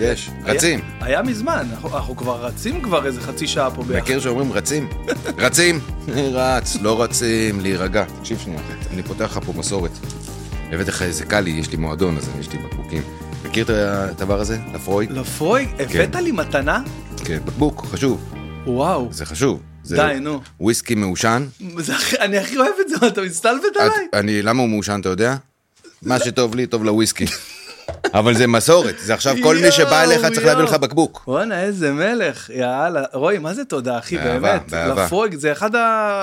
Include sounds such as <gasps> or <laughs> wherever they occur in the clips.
יש, רצים. היה מזמן, אנחנו, אנחנו כבר רצים כבר איזה חצי שעה פה ביחד. מכיר שאומרים רצים? <laughs> רצים, רץ, לא רצים, להירגע. תקשיב שנייה, אני פותח לך פה מסורת. הבאתי לך איזה קאלי, יש לי מועדון, אז יש לי בקבוקים. מכיר את הדבר הזה? לפרוי? לא. לפרוי, הבאת לי מתנה? כן, בקבוק, חשוב. וואו. זה חשוב. זה די, נו. וויסקי מעושן. זה הכי- אני הכי אוהב את זה, מה, אתה מסתלבט את- עליי? אני, למה הוא מעושן, אתה יודע? מה שטוב לי, טוב <laughs> לוויסקי. אבל זה מסורת, זה עכשיו כל מי שבא יואו, אליך צריך להביא יואו. לך בקבוק. וואנה, איזה מלך, יאללה. רועי, מה זה תודה, אחי, באהבה, באמת. באהבה. לפרויג, זה אחד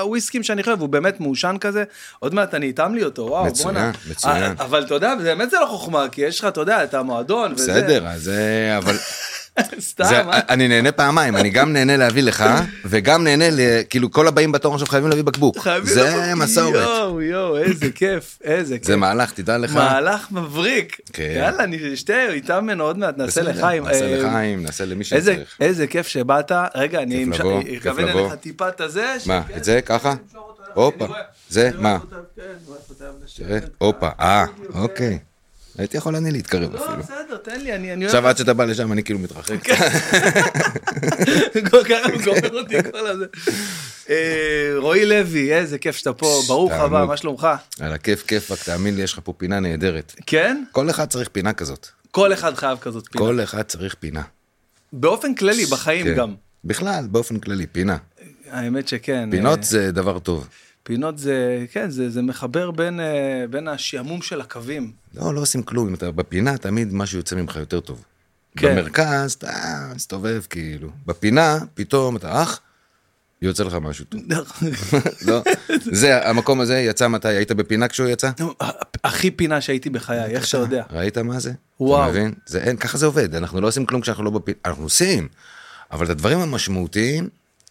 הוויסקים שאני חייב, הוא באמת מעושן כזה. עוד מעט אני אטעם לי אותו, וואו, מצוין, בואנה. מצוין. אה, אבל אתה יודע, באמת זה לא חוכמה, כי יש לך, אתה יודע, את המועדון. וזה. בסדר, אז זה, אבל זה, סתם, אה? אני נהנה פעמיים, אני גם נהנה להביא לך, וגם נהנה, ל- כאילו כל הבאים בתור עכשיו חייבים להביא בקבוק. חייבים זה לבוא- מסורת, יואו, יואו, איזה כיף, איזה כיף. זה מהלך, תדע לך. מהלך מבריק. כן. יאללה, אני אשתה איתה ממנו עוד מעט, נעשה בסדר, לחיים. נעשה אה, לחיים, נעשה למי איזה, שצריך. איזה כיף שבאת, רגע, אני אמש- לבוא, כיף אכוון לבוא. אליך טיפה את הזה. ש- מה, כן, את זה ככה? תמשוך אותו, אני הופה, רואה- זה, אני רואה מה? אותו, כן, אני רואה אותו, אתה אה, יודע, הופה, אה, בדיוק, אוקיי. הייתי יכול אני להתקרב לא, אפילו. בסדר, תן לי, אני אני אוהב... עכשיו עד שאתה בא לשם אני כאילו מתרחק. כן. <laughs> ככה הוא גומר אותי <laughs> כל הזה. אה, רועי לוי, איזה כיף שאתה פה, ברוך הבא, תענוג. מה שלומך? על הכיף כיפאק, תאמין לי, יש לך פה פינה נהדרת. כן? כל אחד צריך פינה כזאת. כל אחד חייב כזאת פינה. כל אחד צריך פינה. באופן כללי, בחיים כן. גם. אה. בכלל, באופן כללי, פינה. האמת שכן. פינות אה, זה דבר טוב. פינות זה, כן, זה זה מחבר בין, אה, בין השעמום של הקווים. לא, לא עושים כלום. אם אתה בפינה, תמיד משהו יוצא ממך יותר טוב. כן. במרכז, אתה מסתובב כאילו. בפינה, פתאום אתה אח, יוצא לך משהו טוב. <laughs> לא, זה, המקום הזה יצא מתי? היית בפינה כשהוא יצא? הכי פינה שהייתי בחיי, איך שאתה לא יודע. ראית מה זה? וואו. אתה מבין? זה אין, ככה זה עובד, אנחנו לא עושים כלום כשאנחנו לא בפינה, אנחנו עושים, אבל את הדברים המשמעותיים,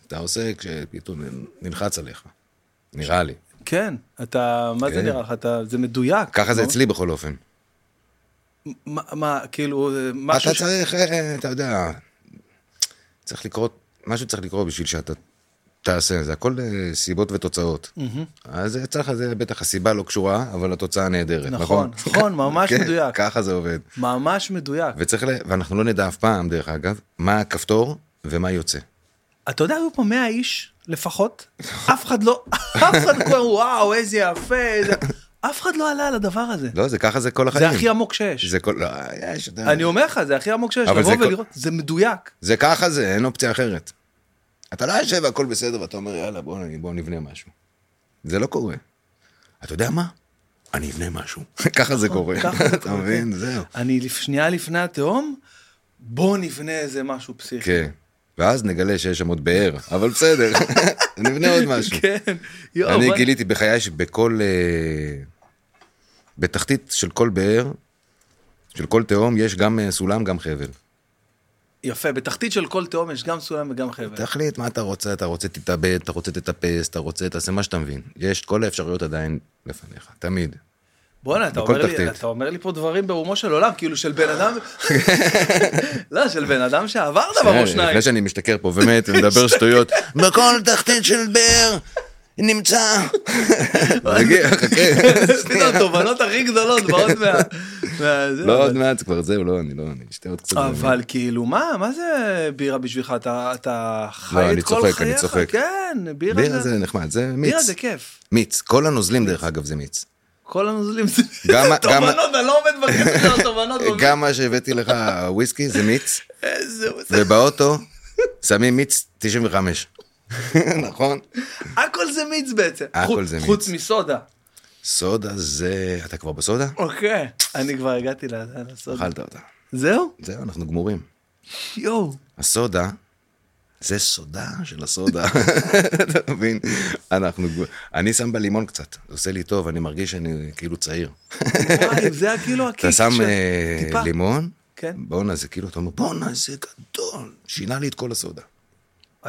אתה עושה כשפתאום נלחץ עליך, נראה לי. כן, אתה, מה זה כן. נראה לך? אתה, זה מדויק. ככה זה לא? אצלי בכל אופן. מה, מה, כאילו, אה, אתה משהו ש... צריך, אה, אה, אתה יודע, צריך לקרות, משהו צריך לקרות בשביל שאתה תעשה, זה הכל אה, סיבות ותוצאות. אז יצא לך זה, בטח הסיבה לא קשורה, אבל התוצאה נהדרת, נכון, נכון? נכון, ממש <laughs> כן, מדויק. ככה זה עובד. ממש מדויק. וצריך, ל- ואנחנו לא נדע אף פעם, דרך אגב, מה הכפתור ומה יוצא. אתה יודע, היו פה 100 איש לפחות, אף אחד לא, אף אחד כבר, וואו, איזה יפה, איזה... אף אחד לא עלה על הדבר הזה. לא, זה ככה זה כל החיים. זה הכי עמוק שיש. זה כל... לא, יש, אתה... אני אומר לך, זה הכי עמוק שיש, אבל לבוא זה כל- ולראות, זה מדויק. זה ככה זה, אין אופציה אחרת. אתה לא יושב והכל בסדר, ואתה אומר, יאללה, בוא, נ- בוא נבנה משהו. זה לא קורה. אתה יודע מה? אני אבנה משהו. <laughs> ככה זה קורה. ככה זה <laughs> אתה קורה, כן. מבין? זהו. אני לפ- שנייה לפני התהום, בוא נבנה איזה משהו פסיכי. כן. ואז נגלה שיש שם עוד באר, אבל בסדר, <laughs> נבנה עוד משהו. <laughs> כן, יואו, אני אבל- גיליתי בחיי שבכל... אה, בתחתית של כל באר, של כל תהום, יש גם אה, סולם, גם חבל. יפה, בתחתית של כל תהום יש גם סולם וגם חבל. תחליט מה אתה רוצה, אתה רוצה תתאבד, אתה רוצה תטפס, אתה רוצה, תעשה מה שאתה מבין. יש את כל האפשרויות עדיין לפניך, תמיד. בואנה, אתה בכל אומר לי- תחתית. אתה אומר לי פה דברים ברומו של עולם, כאילו של בן <laughs> אדם, לא, של בן אדם שעבר דבר או שניים. אה, לפני שאני משתכר פה באמת ומדבר שטויות, בכל תחתית של באר נמצא. <laughs> רגיע, חכה. <laughs> פתאום התובנות הכי גדולות באות מה... <laughs> מה- זה, לא, אבל- עוד מעט זה כבר זהו, לא, אני לא, אני אשתה עוד קצת. אבל כאילו, מה, מה זה בירה בשבילך? אתה- אתה לא, חי אני את כל צוחק, אני חייך. צוחק. כן, בירה בירה זה... זה נחמד, זה בירה מיץ. זה כיף. מיץ, כל הנוזלים דרך אגב זה מיץ. כל הנוזלים זה... <laughs> גם- זה גם- תובנות, אני לא עומד בקטע <laughs> של התובנות. אבל- גם מה שהבאתי לך, וויסקי, זה מיץ, איזה... ובאוטו שמים מיץ 95. <laughs> נכון? הכל זה מיץ בעצם. הכל חוץ- זה מיץ. חוץ מסודה. סודה זה... אתה כבר בסודה? אוקיי. אני כבר הגעתי ל- לסודה. אכלת אותה. זהו? זהו, אנחנו גמורים. יואו. הסודה, זה סודה <laughs> של הסודה. אתה מבין? אנחנו... גמור- אני שם בה לימון קצת, זה עושה לי טוב, אני מרגיש שאני כאילו צעיר. וואי, זה היה כאילו הקיק אתה שם של- אה, טיפה. לימון, כן. בואנה, זה כאילו, אתה אומר, בואנה, זה גדול, שינה לי את כל הסודה.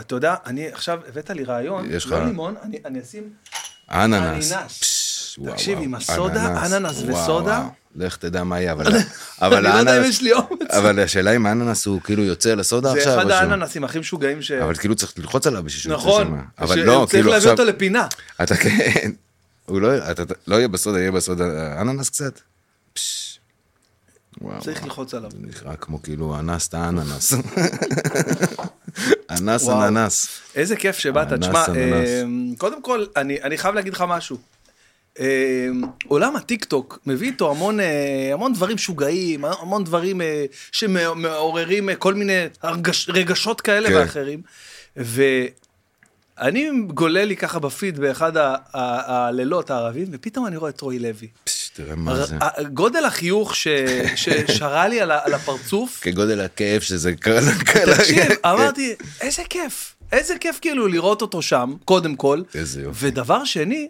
אתה יודע, אני עכשיו, הבאת לי רעיון. יש לך- לא לימון, אני- אני אשים... אננס. אננס. פש, וואו, תקשיב, וואו, עם הסודה, אננס וואו, וסודה. וואו. לך תדע מה יהיה, אבל... <laughs> אבל אני לא יודע אם האננס- יש לי אומץ. אבל השאלה אם האננס הוא כאילו יוצא לסודה עכשיו. זה אחד או שהוא- האננסים הכי משוגעים ש... אבל כאילו צריך ללחוץ עליו בשביל שהוא יוצא כן. נכון. שם. אבל ש- לא, צריך כאילו להביא עכשיו... אותו לפינה. אתה כן. הוא לא, אתה, אתה- לא יהיה בסודה, יהיה בסודה אננס קצת? פש. וואו. צריך ללחוץ עליו. זה נקרא כמו כאילו אנס את האננס. <laughs> אנס וואו. אננס. איזה כיף שבאת, אננס, תשמע, אננס. אמ, קודם כל, אני אני חייב להגיד לך משהו. אמ, עולם הטיק טוק מביא איתו המון אה, המון דברים משוגעים, המון דברים אה, שמעוררים אה, כל מיני הרגש- רגשות כאלה כן. ואחרים. ואני גולה לי ככה בפיד באחד ה- ה- הלילות הערבים, ופתאום אני רואה את רוי לוי. פש, תראה מה זה. ה- גודל החיוך ש- ששרה לי על ה- על הפרצוף, כגודל הכאב שזה קרה לקהל. <laughs> תקשיב, אמרתי, איזה כיף, איזה כיף כאילו לראות אותו שם, קודם כל. איזה יופי. ודבר שני,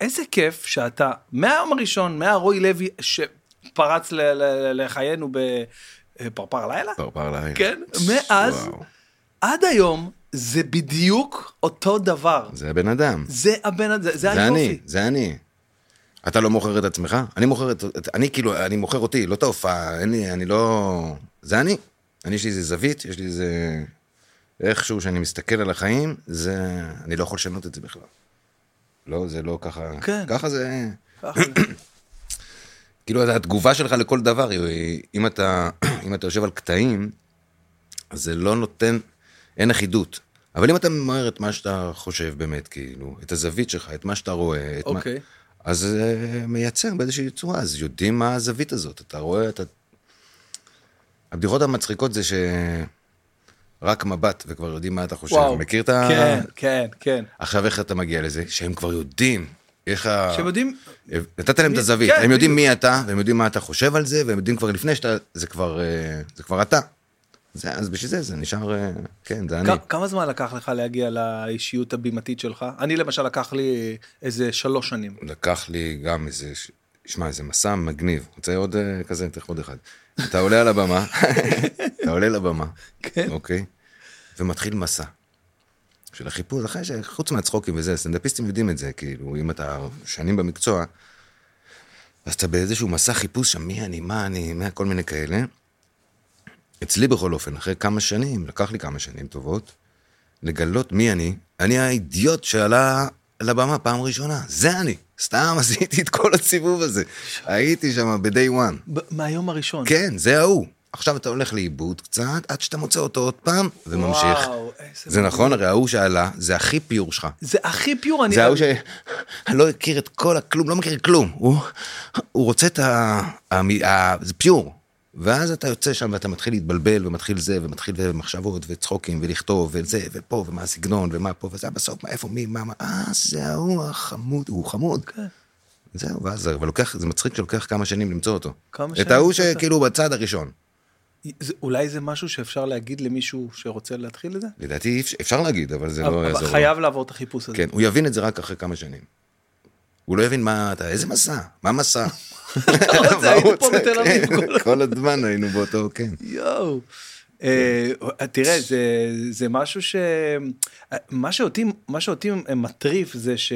איזה כיף שאתה, מהיום הראשון, מהרוי לוי שפרץ ל- ל- לחיינו בפרפר לילה, פרפר לילה. כן, מאז, וואו. עד היום, זה בדיוק אותו דבר. זה הבן אדם. זה הבן הזה, זה זה אני, היופי. <coughs> זה אני. אתה לא מוכר את עצמך? אני מוכר את... את- אני כאילו, אני מוכר אותי, לא את ההופעה, אין לי, אני לא... זה אני. אני, יש לי איזה זווית, יש לי איזה... איכשהו שאני מסתכל על החיים, זה... אני לא יכול לשנות את זה בכלל. לא, זה לא ככה... כן. ככה זה... ככה זה. כאילו התגובה שלך לכל דבר, היא- אם אתה, <clears throat> אם אתה יושב על קטעים, אז זה לא נותן, אין אחידות. אבל אם אתה ממהר את מה שאתה חושב באמת, כאילו, את הזווית שלך, את מה שאתה רואה, את אוקיי. מה... אז זה מייצר באיזושהי צורה, אז יודעים מה הזווית הזאת, אתה רואה, אתה... הבדיחות המצחיקות זה ש... רק מבט, וכבר יודעים מה אתה חושב. וואו. מכיר את ה... כן, אה, כן, כן. עכשיו איך אתה מגיע לזה? שהם כבר יודעים. יש לך... שהם יודעים, נתת להם את מי- הזווית, כן, הם יודעים בדיוק. מי אתה, והם יודעים מה אתה חושב על זה, והם יודעים כבר לפני שאתה, זה כבר, אה, זה כבר אתה. זה, אז בשביל זה זה נשאר, אה, כן, זה אני. כ- כמה זמן לקח לך להגיע לאישיות הבימתית שלך? אני למשל לקח לי איזה שלוש שנים. לקח לי גם איזה, ש- שמע, איזה מסע מגניב. רוצה עוד אה, כזה, תלך עוד אחד. אתה עולה על הבמה, <laughs> אתה עולה לבמה, כן. אוקיי? ומתחיל מסע. של החיפוש, אחרי שחוץ מהצחוקים וזה, סטנדאפיסטים יודעים את זה, כאילו, אם אתה שנים במקצוע, אז אתה באיזשהו מסע חיפוש שם, מי אני, מה אני, מה, כל מיני כאלה. אצלי בכל אופן, אחרי כמה שנים, לקח לי כמה שנים טובות, לגלות מי אני. אני האידיוט שעלה לבמה פעם ראשונה, זה אני. סתם <laughs> עשיתי את כל הסיבוב הזה. הייתי שם ב-day one. ב- מהיום הראשון. כן, זה ההוא. עכשיו אתה הולך לאיבוד קצת, עד שאתה מוצא אותו עוד פעם, וממשיך. וואו, איזה זה מדהים. נכון, הרי ההוא שעלה, זה הכי פיור שלך. זה הכי פיור, אני... זה ההוא שלא הכיר את כל הכלום, לא מכיר כלום. הוא, הוא רוצה את ה... המ- ה... זה פיור. ואז אתה יוצא שם ואתה מתחיל להתבלבל ומתחיל זה ומתחיל ומחשבות וצחוקים ולכתוב וזה ופה ומה הסגנון ומה פה וזה בסוף מה איפה מי מה מה אה זה ההוא החמוד הוא חמוד. כן. זהו ואז אבל לוקח זה מצחיק שלוקח כמה שנים למצוא אותו. כמה את שנים ההוא למצוא אותו? שכאילו בצד הראשון. זה- אולי זה משהו שאפשר להגיד למישהו שרוצה להתחיל את זה? לדעתי אי אפשר- אפשר להגיד אבל זה לא אבל יעזור. לו. חייב לעבור את החיפוש הזה. כן, הוא יבין את זה רק אחרי כמה שנים. הוא לא יבין מה אתה, איזה מסע? מה מסע? אתה רוצה, מה הוא היינו פה רוצה? בתל אביב כן, כל- כל הזמן היינו באותו, כן. יואו. אה, תראה, זה, זה משהו ש... מה שאותי, מה שאותי מטריף זה ש...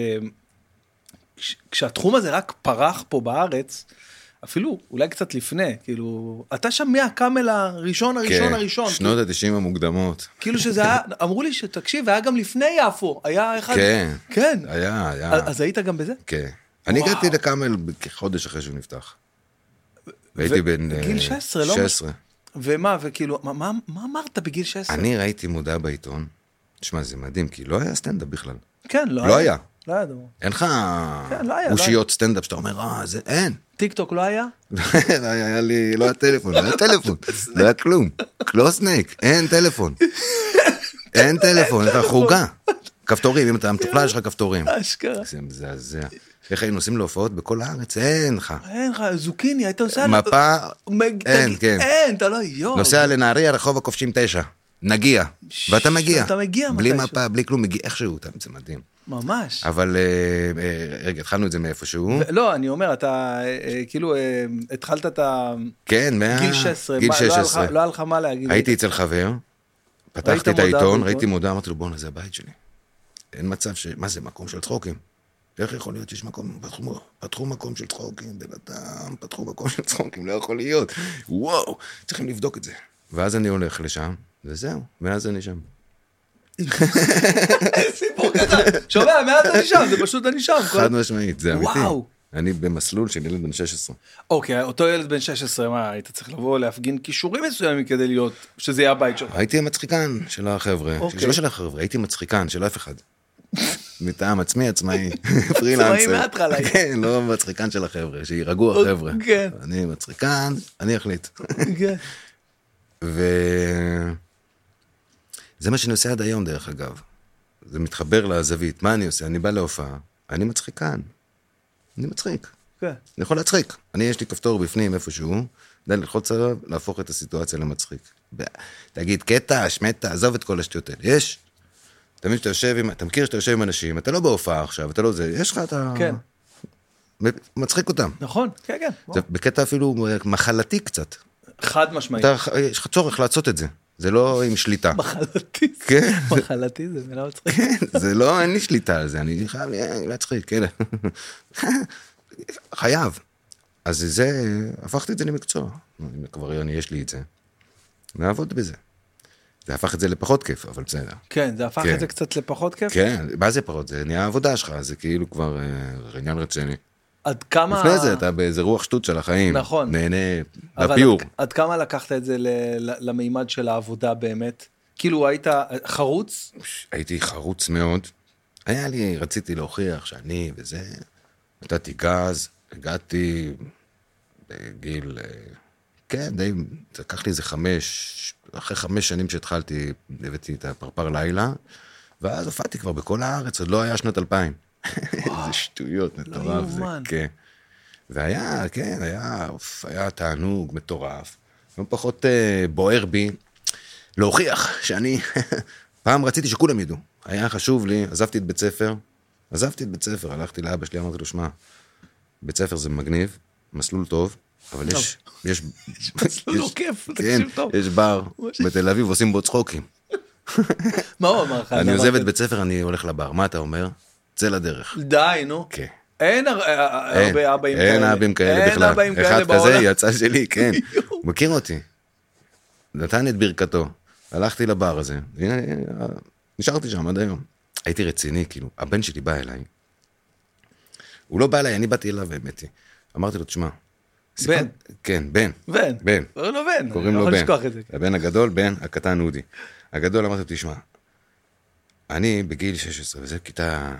כש- כשהתחום הזה רק פרח פה בארץ, אפילו אולי קצת לפני, כאילו, אתה שם מהקאמל הראשון הראשון כן, הראשון. שנות ה-90 המוקדמות. כאילו שזה היה, אמרו לי שתקשיב, היה גם לפני יפו, היה אחד... כן. כן. היה, היה. אז אז היית גם בזה? כן. אני וואו. הגעתי לקאמל כחודש אחרי שהוא נפתח. והייתי בן... אה, גיל 16, לא? 16. ומה, וכאילו, מה, מה, מה אמרת בגיל 16? אני ראיתי מודעה בעיתון. תשמע, זה מדהים, כי לא היה סטנדאפ בכלל. כן, לא, לא היה. לא היה דבר. אין לך כן, לא היה, לא אושיות סטנדאפ שאתה אומר, אה, זה אין. טיק טוק לא היה? לא היה היה לי, לא היה טלפון, לא היה טלפון, לא היה כלום. לא סנייק, אין טלפון. אין טלפון, יש לך חוגה. כפתורים, אם אתה מטופלל, יש לך כפתורים. אשכרה. זה מזעזע. איך היינו נוסעים להופעות בכל הארץ? אין לך. אין לך זוקיני, היית נוסע... מפה, לא, מג- אין, תגיד, כן. אין, אתה לא... יואו. נוסע לנהריה, רחוב הכובשים תשע. נגיע. ואתה מגיע. אתה מגיע בלי מתישהו. מפה, בלי כלום, מגיע איכשהו, אתה- זה מדהים. ממש. אבל אה, אה, רגע, התחלנו את זה מאיפשהו. ו- לא, אני אומר, אתה אה, אה, כאילו אה, התחלת את ה... כן, מה... גיל 16, גיל מה, לא היה לך- 16. לא היה לך מה להגיד. <laughs> הייתי אצל חבר, ראית פתחתי את מודעה העיתון, בעיתון? ראיתי מודעה, אמרתי לו, בואנה, זה הבית שלי. אין מצב ש... מה זה, מקום של צחוקים? איך יכול להיות שיש מקום, פתחו, פתחו מקום של צחוקים, בן אדם, פתחו מקום של צחוקים, לא יכול להיות. וואו, צריכים לבדוק את זה. ואז אני הולך לשם, וזהו, מאז אני שם. סיפור קטן. שומע, מאז אני שם, זה פשוט אני שם. כל- חד משמעית, זה אמיתי. וואו. אני במסלול של ילד בן 16. אוקיי, אותו ילד בן 16, מה, היית צריך לבוא להפגין כישורים מסוימים כדי להיות, שזה יהיה הבית <laughs> שלך. הייתי המצחיקן של החבר'ה. אוקיי. לא של החבר'ה, הייתי מצחיקן <laughs> של אף אחד. מטעם עצמי, עצמאי, עצמאי פרילנסר. מההתחלה. <laughs> כן, לא מצחיקן של החבר'ה, שירגעו החבר'ה. כן. אני מצחיקן, אני אחליט. <laughs> ו... זה מה שאני עושה עד היום, דרך אגב. זה מתחבר לזווית. מה אני עושה? אני בא להופעה, אני מצחיקן. אני מצחיק. כן. אני יכול להצחיק. אני, יש לי כפתור בפנים איפשהו, די ללחוץ עליו, להפוך את הסיטואציה למצחיק. ב- תגיד, קטע, שמטע, עזוב את כל השטויות האלה. יש. אתה מבין שאתה יושב עם, אתה מכיר שאתה יושב עם אנשים, אתה לא בהופעה עכשיו, אתה לא זה, יש לך, אתה... כן. מצחיק אותם. נכון, כן, כן. זה בקטע אפילו אה, מחלתי קצת. חד משמעית. אתה, יש לך צורך לעשות את זה. זה לא עם שליטה. מחלתי. כן. מחלתי זה מילה מצחיקה. <laughs> זה לא, אין לי שליטה על זה, אני חייב אה, להצחיק, כן. <laughs> חייב. אז זה, הפכתי את זה למקצוע. אם כבר אני, יש לי את זה, נעבוד בזה. זה הפך את זה לפחות כיף, אבל בסדר. <laughs> כן, זה הפך כן. את זה קצת לפחות כיף. כן, מה זה פחות? זה נהיה העבודה שלך, זה כאילו כבר אה, עניין רציני. עד כמה... לפני זה אתה באיזה רוח שטות של החיים. נכון. נהנה, אבל לפיור. עד- עד כמה לקחת את זה ל- ל- למימד של העבודה באמת? כאילו היית חרוץ? הייתי חרוץ מאוד. היה לי, רציתי להוכיח שאני וזה. נתתי גז, הגעתי בגיל... אה, כן, די, זה לקח לי איזה חמש, אחרי חמש שנים שהתחלתי, הבאתי את הפרפר לילה, ואז הופעתי כבר בכל הארץ, עוד לא היה שנת אלפיים. איזה שטויות, מטורף זה, יאומן. כן. והיה, כן, היה, אוף, היה תענוג מטורף. לא פחות אה, בוער בי להוכיח שאני... <laughs> פעם רציתי שכולם ידעו. היה חשוב לי, עזבתי את בית ספר, עזבתי את בית ספר, הלכתי לאבא שלי, אמרתי לו, שמע, בית ספר זה מגניב, מסלול טוב, אבל יש... <laughs> יש מסלול יש- עוקף, כן, תקשיב טוב. יש <laughs> בר בתל אביב, עושים בו צחוקים. מה הוא אמר לך? אני אמרת- עוזב את בית ספר, אני הולך לבר, מה אתה אומר? צא לדרך. די, נו. כן. אין הר- אה, אין, הרבה אבאים כאלה. אין אבאים כאלה בכלל. אין אבאים כאלה אחד כזה בעולם. יצא שלי, כן. הוא מכיר אותי. נתן את ברכתו. הלכתי לבר הזה. הנה, הנה, נשארתי שם עד היום. הייתי רציני, כאילו, הבן שלי בא אליי. הוא לא בא אליי, אני באתי אליו, האמת היא. אמרתי לו, תשמע. סיפר- בן. כן, בן. בן. בן. קוראים לו בן. קוראים אני לו לא בן. יכול לשכוח את זה. הבן הגדול, בן הקטן אודי. הגדול אמרתי לו, תשמע, אני בגיל 16, וזה כיתה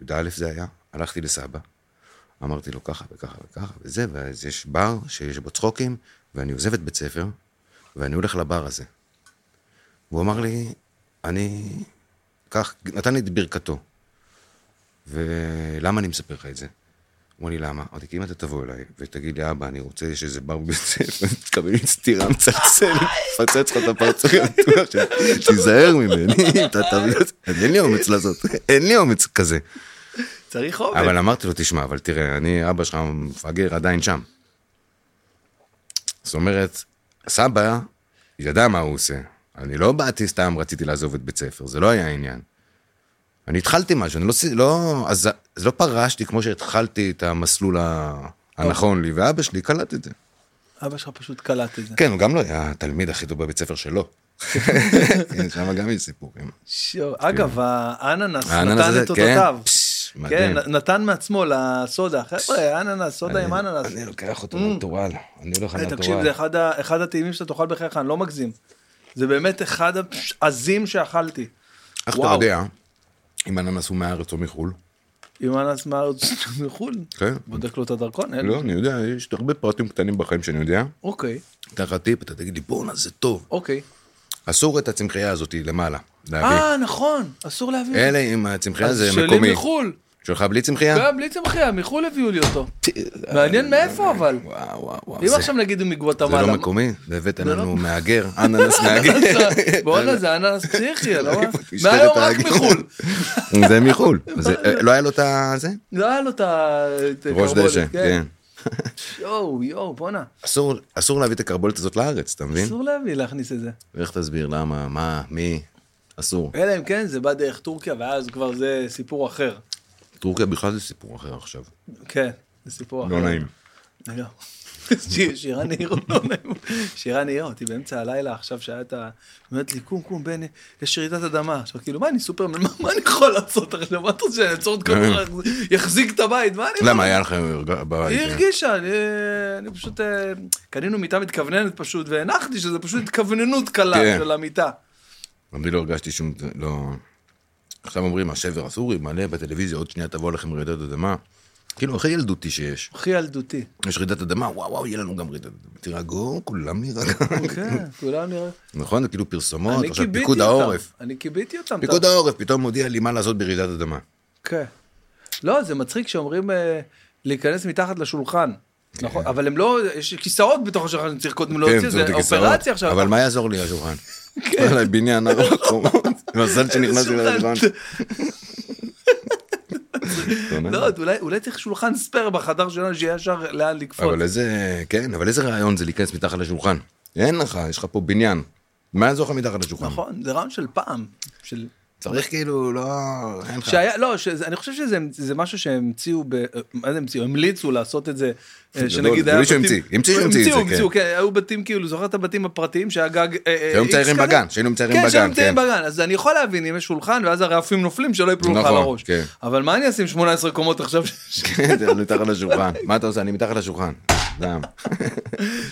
י"א זה היה, הלכתי לסבא. אמרתי לו ככה וככה וככה וזה, ואז יש בר שיש בו צחוקים, ואני עוזב את בית ספר, ואני הולך לבר הזה. והוא אמר לי, אני... כך, נתן לי את ברכתו. ולמה אני מספר לך את זה? הוא אמר לי, למה? אמרתי, כי אם אתה תבוא אליי ותגיד לי, אבא, אני רוצה שזה בר בבית ספר, <laughs> תקבל לי סטירה מצלצלת, תפוצץ לך את הפרצוף, <laughs> אני בטוח ש- תיזהר ממני, <laughs> אם אתה תביא את זה. אין לי אומץ לעשות, אין לי אומץ כזה. צריך עובד. אבל אמרתי לו, תשמע, אבל תראה, אני, אבא שלך מפגר עדיין שם. זאת אומרת, סבא ידע מה הוא עושה. אני לא באתי סתם, רציתי לעזוב את בית ספר, זה לא היה העניין. אני התחלתי משהו, אני לא, סי- לא, אז, אז לא פרשתי כמו שהתחלתי את המסלול ה- הנכון לי, ואבא שלי קלט את זה. אבא שלך פשוט קלט את זה. כן, הוא גם לא היה התלמיד הכי טוב בבית ספר שלו. כן, שם גם יש סיפורים. שו- אגב, האננס האננס נתן הזה, את כן, אותותיו. פש, כן, מדהים. נתן מעצמו לסודה. חבר'ה, אננס, סודה עם אננס. אני לוקח אותו לנטורל, אני הולך היי, לנטורל. אה, תקשיב, זה אחד ה- אחד הטעימים שאתה תאכל בחייך, אני לא מגזים. זה באמת אחד העזים שאכלתי. איך אתה וואו. יודע אם אננס הוא מהארץ או מחו"ל? אם אננס מהארץ <laughs> מחו"ל, כן. בודק לו את הדרכון, אין. לא, אני יודע, יש הרבה פרטים קטנים בחיים שאני יודע. אוקיי, אתה לך טיפ, אתה תגיד לי, בואנה, זה טוב. אוקיי. אסור את הצמחייה הזאת למעלה, להביא. אה, נכון, אסור להביא. אלה עם הצמחייה אז אה, זה שלי מקומי. אה. מחו"ל. כן. שלך בלי צמחייה? גם בלי צמחייה, מחו"ל הביאו לי אותו. אה, מעניין מאיפה אבל. וואו, וואו, וואו. אם אה, זה- עכשיו נגיד הוא זה מגואטמלה. לא מקומי? והבאת לנו מהגר, אננס מהגר. <laughs> בואנה זה אננס פסיכי, לא? איפה תשתה את מהיום רק ההגה? מחו"ל. <laughs> זה מחו"ל. זה- אה, לא היה לו את ה... זה? לא היה לו את ה... את ראש הקרבולת, דשא, כן. יואו, יואו, בואנה. אסור- אסור להביא את הקרבולת הזאת לארץ, אתה מבין? אסור להביא להכניס את זה. איך תסביר למה, מה, מי? אסור. אלא אם כן זה בא דרך טורקיה ואז כבר זה סיפור אחר. טורקיה בכלל זה סיפור אחר עכשיו. אה, כן, זה סיפור אחר. לא נעים. לא. <laughs> שיר- שירה נהירה, לא נעים. שירה נהירה אותי באמצע הלילה עכשיו שהיה את ה... אומרת לי, קום, קום, בני, יש רעידת אדמה. עכשיו, כאילו, מה, אני סופרמן, מה מה אני יכול לעשות עכשיו? מה אתה רוצה שאני אעצור את כל כן. כך, יחזיק את הבית? מה אני יכול למה היה לכם הרגע היא בבית? אה, הרגישה, אני, אני פשוט, אה, קנינו מיטה מתכווננת פשוט, והנחתי שזה פשוט התכווננות קלה כן. של המיטה. אני לא הרגשתי שום... לא... עכשיו אומרים, השבר הסורי מלא בטלוויזיה, עוד שנייה תבוא לכם רעידת אדמה. כאילו, הכי ילדותי שיש. הכי <laughs> ילדותי. יש רעידת אדמה, וואו, וואו, יהיה לנו גם רעידת אדמה. תירגעו, כולם נירגע. כן, כולם נראה. נכון? זה כאילו פרסומות, אני עכשיו כיביתי פיקוד אותם. העורף. אני כיביתי אותם. פיקוד אתה- העורף פתאום מודיע לי מה לעשות ברעידת אדמה. כן. לא, זה מצחיק שאומרים אה, להיכנס מתחת לשולחן. כן. נכון, אבל הם לא, יש כיסאות בתוך השולחן, צריך קודם להוציא, זאת זה הכיסאות. אופרציה עכשיו. כן. אבל מה יעזור לי <laughs> השולחן? עליי בניין ארוך. מזל שנכנסתי שולחן. לשולחן. <laughs> לא, אולי- אולי צריך שולחן ספייר בחדר שלנו שיהיה ישר לאן לקפוץ. אבל איזה, כן, אבל איזה רעיון זה להיכנס מתחת לשולחן? אין לך, יש לך פה בניין. מה יעזור לך מתחת לשולחן? נכון, זה רעיון של פעם, של צריך כאילו, לא, אין לך. <laughs> שהיה, לא, שזה, אני חושב שזה זה משהו שהמציאו, ב, מה זה המציאו? המליצו לעשות את זה, אה, שנגיד זה היה לא שהוא המציא, המציאו שהמציא את זה, המציאו, כן. המציאו, כן, היו בתים כאילו, זוכר את הבתים הפרטיים שהיה גג... אה, אה, שהיו X מציירים כזה? בגן, שהיינו מציירים כן, שהיו בגן, מציירים כן. בגן, אז אני יכול להבין אם יש שולחן ואז הרעפים נופלים שלא יפלו לך על נכון, הראש. כן. אבל מה אני אשים 18 קומות עכשיו ש- כן, זה מתחת לשולחן. מה אתה עושה? אני מתחת לשולחן. <laughs> דם.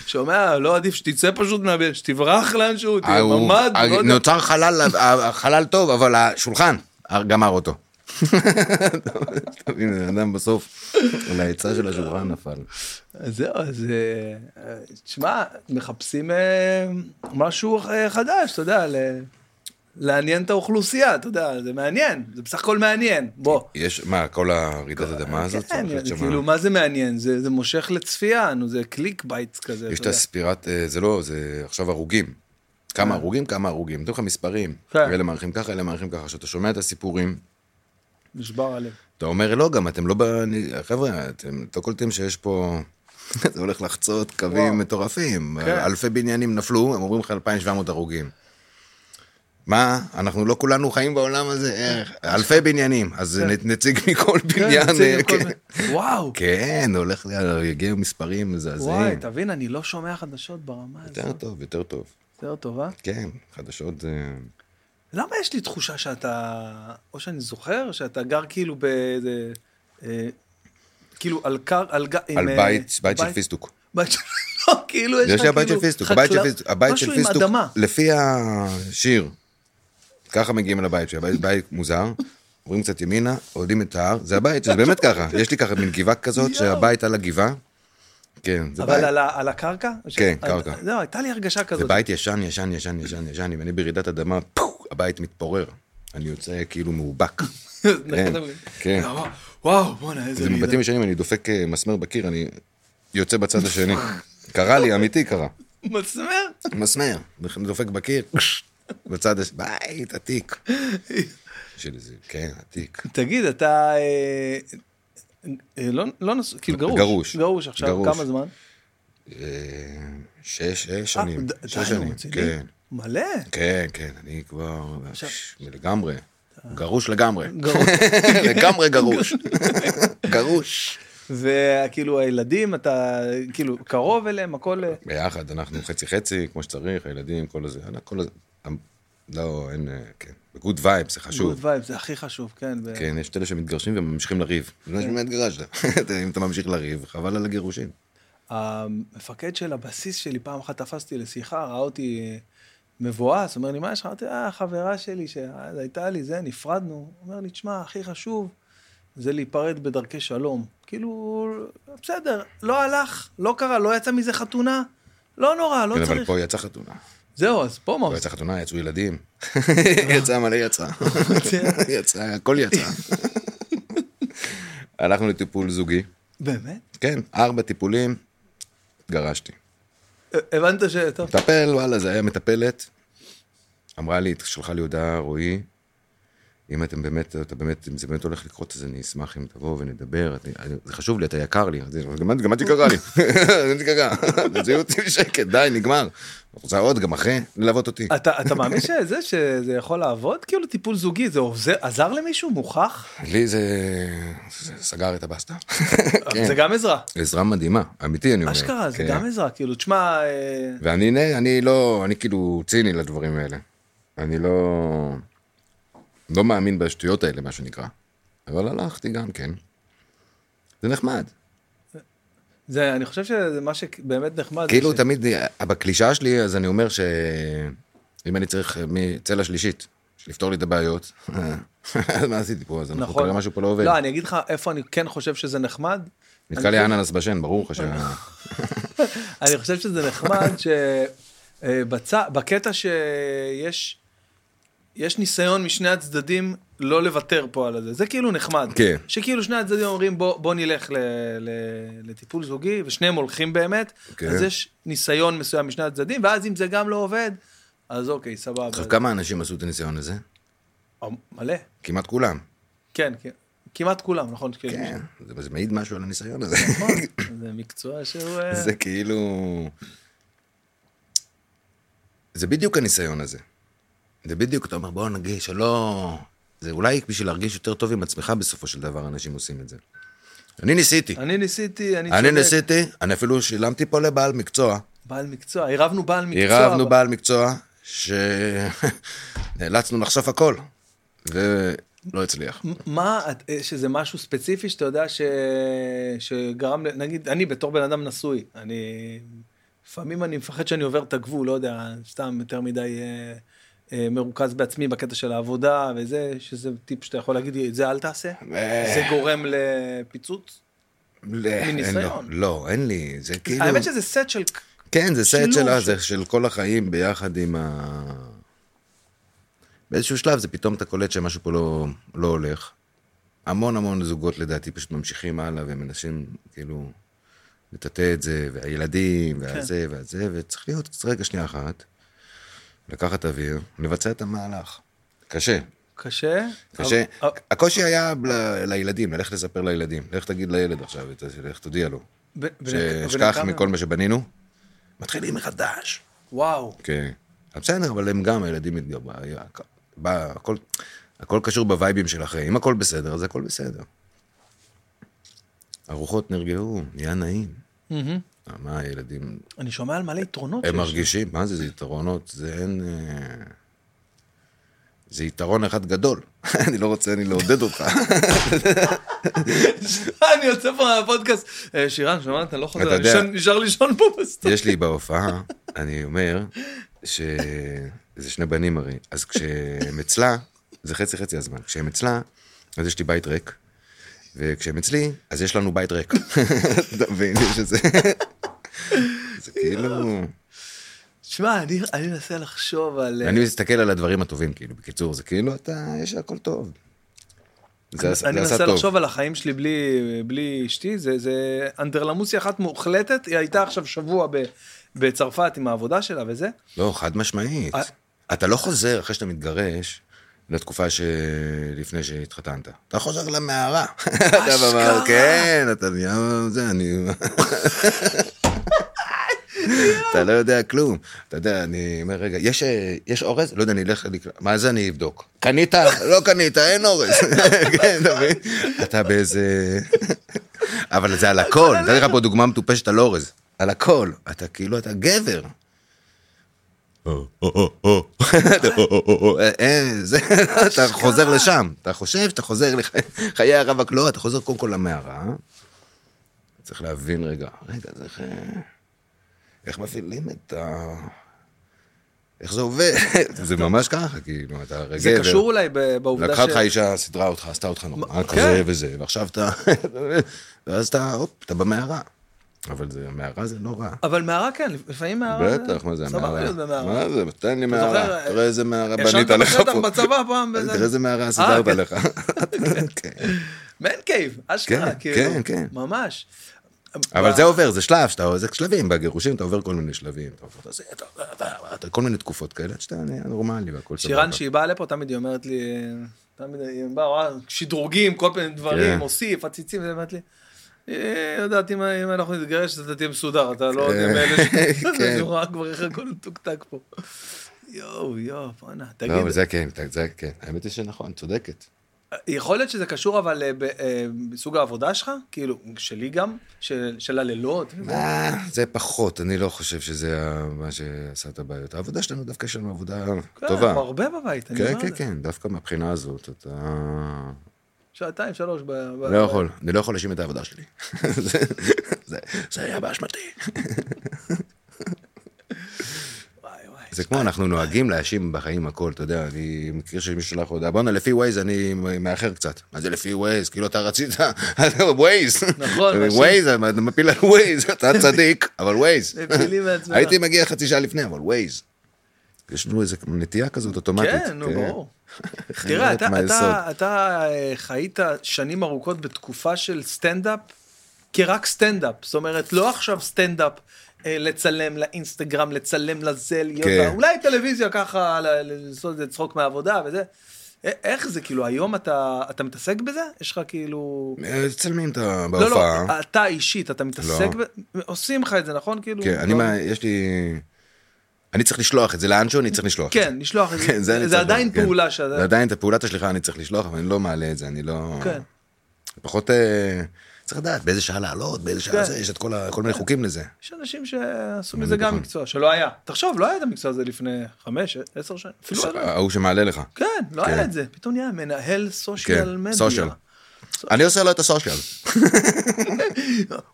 שומע, לא עדיף שתצא פשוט מהבית, שתברח לאנשהו, תהיה ההוא- ממ"ד, לא יודע. נוצר חלל, החלל טוב, אבל השולחן גמר אותו. <laughs> אתה מבין, בן אדם בסוף, על העצה של השולחן נפל. אז זהו, אז אה, אה, תשמע, מחפשים אה, משהו אה, חדש, אתה יודע, ל- לעניין את האוכלוסייה, אתה יודע, זה מעניין, זה בסך הכל מעניין, בוא. יש, מה, כל הרעידת אדמה הזאת? כן, צריך להיות זה שמה- כאילו, מה זה מעניין? זה זה מושך לצפייה, נו, זה קליק בייט כזה, יש את אתה יודע. הספירת, אה, זה לא, זה עכשיו הרוגים. כמה הרוגים, כמה הרוגים. נותנים לך מספרים. אה. כן. אלה מעריכים ככה, אלה מעריכים ככה. כשאתה שומע את הסיפורים, נשבר הלב. אתה אומר, לא, גם אתם לא ב... אני- חבר'ה, אתם לא קולטים שיש פה... <laughs> זה הולך לחצות וואו. קווים מטורפים. כן. אלפי בניינים נפלו, הם אומרים לך 2,700 הרוגים. מה? אנחנו לא כולנו חיים בעולם הזה, איך? אלפי בניינים. אז נ- נציג מכל כן, <laughs> בניין... נציג אה, עם כל כן. מיני- וואו, כן, הולך, ל- יגיעו מספרים וואי, מזעזעים. תבין, אני לא שומע חדשות ברמה יותר הזאת. טוב, יותר טוב. יותר טוב, אה? כן, חדשות זה... למה יש לי תחושה שאתה, או שאני זוכר, שאתה גר כאילו באיזה, אה, כאילו על קר, על ג... עם, על אה, בית, בית של פיסטוק. בית של... לא, כאילו יש לך יש לי כאילו... הבית של פיסטוק, הבית של חקלאות- פיסטוק, הבית של משהו עם פיסטוק, אדמה. לפי השיר, ככה מגיעים אל הבית, שהבית בית מוזר, עוברים קצת ימינה, עולים את ההר, זה הבית, זה באמת ככה, יש לי ככה מין גבעה כזאת, יואו. שהבית על הגבעה, כן, זה אבל בית. על ה- על הקרקע? או ש- כן, על- קרקע. זהו, הייתה לי הרגשה זה כזאת. בית ישן, ישן, ישן, ישן, ישן, אם אני ברעידת אדמה, פו, הבית מתפורר. אני יוצא כאילו <laughs> מאובק. <laughs> נכון, אבל- כן. וואו, וואו, בואנה, איזה... זה רעידה. מבתים ישנים, אני דופק אה, מסמר בקיר, אני יוצא בצד השני. קרה לי, אמיתי קרה. <laughs> מסמר? מסמר, דופק בקיר, בצד השני, בית, עתיק. של איזה, כן, עתיק. תגיד, אתה... אה, אה, לא- לא נשוי, כאילו גרוש. גרוש. גרוש עכשיו, גרוש. כמה זמן? אה, שש, שש אה, שנים, ד- שש די, נו, שנים, רציני? כן. מלא. <laughs> כן, כן, אני כבר, ש- לגמרי, אה. גרוש לגמרי. <laughs> גרוש. כן. <laughs> לגמרי גרוש. גרוש. וכאילו כאילו הילדים, אתה כאילו קרוב אליהם, הכל... אה, ביחד, אנחנו חצי חצי, כמו שצריך, הילדים, כל הזה, יאללה, כל הזה. אמ, לא, אין, אה, כן. בגוד וייב, זה חשוב. Good vibes, זה הכי חשוב, כן. ו- כן, יש את אלה שמתגרשים וממשיכים לריב. זה כן. מה שהתגרשת. אתה- <laughs> אם אתה ממשיך לריב, חבל על הגירושים. המפקד של הבסיס שלי, פעם אחת תפסתי לשיחה, ראה אותי אה, מבואס, אומר לי, מה יש לך? אמרתי, אה, חברה שלי שאז הייתה לי, זה, נפרדנו. הוא אומר לי, תשמע, הכי חשוב זה להיפרד בדרכי שלום. כאילו, בסדר, לא הלך, לא קרה, לא יצא מזה חתונה, לא נורא, לא כן, אבל צריך. פה יצא חתונה. זהו, אז פה מה פה עושים? יצא חתונה, <laughs> יצאו ילדים. יצא מלא יצא. יצא, הכל יצא. <laughs> הלכנו לטיפול זוגי. באמת? כן, ארבע טיפולים, גרשתי. א- הבנת ש... טוב, מטפל, וואלה, זה היה מטפלת. אמרה לי, שלחה לי הודעה, רועי, אם אתם באמת, אתה באמת, אם זה באמת הולך לקרות, אז אני אשמח אם תבוא ונדבר. אני- אני- זה חשוב לי, אתה יקר לי. אז אני אומר, גם את- גם את יקרה לי. <laughs> אני <laughs> יקרה. אז היו אותי בשקט, די, נגמר. רוצה עוד, גם אחרי, ללוות אותי. אתה, אתה מאמין שזה, שזה יכול לעבוד? כאילו טיפול זוגי, זה עוזר, עזר למישהו? מוכח? לי זה... זה סגר <laughs> את הבסטה. כן. זה גם עזרה. עזרה מדהימה, אמיתי אני אומר. אשכרה, זה כן. גם עזרה. כאילו, תשמע, אה, ואני נה- אני לא, אני כאילו ציני לדברים האלה. אני לא, לא מאמין בשטויות האלה, מה שנקרא. אבל הלכתי גם כן. זה נחמד. זה, אני חושב שזה מה שבאמת נחמד. זה כאילו ש- תמיד, אה, בקלישאה שלי, אז אני אומר שאם אני צריך אה, מצלע שלישית, לפתור לי את הבעיות, <laughs> אז מה עשיתי פה? אז אנחנו נכון. כנראה משהו פה לא עובד. לא, אני אגיד לך איפה אני כן חושב שזה נחמד. נתקע לי אננס בשן, ברור לך ש... אני חושב שזה נחמד שבקטע שיש יש ניסיון משני הצדדים לא לוותר פה על זה, זה כאילו נחמד. כן. שכאילו שני הצדדים אומרים בוא, בוא נלך ל, ל, לטיפול זוגי, ושניהם הולכים באמת, כן. אז יש ניסיון מסוים משני הצדדים, ואז אם זה גם לא עובד, אז אוקיי, סבבה. עכשיו, כמה אנשים עשו את הניסיון הזה? או, מלא, כמעט כולם. כן, כן. כמעט כולם, נכון? כאילו, כן, זה זה מעיד משהו על הניסיון הזה. נכון, זה מקצוע שהוא... אה, <laughs> זה כאילו... זה בדיוק הניסיון הזה. זה בדיוק, אתה אומר, בוא נגיד שלא... זה אולי בשביל להרגיש יותר טוב עם עצמך בסופו של דבר, אנשים עושים את זה. אני ניסיתי. אני ניסיתי, אני אני צודק. ניסיתי, אני אפילו שילמתי פה לבעל מקצוע. בעל מקצוע, עירבנו בעל מקצוע. עירבנו אבל- בעל מקצוע, <laughs> שנאלצנו לחשוף הכל, ולא הצליח. מה, את- אה, שזה משהו ספציפי שאתה יודע ש... שגרם, ל- נגיד, אני בתור בן אדם נשוי, אני, לפעמים אני מפחד שאני עובר את הגבול, לא יודע, סתם יותר מדי אה, אה, מרוכז בעצמי בקטע של העבודה וזה, שזה טיפ שאתה יכול להגיד, את זה אל תעשה, אה. זה גורם לפיצוץ. לא, אין לו. מניסיון. לא, אין לי, זה כאילו... האמת שזה סט של, כן, זה סט שילוב שלה, של- זה של כל החיים ביחד עם ה... באיזשהו שלב זה פתאום אתה קולט שמשהו פה לא, לא הולך. המון המון זוגות לדעתי פשוט ממשיכים הלאה ומנסים כאילו לטאטא את זה, והילדים, והזה והזה, וצריך להיות רגע שנייה אחת, לקחת אוויר, לבצע את המהלך. קשה, קשה. אה, קשה. אבל- הקושי היה ל- לילדים, ללכת לספר לילדים. לך תגיד לילד עכשיו, לך תודיע לו. ב- בן- ששכח בן כמה? מכל מה שבנינו, מתחילים מחדש. וואו, כן. אבל בסדר, אבל הם גם, הילדים מתגברים, הכל, הכל קשור בווייבים של אחרי. אם הכל בסדר, אז הכל בסדר. הרוחות נרגעו, נהיה נעים. אה, מה הילדים, אני שומע על מלא יתרונות. הם שיש. מרגישים, מה זה, זה יתרונות, זה אין... אה, זה יתרון אחד גדול. <laughs> אני לא רוצה, אני לעודד אותך. <laughs> אני יוצא פה מהפודקאסט, אה, שירן, שמעת, אני לא חוזר, אתה אני יודע- ישן- נשאר לישון פה בסטור. יש לי בהופעה, אני אומר, ש... זה שני בנים הרי, אז כשהם אצלה, זה חצי חצי הזמן, כשהם אצלה, אז יש לי בית ריק, וכשהם אצלי, אז יש לנו בית ריק. אתה מבין, יש איזה... זה כאילו... שמע, אני, אני מנסה לחשוב על... אני מסתכל על הדברים הטובים, כאילו, בקיצור, זה כאילו, אתה, יש הכל טוב. זה עשה- אני זה עשה מנסה טוב. לחשוב על החיים שלי בלי, בלי אשתי, זה, זה אנדרלמוסיה אחת מוחלטת, היא הייתה עכשיו שבוע ב, בצרפת עם העבודה שלה וזה. לא, חד משמעית. אתה לא חוזר אחרי שאתה מתגרש לתקופה שלפני שהתחתנת. אתה חוזר למערה. אתה אשכרה. במערה, כן, אתה נהיה... זה, אני... אתה לא יודע כלום. אתה יודע, אני אומר, רגע, יש, אה, יש אורז? לא יודע, אני אלך לקראת... מה זה אני אבדוק? קנית? לא קנית, אין אורז. כן, אתה מבין? אתה באיזה... אבל זה על הכל. נתתי לך פה דוגמה מטופשת על אורז. על הכל. אתה כאילו, אתה גבר. או, או, או, או. או, או, או, או. אה, אה, זה, אתה חוזר לשם, אתה חושב שאתה חוזר לחיי הרווק, לא, אתה חוזר קודם כל למערה. צריך להבין רגע, רגע, זה איך... איך מפעילים את ה... איך זה עובד? זה ממש ככה, כאילו, אתה רגע... זה קשור אולי ב- בעובדה לקחה אותך אישה, סידרה אותך, עשתה אותך נורמל כן. כזה וזה, ועכשיו אתה... <laughs> ואז אתה, הופ, אתה במערה. אבל זה, מערה זה לא רע. אבל מערה כן, לפעמים מערה... בטח, מה זה סבבה המערה? להיות במערה. מה זה, תן לי זוכר, מערה. תראה איזה מערה ישנת בנית לך בשטח פה. בצבא פעם, וזה- תראה איזה מערה אה, סידרת כן. <laughs> לך. כן. מן קייב, אשכרה, כן, כאילו. כן, כן. ממש. אבל ב- זה עובר, זה שלב, שאתה- זה שלבים, בגירושים אתה עובר כל מיני שלבים. אתה עובר את זה, אתה עובר- אתה- כל מיני תקופות כאלה, עד שאתה נהיה נורמלי והכל סבבה. לא, שירן, שהיא באה לפה, תמיד היא אומרת לי, תמיד היא באה, וואלה, שדרוגים, כל מיני כן. דברים, הוסיף, עציצים, והיא אמרת לי, "אה, יודעת, אם אם אנחנו נתגרש, אתה תהיה מסודר, אתה לא... כן. <laughs> כן. אני רואה כבר איך הכל מתוקתק פה. יואו, יואו, בואנה, תגיד, לא, אבל זה כן, זה כן. האמת היא שנכון, צודקת. יכול להיות שזה קשור אבל אה, ב- אה, בסוג העבודה שלך? כאילו, שלי גם? של של הלילות? וזה? אה, זה פחות, אני לא חושב שזה ה- מה שעשה את הבעיות. העבודה שלנו דווקא יש לנו עבודה כן, טובה. אנחנו הרבה בבית, אני כן, אומר כן, לך. כן, דווקא מהבחינה הזאת, אתה... שעתיים, שלוש. ב- ב- לא יכול, אני לא יכול להאשים את העבודה שלי. <laughs> זה- זה- זה היה באשמתי. וואי, וואי. זה כמו אנחנו נוהגים להאשים בחיים הכל, אתה יודע, אני מכיר שמישהו שלח הודעה, בואנה, לפי ווייז אני מאחר קצת. מה זה לפי ווייז? כאילו אתה רצית, <laughs> ווייז. נכון, <laughs> מאשים. ווייז, אתה מפיל על ווייז, <laughs> אתה צדיק, אבל ווייז. מפילים מעצמם. הייתי מגיע חצי שעה לפני, אבל ווייז. יש לנו איזו נטייה כזאת אוטומטית. כן, נו, ברור. אני לא תראה, יודעת אתה, מה אתה, היסוד. אתה, אה, חיית שנים ארוכות בתקופה של סטנדאפ, כרק סטנדאפ. זאת אומרת, לא עכשיו סטנדאפ אה, לצלם לאינסטגרם, לצלם לזה, להיות... כן. ה- אולי טלוויזיה ככה, ל- לעשות איזה צחוק מהעבודה וזה. א- איך זה, כאילו, היום אתה, אתה מתעסק בזה? יש לך כאילו... אה, מצלמים את ה... לא, לא, בהופעה. אתה אישית, אתה מתעסק, לא. ב... עושים לך את זה, נכון? כאילו... כן, אני לא- מה, יש לי... אני צריך לשלוח את זה לאנשהו, אני צריך לשלוח את זה. כן, לשלוח את כן, זה. זה אני זה צריך עדיין לשלוח, כן. פעולה שאתה... זה עדיין את פעולת השליחה אני צריך לשלוח, אבל אני לא מעלה את זה, אני לא... כן. פחות... אה, צריך לדעת באיזה שעה לעלות, באיזה שעה כן. זה, יש את כל ה- כל מיני חוקים לזה. יש אנשים שעשו מזה גם נכון. מקצוע שלא היה. תחשוב, לא היה את המקצוע הזה לפני חמש, עשר שנים. אפילו לא היה. ההוא שמעלה לך. כן, לא כן. היה את זה. פתאום נהיה מנהל סושיאל כן, מדיה. <gasps> סושיאל. אני עושה לו את הסושיאל.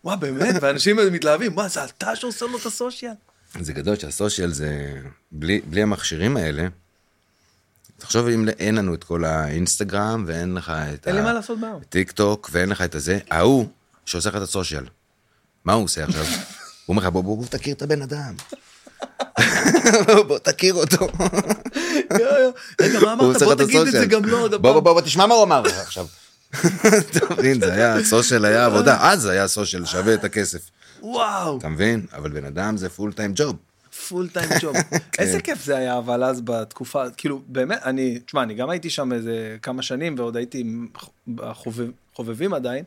וואה, באמת, ואנשים <laughs> מתלהבים, מה, זה אתה שעושה לו את הסושיאל? זה גדול שהסושיאל זה, בלי, בלי המכשירים האלה, תחשוב אם אין לנו את כל האינסטגרם ואין לך את אין לי מה לעשות בעם. <laughs> טיק טוק ואין לך את הזה, ההוא שעושה לך את הסושיאל, מה הוא עושה עכשיו? הוא אומר לך בוא, בוא, בוא תכיר את הבן אדם. <laughs> בוא תכיר אותו. יואו, יואו. רגע, מה הוא אמרת? עושה בוא לך את תגיד את הסושיאל. זה גם לו עוד בוא בוא הפעם. בוא בוא, תשמע מה הוא אמר לך עכשיו. <laughs> אתה מבין, זה היה, סושיאל היה עבודה, אז היה סושיאל שווה את הכסף, וואו, אתה מבין? אבל בן אדם זה פול טיים ג'וב. פול <laughs> טיים ג'וב. כן. איזה כיף זה היה, אבל אז בתקופה, כאילו, באמת, אני, תשמע, אני גם הייתי שם איזה כמה שנים, ועוד הייתי בחובבים עדיין,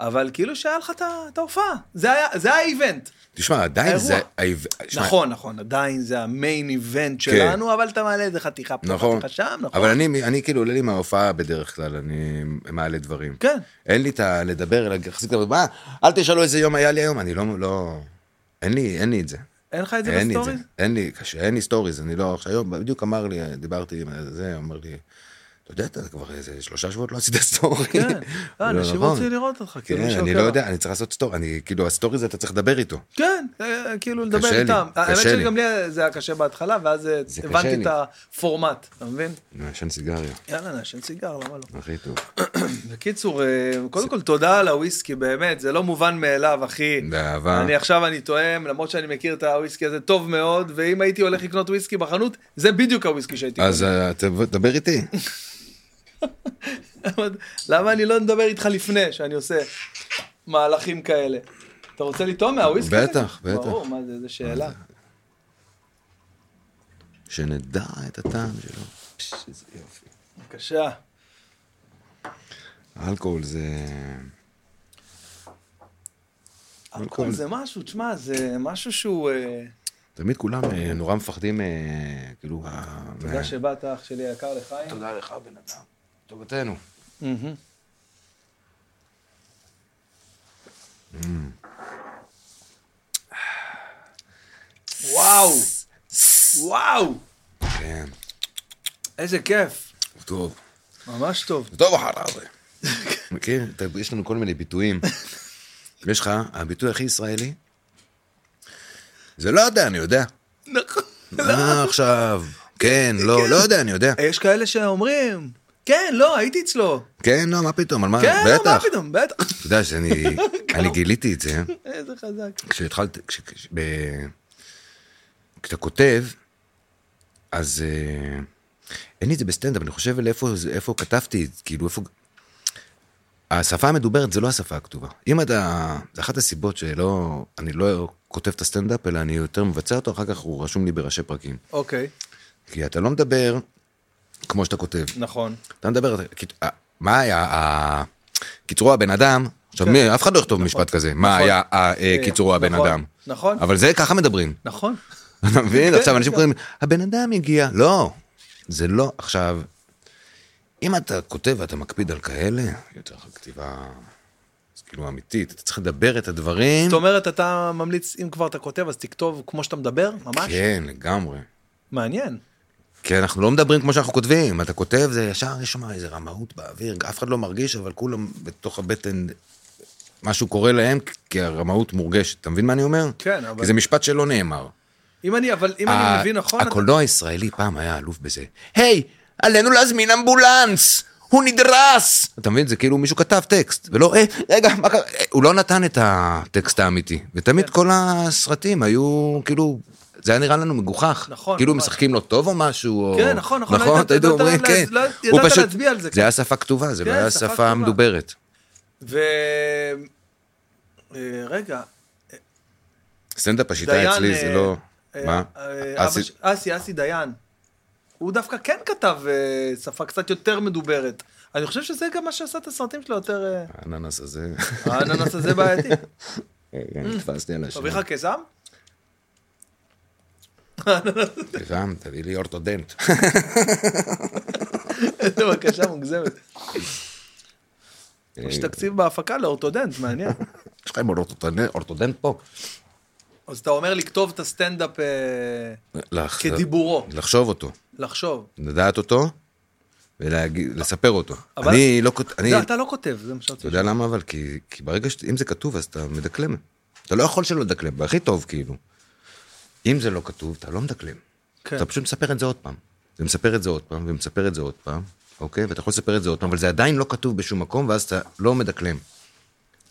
אבל כאילו שהיה לך את ה- את ההופעה. זה היה- זה היה האיבנט. תשמע, עדיין האירוע. זה... האיב- תשמע, נכון, נכון, עדיין זה המיין איבנט שלנו, אבל אתה מעלה איזה חתיכה פה, כן. נכון. חתיכה שם, נכון. אבל אני, אני כאילו עולה לי מההופעה בדרך כלל, אני מעלה דברים. כן. אין לי את ה... לדבר, להחזיק את ה... מה? אל תשאלו איזה יום היה לי היום, אני לא... לא... אין לי, אין לי את זה. אין לך את זה אין לי את זה. <laughs> בסטורי? אין לי, קשה, אין לי סטוריז, אני לא... עכשיו, היום בדיוק אמר לי, דיברתי עם זה, אמר לי, אתה יודע, אתה כבר איזה שלושה שבועות לא עשית סטורי. כן. לא, אה, אנשים נכון. רוצים לראות אותך, כאילו, כן, מישהו אני עוקב. לא יודע, אני צריך לעשות סטורי, אני, כאילו, הסטורי זה אתה צריך לדבר איתו. כן, אה, כאילו לדבר לי, איתם. האמת קשה לי. שגם לי זה היה קשה בהתחלה, ואז אה, זה קשה הבנתי לי. את הפורמט, אתה מבין? אני מעשן סיגריה, יאללה, נעשן סיגר, למה <laughs> לא? הכי טוב. בקיצור, אה, קודם כל תודה על הוויסקי, באמת, זה לא מובן מאליו, אחי. באהבה. כן. אני עכשיו אני טועם, למרות שאני מכיר את הוויסקי הזה טוב מאוד, ואם הייתי הולך לקנות וויסקי בחנות, זה בדיוק הוויסקי שהייתי אז אה, תב- תדבר איתי. למה- למה אני לא מדבר איתך לפני שאני עושה מהלכים כאלה? אתה רוצה לטעום מהוויסקי? הזה? בטח, בטח. ברור, מה זה, איזה שאלה. שנדע את הטעם שלו. פש, איזה יופי. בבקשה. אלכוהול זה... אלכוהול זה משהו, תשמע, זה משהו שהוא... אה, תמיד כולם אה, נורא מפחדים, אה, כאילו... אה, תודה מה- שבאת, אח שלי היקר לחיים. תודה לך, בן אדם. טובתנו. מהמם. וואו, וואו, כן, איזה כיף, טוב. ממש טוב. זה טוב אחריו. מכיר? אתה- יש לנו כל מיני <laughs> ביטויים. יש לך, הביטוי הכי ישראלי? זה לא יודע, אני יודע. נכון. מה עכשיו? כן, לא, לא יודע, אני יודע. יש כאלה שאומרים, כן, לא, הייתי אצלו. כן, לא, מה פתאום, על מה? כן, לא, מה בטח. פתאום, בטח. אתה יודע שאני <laughs> אני גיליתי את זה. איזה חזק. כשהתחלתי, כש- כש- ב- כשאתה כותב, אז אה, אין לי את זה בסטנדאפ, אני חושב על איפה, זה- איפה כתבתי, כאילו איפה... השפה המדוברת זה לא השפה הכתובה. אם אתה... זה אחת הסיבות שלא... אני לא כותב את הסטנדאפ, אלא אני יותר מבצע אותו, אחר כך הוא רשום לי בראשי פרקים. אוקיי. כי אתה לא מדבר כמו שאתה כותב. נכון. אתה מדבר, אתה- אה, מה היה, ה- קיצרו הבן אדם, עכשיו כן. מי- אף אחד לא יכתוב משפט כזה, מה נכון. היה ה- אה, אה, קיצרו הבן נכון, אדם. נכון. אבל זה ככה מדברים. <laughs> נכון. אתה מבין? כן, עכשיו אנשים כן. קוראים, הבן אדם הגיע. לא, זה לא. עכשיו, אם אתה כותב ואתה מקפיד על כאלה, יותר לך כתיבה, אז כאילו אמיתית, אתה צריך לדבר את הדברים. זאת אומרת, אתה ממליץ, אם כבר אתה כותב, אז תכתוב כמו שאתה מדבר, ממש? כן, לגמרי. מעניין. כי אנחנו לא מדברים כמו שאנחנו כותבים, אתה כותב, זה ישר יש שם איזה רמאות באוויר, אף אחד לא מרגיש, אבל כולם בתוך הבטן, משהו קורה להם, כי הרמאות מורגשת. אתה מבין מה אני אומר? כן, אבל- כי זה משפט שלא נאמר. אם אני, אבל אם אני ה- מבין נכון, אתה- הקולנוע הישראלי פעם היה אלוף בזה. היי, עלינו להזמין אמבולנס! הוא נדרס! אתה מבין? זה כאילו מישהו כתב טקסט, ולא, אה, רגע, מה קרה? אה, הוא לא נתן את הטקסט האמיתי. כן. ותמיד כל הסרטים היו, כאילו, זה היה נראה לנו מגוחך. נכון, כאילו ממש. משחקים לא טוב או משהו, או... כן, נכון, נכון, לא נכון, ידעת- אתה יודע, ידעת אומרים, לה- כן. לא- הוא ידעת פשוט- להצביע על זה, כן. זה היה שפה כתובה, זה לא כן, היה שפה שפה כתובה. מדוברת. ו... אה, רגע, סטנדאפ השיטה דיין... אצלי זה אה, לא... אה, מה? אה, אבא אסי- ש- אסי, אסי דיין. הוא דווקא כן כתב אה, שפה קצת יותר מדוברת. אני חושב שזה גם מה שעשה את הסרטים שלו יותר... <laughs> אה, האננס הזה... האננס הזה בעייתי. רגע, נתפסתי על השם. אביך קיסם? סליחה, תביא לי אורתודנט. איזה בקשה מוגזמת. אה, יש תקציב בהפקה לאורתודנט, מעניין. יש לכם אורתודנט- אורתודנט פה? אז אתה אומר לכתוב את הסטנדאפ אה, לח- כדיבורו, לחשוב אותו, לחשוב. לדעת אותו, ולספר אותו. אבל- אני לא כותב, אני, זה אתה לא כותב, זה מה שאתה אתה יודע למה אבל? כי כי ברגע ש... אם זה כתוב אז אתה מדקלם. אתה לא יכול שלא לדקלם, והכי טוב כאילו. אם זה לא כתוב, אתה לא מדקלם. כן. אתה פשוט מספר את זה עוד פעם. ומספר את זה עוד פעם, ומספר את זה עוד פעם, אוקיי? ואתה יכול לספר את זה עוד פעם, אבל זה עדיין לא כתוב בשום מקום, ואז אתה לא מדקלם.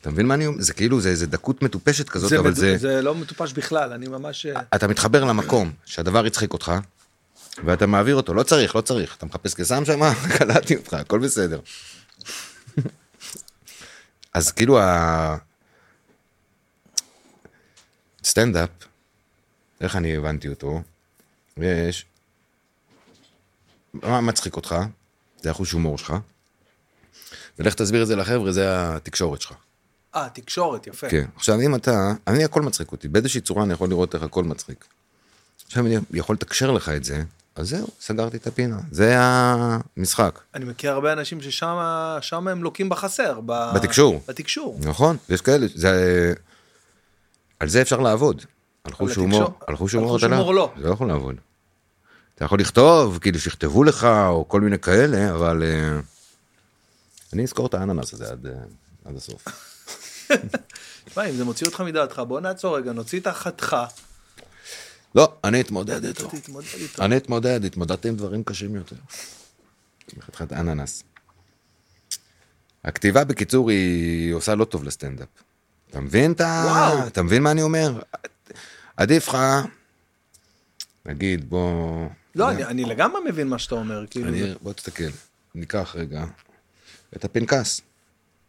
אתה מבין מה אני אומר? זה כאילו, זה איזה דקות מטופשת כזאת, זה אבל מדו- זה... זה לא מטופש בכלל, אני ממש... אה, אתה מתחבר למקום שהדבר יצחיק אותך, ואתה מעביר אותו, לא צריך, לא צריך, אתה מחפש קסם שם, <laughs> קלטתי אותך, הכל בסדר. אז כאילו ה... סטנדאפ, איך אני הבנתי אותו? יש... מה מצחיק אותך? זה החוש הומור שלך. ולך תסביר את זה לחבר'ה, זה התקשורת שלך. אה, תקשורת, יפה. כן. עכשיו, אם אתה, אני הכל מצחיק אותי, באיזושהי צורה אני יכול לראות איך הכל מצחיק. עכשיו, אם אני יכול לתקשר לך את זה, אז זהו, סגרתי את הפינה. זה המשחק, אני מכיר הרבה אנשים ששם שם הם לוקים בחסר. ב- בתקשור. בתקשור. נכון? יש כאלה, זה... על זה אפשר לעבוד. על חוש התקשור- הומור, על חוש על הומור חוש אתה הומור לא. זה לא יכול לעבוד. אתה יכול לכתוב, כאילו שיכתבו לך, או כל מיני כאלה, אבל... אה, אני אזכור את האננס הזה עד, אה, עד הסוף. תשמע, אם זה מוציא אותך מדעתך, בוא נעצור רגע, נוציא את החתך. לא, אני אתמודד איתו. תתמודד איתו. אני אתמודד, התמודדתי עם דברים קשים יותר. בחתיכת אננס. הכתיבה בקיצור היא עושה לא טוב לסטנדאפ. אתה מבין את ה... וואו. אתה מבין מה אני אומר? עדיף לך, נגיד בוא... לא, אני- אני לגמרי מבין מה שאתה אומר, כאילו. אני... בוא תסתכל, ניקח רגע את הפנקס.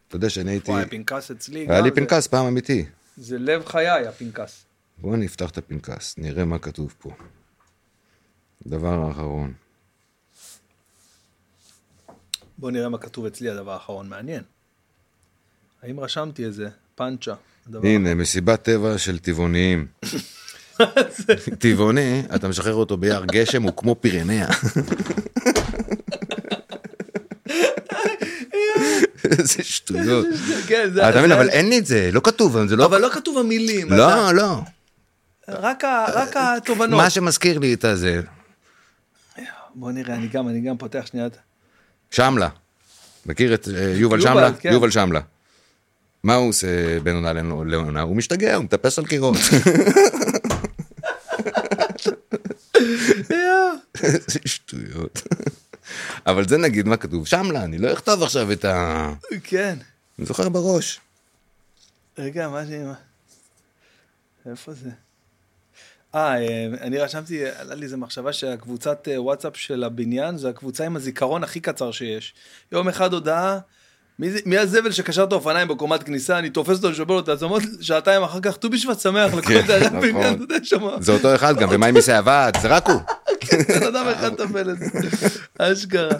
אתה יודע שאני הייתי... וואי, הפנקס אצלי גם. היה לי זה- פנקס פעם אמיתי. זה לב חיי, הפנקס. בואו נפתח את הפנקס, נראה מה כתוב פה. דבר האחרון. בוא נראה מה כתוב אצלי הדבר האחרון, מעניין. האם רשמתי איזה פאנצ'ה? הדבר- הנה, מסיבת טבע של טבעוניים. טבעוני, אתה משחרר אותו ביער גשם, הוא כמו פירניה. איזה שטויות. <laughs> כן, זה... אה, אתה מבין, זה- אבל אין לי את זה, לא כתוב, זה לא... אבל לא כתוב המילים. אתה- לא, לא. רק ה- רק התובנות. מה שמזכיר לי את הזה, בוא נראה, אני גם, אני גם פותח <laughs> שנייה. את- שמלה. מכיר את אה, יובל יובל, שמלה? כן. יובל שמלה. מה הוא עושה בין עונה לנו- לעונה? הוא משתגע, הוא מטפס על קירות. איזה שטויות. אבל זה נגיד מה כתוב שמלה, אני לא אכתוב עכשיו את ה... כן. אני זוכר בראש. רגע, מה זה... מה- איפה זה? אה, אה, אני רשמתי, עלה לי איזה מחשבה שהקבוצת אה, וואטסאפ של הבניין זה הקבוצה עם הזיכרון הכי קצר שיש. יום אחד הודעה, מי זה- מי הזבל שקשר את האופניים בקומת כניסה, אני תופס אותו ושובר לו את העצמות, שעתיים אחר כך ט"ו בשבט שמח לכל כן, זה, אתה נכון. יודע שמה, זה אותו אחד גם, ומה עם מיסי עבד? זה רק הוא. בן אדם אחד טפל את זה, אשכרה.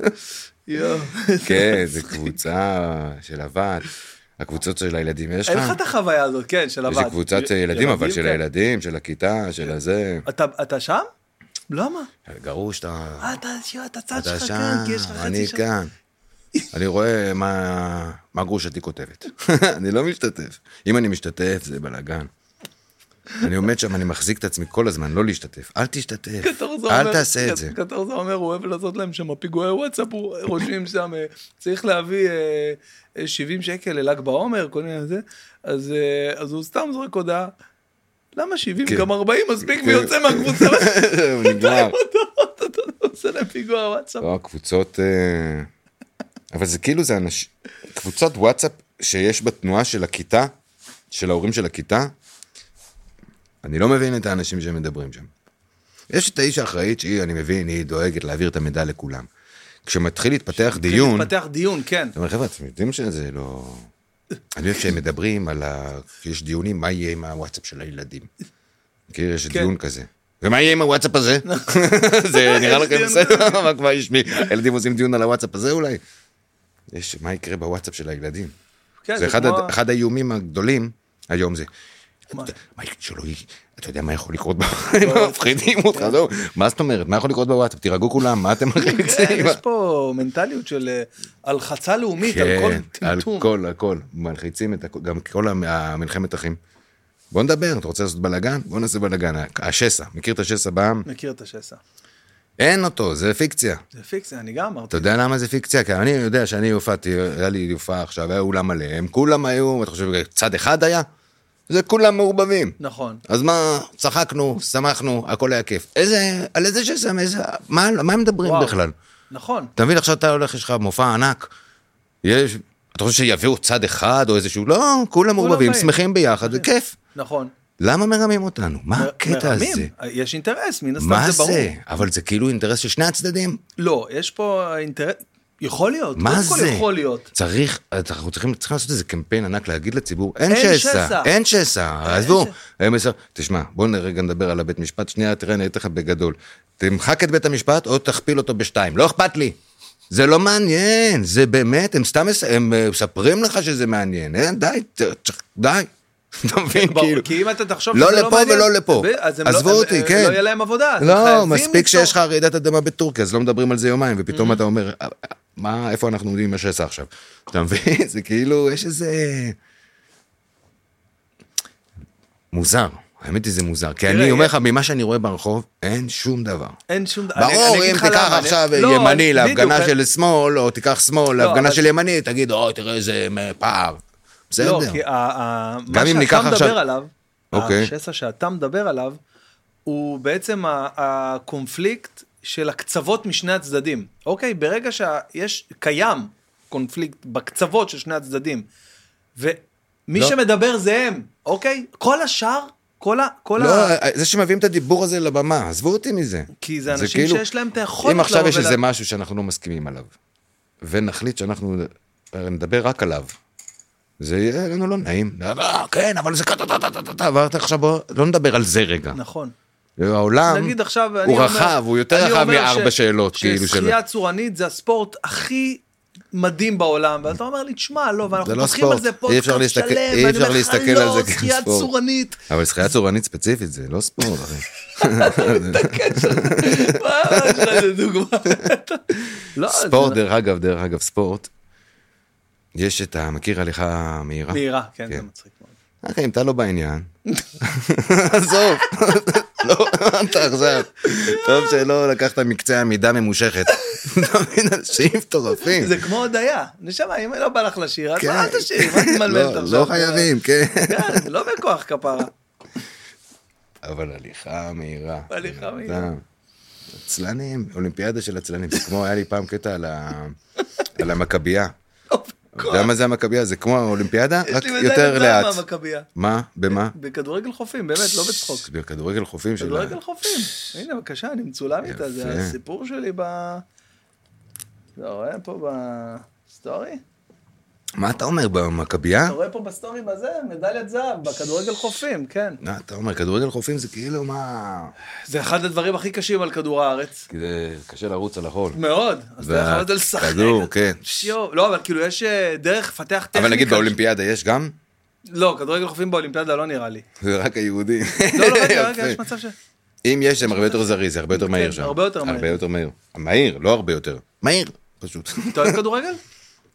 יואו. כן, זה קבוצה של עבד. הקבוצות של הילדים יש אין לך לך? את החוויה הזאת, כן, של הבת. יש לי קבוצת אה, ילדים, אבל של כן. הילדים, של הכיתה, של הזה. אתה, אתה שם? למה? גרוש, אתה... אה, אתה, יואו, אתה צד אתה שלך שם, כאן, כי יש לך חצי אני שעה. כאן. אני רואה מה מה גרושתי כותבת. <laughs> אני לא משתתף. אם אני משתתף, זה בלאגן. אני עומד שם, אני מחזיק את עצמי כל הזמן, לא להשתתף. אל תשתתף, קטור זה אומר- אל תעשה את קט- <laughs> זה. <laughs> קטור זה אומר, הוא אוהב לעשות להם שם פיגועי וואטסאפ, הוא רושמים שם, אה, צריך להביא אה, אה, 70 שקל לל"ג בעומר, כל מיני זה, אז אה, אז הוא סתם זורק הודעה. למה 70? כן. גם 40 מספיק כן. ויוצא מהקבוצה. <laughs> נגמר. עושה להם פיגוע וואטסאפ. לא, הקבוצות... אה, אבל זה כאילו, זה אנשים... קבוצת וואטסאפ שיש בתנועה של הכיתה, של ההורים של הכיתה, אני לא מבין את האנשים שמדברים שם. יש את האיש האחראית שהיא, אני מבין, היא דואגת להעביר את המידע לכולם. כשמתחיל להתפתח דיון, אתה פתח דיון, כן. אומר, חבר'ה, אתם יודעים שזה לא... אני אוהב שהם מדברים על ה... יש דיונים, מה יהיה עם הוואטסאפ של הילדים. כאילו, יש כן. נכון. דיון כזה. ומה יהיה עם הוואטסאפ הזה? <laughs> זה <laughs> נראה יש לכם דיון בסדר? <laughs> מה כבר יש מי? הילדים עושים דיון על הוואטסאפ הזה אולי? יש, מה יקרה בוואטסאפ של הילדים? כן, זה זה אחד כמו- הד- אחד האיומים הגדולים היום זה. מה? מה יקרה שלא יהיה, אתה יודע מה יכול לקרות, ב- לא. הם <laughs> מפחידים אותך, זהו. מה זאת אומרת, מה יכול לקרות בוואטסאפ, תירגעו כולם, מה אתם <laughs> <laughs> מלחיצים? כן, אה, יש פה מנטליות של אה, הלחצה לאומית על כל כן, על טמטום. כל, הכל, מלחיצים את הכל, גם כל המ- המלחמת אחים. בוא נדבר, אתה רוצה לעשות בלאגן? בוא נעשה בלאגן. השסע, מכיר את השסע בעם? מכיר את השסע. אין אותו, זה פיקציה. זה פיקס, אני גם אמרתי. אתה יודע למה זה פיקציה? כי אני יודע שאני הופעתי, היה לי הופעה עכשיו, היה אולם מלא, הם כולם היו, אתה חושב, צד אחד היה? זה כולם מעורבבים. נכון. אז מה, צחקנו, שמחנו, הכל היה כיף. איזה, על איזה שסם, איזה, מה, מה הם מדברים וואו. בכלל? נכון. אתה מבין, עכשיו אתה הולך, יש לך מופע ענק, יש, אתה חושב שיביאו צד אחד או איזשהו, לא, כולם מעורבבים, באים. שמחים ביחד, זה כיף. נכון. למה מרמים אותנו? מה מ- הקטע מרמים. הזה? יש אינטרס, מן הסתם זה מה ברור. זה? אבל זה כאילו אינטרס של שני הצדדים. לא, יש פה אינטרס, יכול להיות. מה קודם כל זה? יכול <laughs> להיות. צריך, אנחנו צריכים, צריכים לעשות איזה קמפיין ענק להגיד לציבור, אין, אין שסע. שסע, אין שסע, עזבו. שסע. אין שסע. תשמע, בואו רגע נדבר על הבית משפט, שנייה, תראה, אני אתן לך בגדול. תמחק את בית המשפט או תכפיל אותו בשתיים, לא אכפת לי. זה לא מעניין, זה באמת, הם סתם, מס- הם אה, מספרים לך שזה מעניין, אין, די, ת- ת- די. <laughs> אתה מבין, כן, ברור, כאילו. כי אם אתה תחשוב לא שזה לפה מעניין, ולא לפה. ו- אז הם עזבו לא- הם- אותי, הם- כן. לא יהיה להם עבודה. אז הם לא, חייבים מספיק ליצור. Mm-hmm. שיש לך רעידת אדמה בטורקיה, אז לא מדברים על זה יומיים, ופתאום אתה אומר, "אה, אה, מה, איפה אנחנו עומדים עם השסע עכשיו? אתה מבין? <laughs> זה כאילו, יש איזה... מוזר. האמת היא זה מוזר, כי תראה, אני אומר יש- לך, ממה שאני רואה ברחוב, אין שום דבר. אין שום דבר. ברור, אם תיקח עכשיו ימני להפגנה של שמאל, או תיקח שמאל לא, להפגנה אבל- של ימני, תגיד, אוי, תראה איזה אה, פער. בסדר. לא, כי ה- ה- גם מה אם שאתה ניקח מדבר עכשיו- עליו, אוקיי. השסע שאתה מדבר עליו, הוא בעצם ה- הקונפליקט של הקצוות משני הצדדים. אוקיי? ברגע שיש, קיים קונפליקט בקצוות של שני הצדדים, ומי לא. שמדבר זה הם, אוקיי? כל השאר, כל ה... כל לא, ה... זה שמביאים את הדיבור הזה לבמה, עזבו אותי מזה. כאילו, כי זה אנשים שיש להם את היכולת אם עכשיו לבוא יש ולה- איזה משהו שאנחנו לא מסכימים עליו, ונחליט שאנחנו נדבר רק עליו, זה יהיה לנו לא נעים. "אה, כן, אבל זה ככה, ואתה עכשיו בוא, לא נדבר על זה רגע. נכון. העולם נגיד עכשיו, אני הוא אומר- רחב, הוא יותר אני רחב אומר מארבע ש- שאלות, כאילו, של... ששחייה צורנית זה הספורט הכי מדהים בעולם, ואתה אומר לי, תשמע, לא, ואנחנו זה לא פותחים על ספורט. זה אי אפשר פודקאסט שלם, להסתכל- אי ואני אפשר אומר לך, להסתכל על לא, זה שחייה כספורט." צורנית. <laughs> אבל שחייה צורנית ספציפית זה לא ספורט, אחי. אה, מה, יש לך איזה <laughs> דוגמה? לא, זה ספורט, דרך אגב, דרך אגב, ספורט, יש את ה... מכיר הליכה מהירה? מהירה, כן, זה כן. מצחיק מאוד. אחי, אם אתה לא בעניין, עזוב, לא, אתה עכשיו, טוב שלא לקחת מקצה עמידה ממושכת. אתה מבין, אנשים מטורפים. זה כמו הודיה, נשמה, אם לא בא לך לשיר, אז כן. אל תשיר, מה אתה לא, מלמלת עכשיו? לא חייבים, כן. כן, זה לא בכוח כפרה. אבל הליכה מהירה. הליכה אתה- מהירה. עצלנים, אולימפיאדה של עצלנים, זה כמו היה לי פעם קטע על ה- על המכבייה. לא אתה בכוח. יודע מה זה המכבייה? זה כמו האולימפיאדה, יש רק לי מדי יותר נדל"ן לאט. מהמכבייה. מה? במה? בכדורגל חופים, באמת, לא בצחוק. לא בכדורגל חופים של... ה- כדורגל חופים. הנה, בבקשה, אני מצולם איתה, זה יפה. אה? הסיפור שלי ב... אתה רואה פה בסטורי? מה אתה אומר במכבייה? אתה רואה פה בסטורי בזה, מדליית זהב, בכדורגל חופים, כן. מה אה, אתה אומר, כדורגל חופים זה כאילו מה... זה אחד הדברים הכי קשים על כדור הארץ. כי זה קשה לרוץ על החול. מאוד. אז אתה יכול לדעת לשחק. כדור, כן. שיו, לא, אבל כאילו יש אה, דרך לפתח טכניקה. אבל נגיד באולימפיאדה יש גם? לא, כדורגל חופים באולימפיאדה לא נראה <laughs> לי. זה רק היהודים. לא, לא, רגע, רגע, <laughs> יפה. יש מצב ש... אם יש, הם הרבה יותר זריז, זה הרבה יותר כן, מהיר שם. הרבה יותר הרבה מהיר. יותר מהיר. מהיר, לא הרבה יותר. מהיר, <laughs> פשוט. אתה אוהב כדורגל?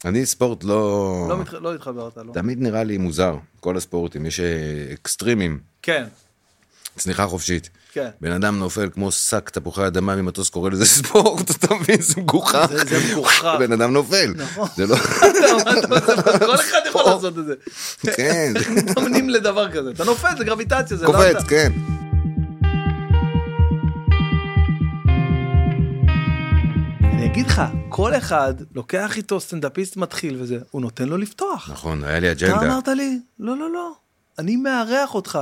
אני ספורט לא... לא מתח- לא התחברת, לא. תמיד נראה לי מוזר, כל הספורטים, יש אה, אקסטרימים, כן, <laughs> צניחה חופשית. כן. בן אדם נופל כמו שק תפוחי אדמה ממטוס קורא לזה <laughs> ספורט, אתה מבין? זה מגוחך. זה- זה מגוחך. בן אדם נופל. נכון. זה לא... כל אחד יכול לעשות את זה. <laughs> כן, איך מתאמנים לדבר כזה? אתה נופל, זה גרביטציה, זה לא אתה. קופץ, כן. אני אגיד לך, כל אחד לוקח איתו סטנדאפיסט מתחיל וזה, הוא נותן לו לפתוח. נכון, היה לי אתה אג'נדה. אמרת לי, לא, לא, לא, אני מארח אותך.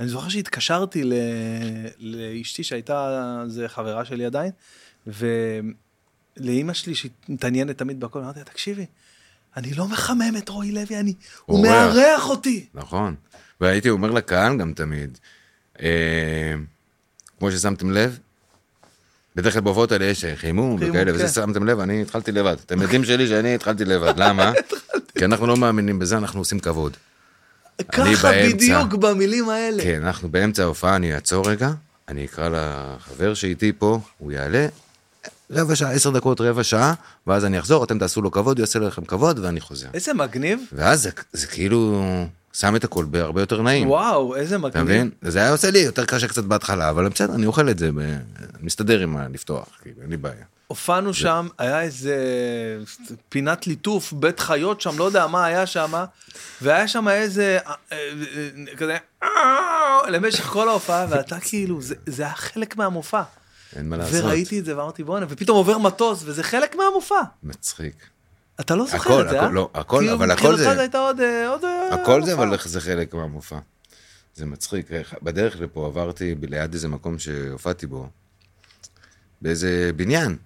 אני זוכר שהתקשרתי ל... לאשתי שהייתה, זה חברה שלי עדיין, ולאימא שלי שהתעניינת תמיד בכל, אמרתי לה, תקשיבי, אני לא מחמם את רועי לוי, אני... הוא אורח." מארח אותי. נכון. והייתי אומר לקהל גם תמיד, אה, כמו ששמתם לב, בדרך כלל בהופעות האלה יש אה, חימום חימום, וכאלה, כן. וזה שמתם לב, אני התחלתי לבד. אתם יודעים שלי שאני התחלתי <laughs> לבד, למה? כי אנחנו לא מאמינים בזה, אנחנו עושים כבוד. ככה באמצע. בדיוק במילים האלה. כן, אנחנו באמצע ההופעה, אני אעצור רגע, אני אקרא לחבר שאיתי פה, הוא יעלה, רבע שעה, עשר דקות, רבע שעה, ואז אני אחזור, אתם תעשו לו כבוד, הוא יעשה לכם כבוד, ואני חוזר. איזה מגניב. ואז זה, זה כאילו שם את הכל בהרבה יותר נעים. וואו, איזה אתה מגניב. מבין? זה היה עושה לי יותר קשה קצת בהתחלה, אבל בסדר, אני אוכל את זה, ב- אני מסתדר עם הלפתוח, כאילו, אין לי בעיה. הופענו שם, היה איזה פינת ליטוף, בית חיות שם, לא יודע מה היה שם, והיה שם איזה, אה, אה, אה, כזה, אה, למשך כל <laughs> ההופעה, ואתה כאילו, זה- זה היה חלק מהמופע. אין מה לעשות. וראיתי את זה ואמרתי בואנה, ופתאום עובר מטוס, וזה חלק מהמופע. מצחיק. אתה לא זוכר הכל, את זה, אה? הכל, לא, הכל, כאילו, אבל הכל מבחינתך זה- זה הייתה עוד... אה, עוד, אה, הכל זה, הופעה. אבל איך זה חלק מהמופע. זה מצחיק. איך- בדרך לפה עברתי ב- ליד איזה מקום שהופעתי בו, באיזה בניין,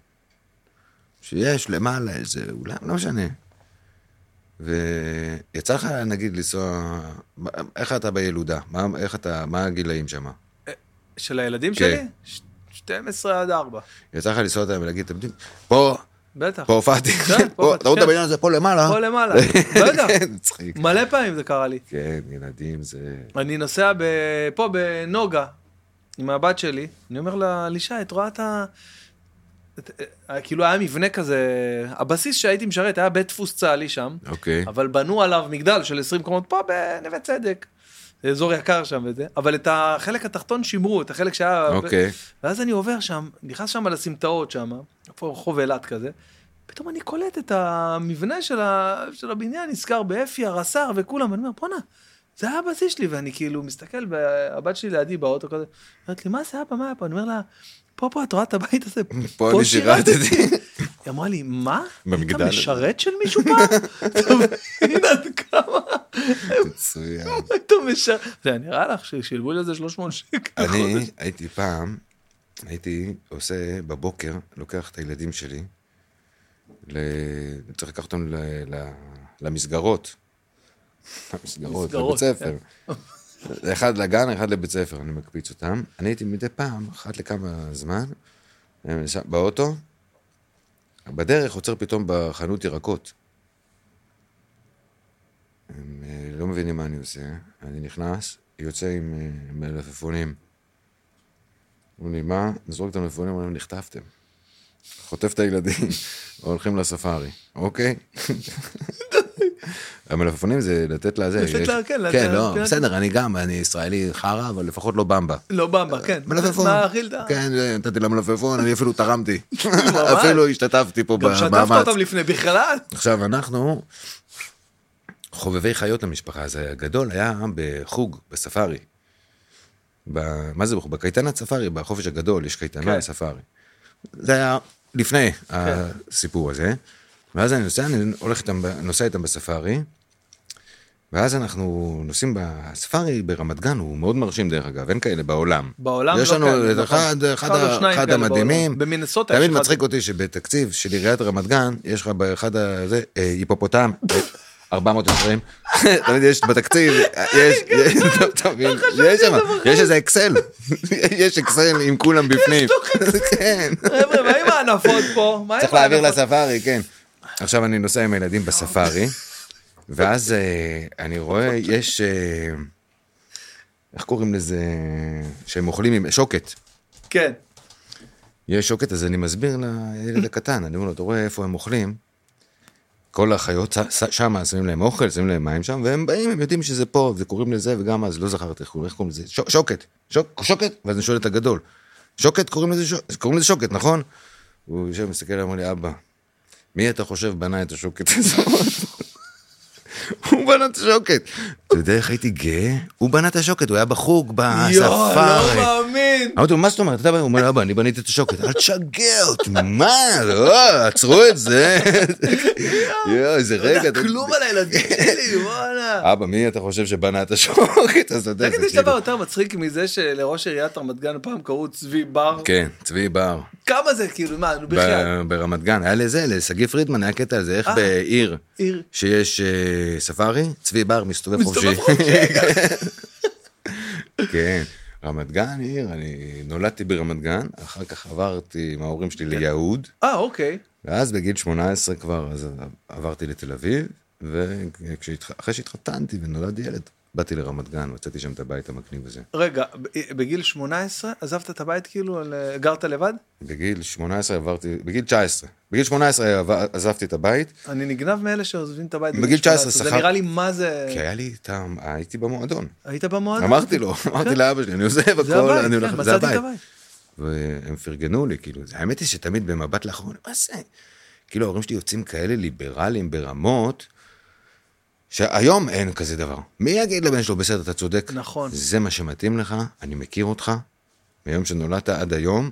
שיש למעלה איזה אולם, לא משנה. ויצא לך, נגיד, לנסוע... מה- איך אתה בילודה? מה, איך אתה, מה הגילאים שם? של הילדים כן. שלי? ש- 12 עד 4. יצא לך לנסוע אותם ולהגיד, אתם יודעים, פה, בטח. פה הופעתי, כן, פה פה, הופעתי, אתה רואה את כן. הבניין הזה פה למעלה? פה למעלה. לא בטח. כן, <laughs> מצחיק. מלא פעמים זה קרה לי. כן, ילדים זה... אני נוסע ב... פה בנוגה עם הבת שלי, אני אומר לה, לישי, את רואה את ה... את- אה, כאילו היה מבנה כזה, הבסיס שהייתי משרת היה בית דפוס צה"לי שם, אוקיי. אבל בנו עליו מגדל של 20 קומות פה בנווה צדק, זה אזור יקר שם וזה, אבל את החלק התחתון שימרו, את החלק שהיה... אוקיי. ואז אני עובר שם, נכנס שם לסמטאות שם, איפה רחוב אילת כזה, פתאום אני קולט את המבנה של, ה... של הבניין, נזכר באפי, הרס"ר וכולם, ואני אומר, בואנה, זה היה הבסיס שלי, ואני כאילו מסתכל, והבת שלי לידי באוטו כזה, אומרת לי, מה זה אבא, מה היה פה? אני אומר לה, פה, פה, את רואה את הבית הזה? פה אני שירתתי. היא אמרה לי, מה? במגדל אתה הזה." משרת של מישהו פעם? <laughs> אתה מבין עד כמה מצוין. אתה משרת? זה נראה לך ששילמו לזה 300 שקל. אני הייתי פעם, הייתי עושה בבוקר, לוקח את הילדים שלי, ל... צריך לקחת אותם ל... ל... למסגרות. למסגרות, מסגרות, לבית ספר. אחד לגן, אחד לבית ספר, אני מקפיץ אותם. אני הייתי מדי פעם, אחת לכמה זמן, אה, שם- באוטו, בדרך עוצר פתאום בחנות ירקות. הם אה, לא מבינים מה אני עושה, אני נכנס, יוצא עם אה, עם מלפפונים. אומרים לי, מה? נזרוק את המלפפונים, אומרים, נחטפתם. חוטף את הילדים, <laughs> הולכים לספארי, אוקיי? <laughs> המלפפונים זה לתת לה זה. לתת יש- לה, כן, לתת כן, לה- לא, כן. בסדר, אני גם, אני ישראלי חרא, אבל לפחות לא במבה. לא במבה, כן. מלפפון. מה אכילת? כן, זה, נתתי לה מלפפון, אני אפילו תרמתי. <laughs> ממש. אפילו השתתפתי פה גם שטפת במאמץ. אותם לפני בכלל? עכשיו, אנחנו חובבי חיות למשפחה, אז הגדול היה בחוג, בספארי. ב... מה זה בחוג? בקייטנת ספארי, בחופש הגדול יש קייטנה כן. כן. ספארי. זה היה לפני הסיפור הזה, ואז אני נוסע, אני הולך איתם, ב- נוסע איתם בספארי, ואז אנחנו נוסעים בספארי ברמת גן, הוא מאוד מרשים דרך אגב, אין כאלה בעולם. בעולם יש לא לנו כאלה, את נכון. אחד, אחד, אחד או ה- שניים אחד כאלה המדהימים. בעולם. במינסוטה תמיד יש אחד. מצחיק אותי שבתקציב של עיריית רמת גן, יש לך באחד הזה אה, היפופוטם, 420, <laughs> תמיד יש בתקציב, אה, <laughs> יש, יש- <laughs> אתה מבין? יש שם, יש איזה אקסל, <laughs> יש אקסל עם כולם בפנים. <laughs> כן. חבר'ה, מה עם הענפות פה? מה עם צריך להעביר הענפות? לספארי, כן. עכשיו אני נוסע עם הילדים בספארי, ואז אה, אני רואה, יש, אה, איך קוראים לזה, שהם אוכלים עם שוקת. כן. יש שוקת, אז אני מסביר <clears throat> לילד הקטן, אני אומר לו, אתה רואה איפה הם אוכלים? כל החיות שם, שמים להם אוכל, שמים להם מים שם, והם באים, הם יודעים שזה פה, וקוראים לזה, וגם אז לא זכרתי איך קוראים איך קוראים לזה, שוק- שוקת, שוק- שוקת, ואז אני שואל את הגדול, שוקת, קוראים לזה שוק- קוראים לזה שוקת, נכון? הוא יושב, מסתכל, אומר לי, אבא, מי אתה חושב בנה את השוקת הזאת? <laughs> הוא בנה את השוקת. אתה יודע איך הייתי גאה? הוא בנה את השוקת, הוא היה בחוג יואו, לא בספארי. מאמין. אמרתי לו, מה זאת אומרת? אתה בא, הוא אומר, לי, אבא, אני בניתי את השוקת. אל תשגע אותי, מה? לא, עצרו את זה. יואו, איזה לא רגע. יודע אתה- כלום על <laughs> הילדים שלי, וואלה. אבא, מי אתה חושב שבנה את השוקת? אז אתה יודע, תגיד, אה, זה יש דבר כאילו... יותר מצחיק מזה שלראש עיריית רמת גן פעם קראו צבי בר? כן, צבי בר. כמה זה כאילו, מה, נו בכלל. ב- ברמת גן, היה לזה, לשגיא פרידמן היה קטע על זה, איך אה. בעיר עיר. שיש אה, ספארי, צבי בר מסתובב חופשי. מסתובב חופשי. <laughs> כן. רמת גן עיר, אני נולדתי ברמת גן, אחר כך עברתי עם ההורים שלי ליהוד. אה, אוקיי. ואז בגיל 18 כבר אז עברתי לתל אביב, ואחרי שהתחתנתי ונולד ילד, באתי לרמת גן, מצאתי שם את הבית המגניב הזה. רגע, ב- אה, בגיל 18 עזבת את הבית כאילו, על- גרת לבד? בגיל 18 עברתי, בגיל 19, בגיל 18 עבר- עזבתי את הבית, אני נגנב מאלה שעוזבים את הבית. בגיל 19 18. זה שכר- נראה לי מה זה... כי היה לי טעם, הייתי במועדון. היית במועדון? כן. אמרתי לו, אמרתי לאבא שלי, אני עוזב זה הכל, הבית, אני כן, הולך, זה מצאתי את הבית. הבית. והם פרגנו לי, כאילו, זה- האמת היא שתמיד במבט לאחרונה, מה זה? כאילו, ההורים שלי יוצאים כאלה ליברליים ברמות, שהיום אין כזה דבר. מי יגיד לבן שלו, בסדר, אתה צודק. נכון. זה מה שמתאים לך, אני מכיר אותך, מיום שנולדת עד היום,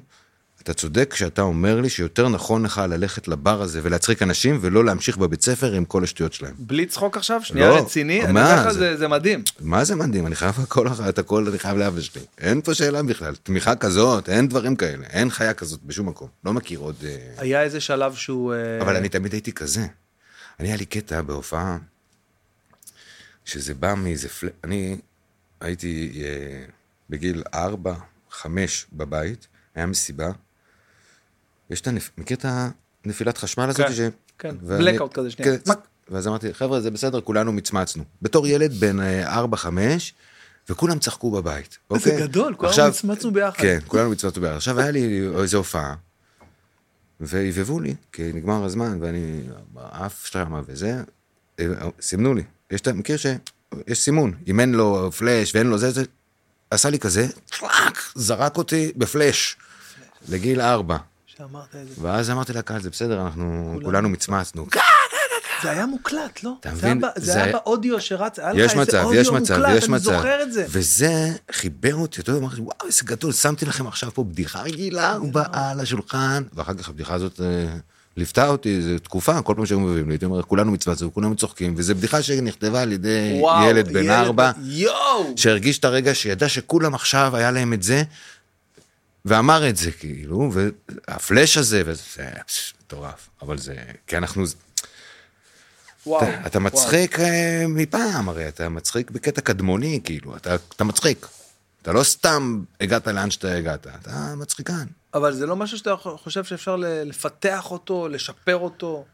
אתה צודק כשאתה אומר לי שיותר נכון לך ללכת לבר הזה ולהצחיק אנשים, ולא להמשיך בבית ספר עם כל השטויות שלהם. בלי צחוק עכשיו? שנייה לא, רציני? אני מה אומר לך, זה? זה- זה מדהים. מה זה מדהים? אני חייב הכל <laughs> אחר, את הכל אני חייב לאבא שלי. אין פה שאלה בכלל. תמיכה כזאת, אין דברים כאלה. אין חיה כזאת בשום מקום. לא מכיר עוד... אה, היה איזה שלב שהוא... אה, אבל אני תמיד הייתי כזה. אני, היה לי קטע בהופעה, שזה בא מאיזה פל... אני הייתי אה, בגיל 4, 5 בבית, היה מסיבה. יש את הנפ... מכיר את הנפילת חשמל הזאת? כן, ש... כן. ואני- blackout כזה, שנייה. כן, ואז אמרתי, חבר'ה, זה בסדר, כולנו מצמצנו. בתור ילד בן 4-5, וכולם צחקו בבית. זה אוקיי? גדול, כולנו עכשיו- מצמצנו ביחד. כן, כולנו מצמצנו ביחד. עכשיו היה לי איזו הופעה, והבהבו לי, כי נגמר הזמן, ואני עף שמה וזה, אה, סימנו לי. יש את, מכיר שיש סימון, אם אין לו פלאש ואין לו זה, זה, עשה לי כזה, טלאק, זרק אותי בפלאש, לגיל ארבע. שאמרת את זה. ואז אמרתי לקהל, זה בסדר, אנחנו כולנו מצמצנו. זה היה מוקלט, לא? אתה זה מבין? היה ב- זה זה היה היה- באודיו שרץ, היה יש לך איזה מצב, אודיו יש מצב, מוקלט, יש מצב. אני זוכר את זה. וזה חיבר אותי, אתה יודע, אמרתי, וואו, איזה גדול, שמתי לכם עכשיו פה בדיחה רגילה, הוא בא על השולחן, כן, נכון. ואחר כך הבדיחה הזאת אה, ליוותה אותי איזו תקופה, כל פעם שהיו מביאים לי, הייתי אומר, כולנו מצווצים, כולנו צוחקים, וזו בדיחה שנכתבה על ידי וואו, ילד בן ארבע, יואו! שהרגיש את הרגע שידע שכולם עכשיו, היה להם את זה, ואמר את זה, כאילו, והפלאש הזה, וזה פש, מטורף, אבל זה, כי אנחנו, וואו. אתה- אתה וואו. מצחיק אה, מפעם, הרי אתה מצחיק בקטע קדמוני, כאילו, אתה, אתה מצחיק. אתה לא סתם הגעת לאן שאתה הגעת, אתה מצחיקן. אבל זה לא משהו שאתה חושב שאפשר ל- לפתח אותו, לשפר אותו,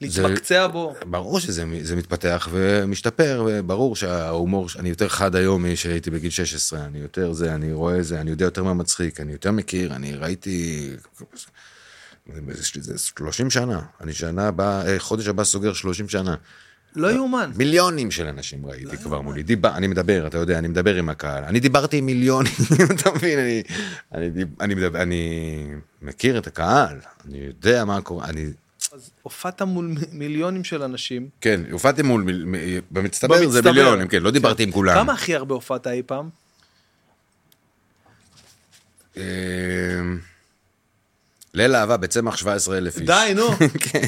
להתמקצע בו. ברור שזה מ- זה מתפתח ומשתפר, וברור שההומור, ש- אני יותר חד היום משהייתי בגיל 16, אני יותר זה, אני רואה זה, אני יודע יותר מה מצחיק, אני יותר מכיר, אני ראיתי... יש לי איזה 30 שנה, אני שנה הבאה, אה, חודש הבא סוגר 30 שנה. לא יאומן. מיליונים של אנשים ראיתי כבר מולי. דיבר, אני מדבר, אתה יודע, אני מדבר עם הקהל. אני דיברתי עם מיליונים, <laughs> אתה מבין? אני, אני, דיב- אני, מדבר, אני מכיר את הקהל, אני יודע מה קורה. אני, אז הופעת מול מ- מיליונים של אנשים. כן, הופעתי מול, מיל- מ- במצטבר, זה במצטבר. מיליונים, כן, לא דיברתי עם כולם. כמה הכי הרבה הופעת אי פעם? אמ, ליל אהבה בצמח 17 אלף איש. די, נו.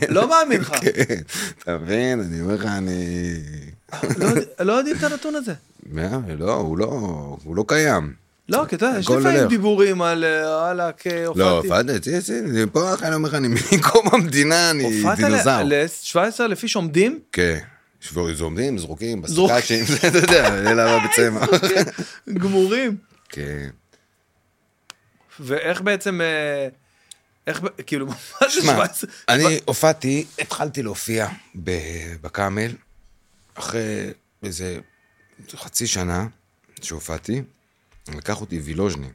לא מאמין לך. <laughs> כן, אתה מבין? אני אומר לך, אני... לא יודע- לא יודעים את הנתון הזה. מה? לא, הוא לא, הוא לא קיים. לא, כי אתה יודע, יש הכל לפעמים הולך. דיבורים על אה, וואלכ, אה, לא, הופעתי. הופעתי, תראה, תראה, אני <laughs> פה, אחי, אני אומר לך, אני מקום המדינה, אני הופעת דינוזאור. ל-17 אלף איש עומדים? כן. שבו- זה עומדים, זרוקים, זרוק. בסטאצ'ים, <laughs> אתה יודע, אלה בבית צמח. <laughs> גמורים. כן. ואיך בעצם, אה, איך, ב- כאילו, <laughs> מה זה שמע, 17? אני הופעתי, התחלתי להופיע ב- בקאמל, אחרי איזה חצי שנה שהופעתי, לקח אותי וילוז'ני.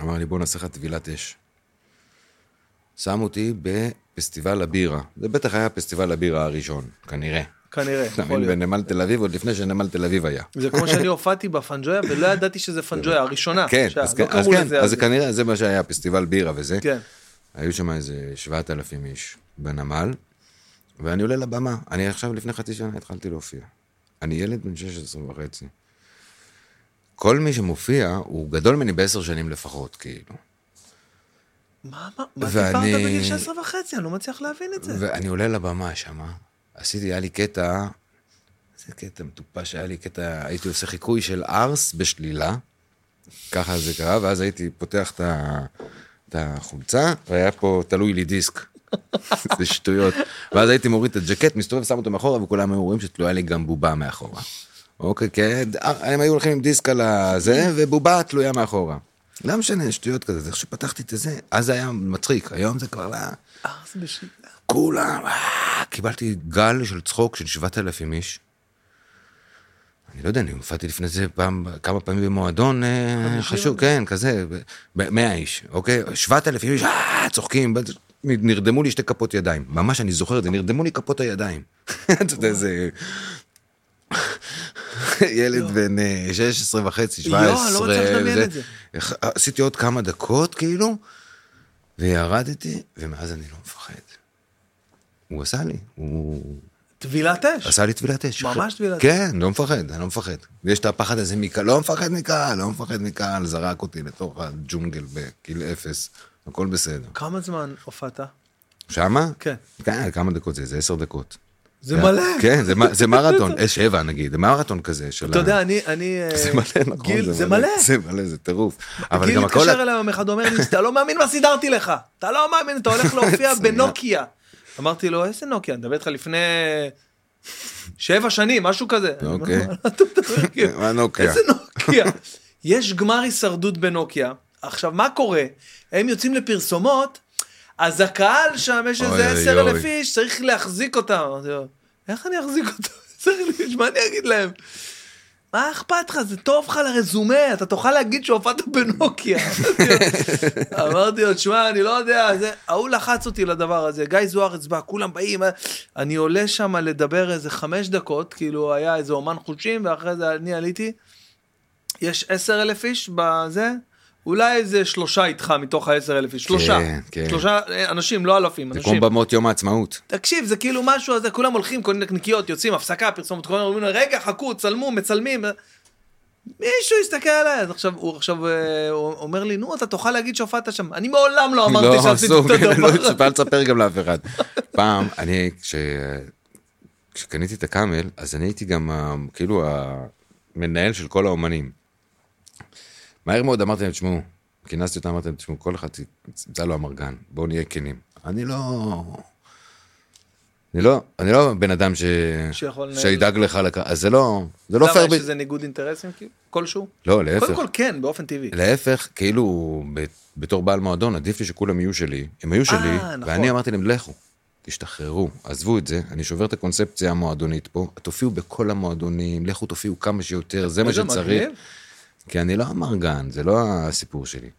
אמר לי, בוא נעשה לך טבילת אש. שם אותי בפסטיבל הבירה. זה בטח היה פסטיבל הבירה הראשון, כנראה. כנראה, אתה יכול מבין, להיות. בנמל תל אביב, עוד לפני שנמל תל אביב היה. זה כמו <laughs> שאני הופעתי בפנג'ויה ולא ידעתי שזה פנג'ויה <laughs> הראשונה. כן, שה- אז לא כן, אז קראו כן, לזה אז אז. זה כנראה, זה מה שהיה, פסטיבל בירה וזה. כן. היו שם איזה 7,000 איש בנמל, ואני עולה לבמה. אני עכשיו, לפני חצי שנה התחלתי להופיע. אני ילד בן 16 וחצי. כל מי שמופיע, הוא גדול ממני בעשר שנים לפחות, כאילו. מה מה- מה ואני- סיפרת בגיל 16 וחצי? אני לא מצליח להבין את זה. ואני עולה לבמה שמה, עשיתי, היה לי קטע, איזה קטע מטופש, היה לי קטע, הייתי עושה חיקוי של ארס בשלילה, ככה זה קרה, ואז הייתי פותח את ה- את החולצה, והיה פה תלוי לי דיסק. <laughs> זה שטויות. ואז הייתי מוריד את הג'קט, מסתובב, שם אותו מאחורה, וכולם היו רואים שתלויה לי גם בובה מאחורה. אוקיי, כן, אה, הם היו הולכים עם דיסק על הזה, ובובה תלויה מאחורה. לא משנה, שטויות כזה, זה איך שפתחתי את זה, אז זה היה מצחיק, היום זה כבר לא... אה, זה בשלילה. כולם, אה, קיבלתי גל של צחוק של 7,000 איש. אני לא יודע, אני הופעתי לפני זה פעם, כמה פעמים במועדון אה, חשוב, כן, כזה, ב- ב- 100 איש, אוקיי? 7,000 איש, אה, צוחקים, ב- נרדמו לי שתי כפות ידיים. ממש, אני זוכר את זה, נרדמו לי כפות הידיים. <laughs> אתה יודע, זה... <laughs> ילד בן אה, 16 וחצי, יואו, לא 17. מצליח לדמיין וזה. את זה. עשיתי עוד כמה דקות, כאילו, וירדתי, ומאז אני לא מפחד. הוא עשה לי, הוא טבילת אש. עשה לי טבילת אש. ממש טבילת אש. אש. כן, לא מפחד, אני לא מפחד. יש את הפחד הזה מקהל, לא מפחד מקהל, לא מפחד מקהל, זרק אותי לתוך הג'ונגל בגיל אפס, הכל בסדר. כמה זמן הופעת? שמה? כן. כן, כמה דקות זה? זה עשר דקות. זה מלא. כן, זה מ- זה מרתון, אה, שבע נגיד, זה מרתון כזה של... אתה ה- <laughs> יודע, אני, אני... אה, זה מלא, נכון, גיל, זה מלא. <laughs> זה מלא, זה טירוף. אבל גיל גם הכל... כאילו מתקשר אליי יום אחד, אומר לי, אתה לא מאמין מה סידרתי לך, אתה לא מאמין, אתה <laughs> הולך להופיע בנוקיה. אמרתי לו, איזה נוקיה? אני מדבר איתך לפני שבע שנים, משהו כזה. אני אומר, אוקיי. "מה אתה <laughs> מדבר, כאילו? מה נוקיה? איזה נוקיה? יש גמר הישרדות בנוקיה. עכשיו, מה קורה? הם יוצאים לפרסומות, אז הקהל שם, יש אוי, איזה אוי, עשר אלף אוי. איש, צריך להחזיק אותם. אמרתי לו, איך אני אחזיק אותם? <laughs> צריך לי- מה אני אגיד להם? מה אכפת לך? זה טוב לך לרזומה, אתה תוכל להגיד שהופעת בנוקיה. אמרתי לו, תשמע, אני לא יודע, זה- ההוא לחץ אותי לדבר הזה, גיא זוארץ בא, כולם באים, אה, אני עולה שם לדבר איזה חמש דקות, כאילו היה איזה אומן חושים, ואחרי זה אני עליתי, יש עשר אלף איש בזה, אולי איזה שלושה איתך מתוך העשר אלף איש, שלושה, כן, כן. שלושה אה, אנשים, לא אלפים, זה אנשים. כמו במות יום העצמאות. תקשיב, זה כאילו משהו הזה, כולם הולכים, קונים נקניקיות, יוצאים, הפסקה, פרסומת, כולם אומרים לו, רגע, חכו, צלמו, מצלמים. מישהו הסתכל עליי, אז עכשיו, הוא עכשיו אה, הוא אומר לי, נו, אתה תוכל להגיד שהופעת שם. אני מעולם לא אמרתי לא, שעשיתי אסור, את כן, הדבר לא הזה. אצפה לספר גם לאף אחד. פעם, אני, כש... כשקניתי את הקאמל, אז אני הייתי גם ה- כאילו המנהל של כל האומנים. מהר מאוד אמרתי להם, תשמעו, כינסתי אותם, אמרתי להם, תשמעו, כל אחד ימצא לו אמרגן, בואו נהיה כנים. אני לא... אני לא, אני לא בן אדם ש... שיכול לנהל. שידאג לך לכ... אז זה לא, זה לא למה, פייר. יש ב- איזה ניגוד אינטרסים, כאילו? כלשהו? לא, להפך. קודם כל, כן, באופן טבעי. להפך, כאילו, ב- בתור בעל מועדון, עדיף לי שכולם יהיו שלי. הם היו שלי, נכון. ואני אמרתי להם, לכו, תשתחררו, עזבו את זה, אני שובר את הקונספציה המועדונית פה, תופיעו בכל המועדונים, לכו תופיעו כמה שיותר, זה מה איזה שצריך. אוקיי, מגניב. כי אני לא אמרגן, זה לא הסיפור שלי.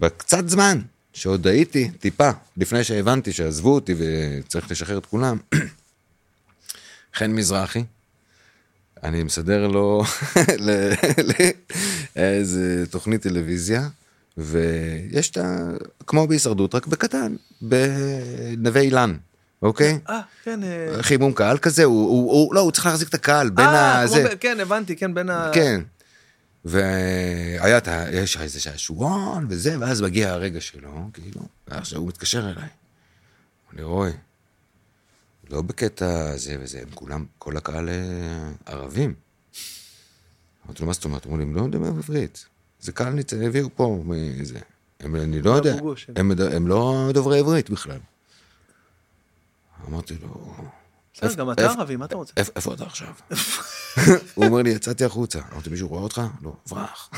בקצת זמן, שעוד הייתי, טיפה, לפני שהבנתי שעזבו אותי וצריך לשחרר את כולם, <clears throat> חן מזרחי, אני מסדר לו <laughs> ל- ל- איזה תוכנית טלוויזיה, ויש את ה... כמו בהישרדות, רק בקטן, בנווה אילן, אוקיי? אה, כן. אה, חימום קהל כזה, הוא, הוא, הוא, לא, הוא צריך להחזיק את הקהל בין אה, כמו הזה. ב- כן, הבנתי, כן, בין ה... כן. והיה את ה... יש איזה שעשועון וזה, ואז מגיע הרגע שלו, כאילו, ועכשיו הוא מתקשר אליי. אני רואה, לא בקטע זה וזה, הם כולם, כל הקהל אה, ערבים. אמרתי לו, מה זאת אומרת? אמרו לי, הם לא מדברים עברית. זה קהל ניצ... הביאו פה מזה. הם, אני לא יודע, אבו גוש, הם- הם, מד- הם לא דוברי עברית בכלל. אמרתי לו, בסדר, גם אתה ערבי, מה אתה רוצה? איפ- איפה אתה <laughs> עכשיו? הוא אומר לי, יצאתי החוצה. אמרתי, מישהו רואה אותך? לא, <laughs> ברח.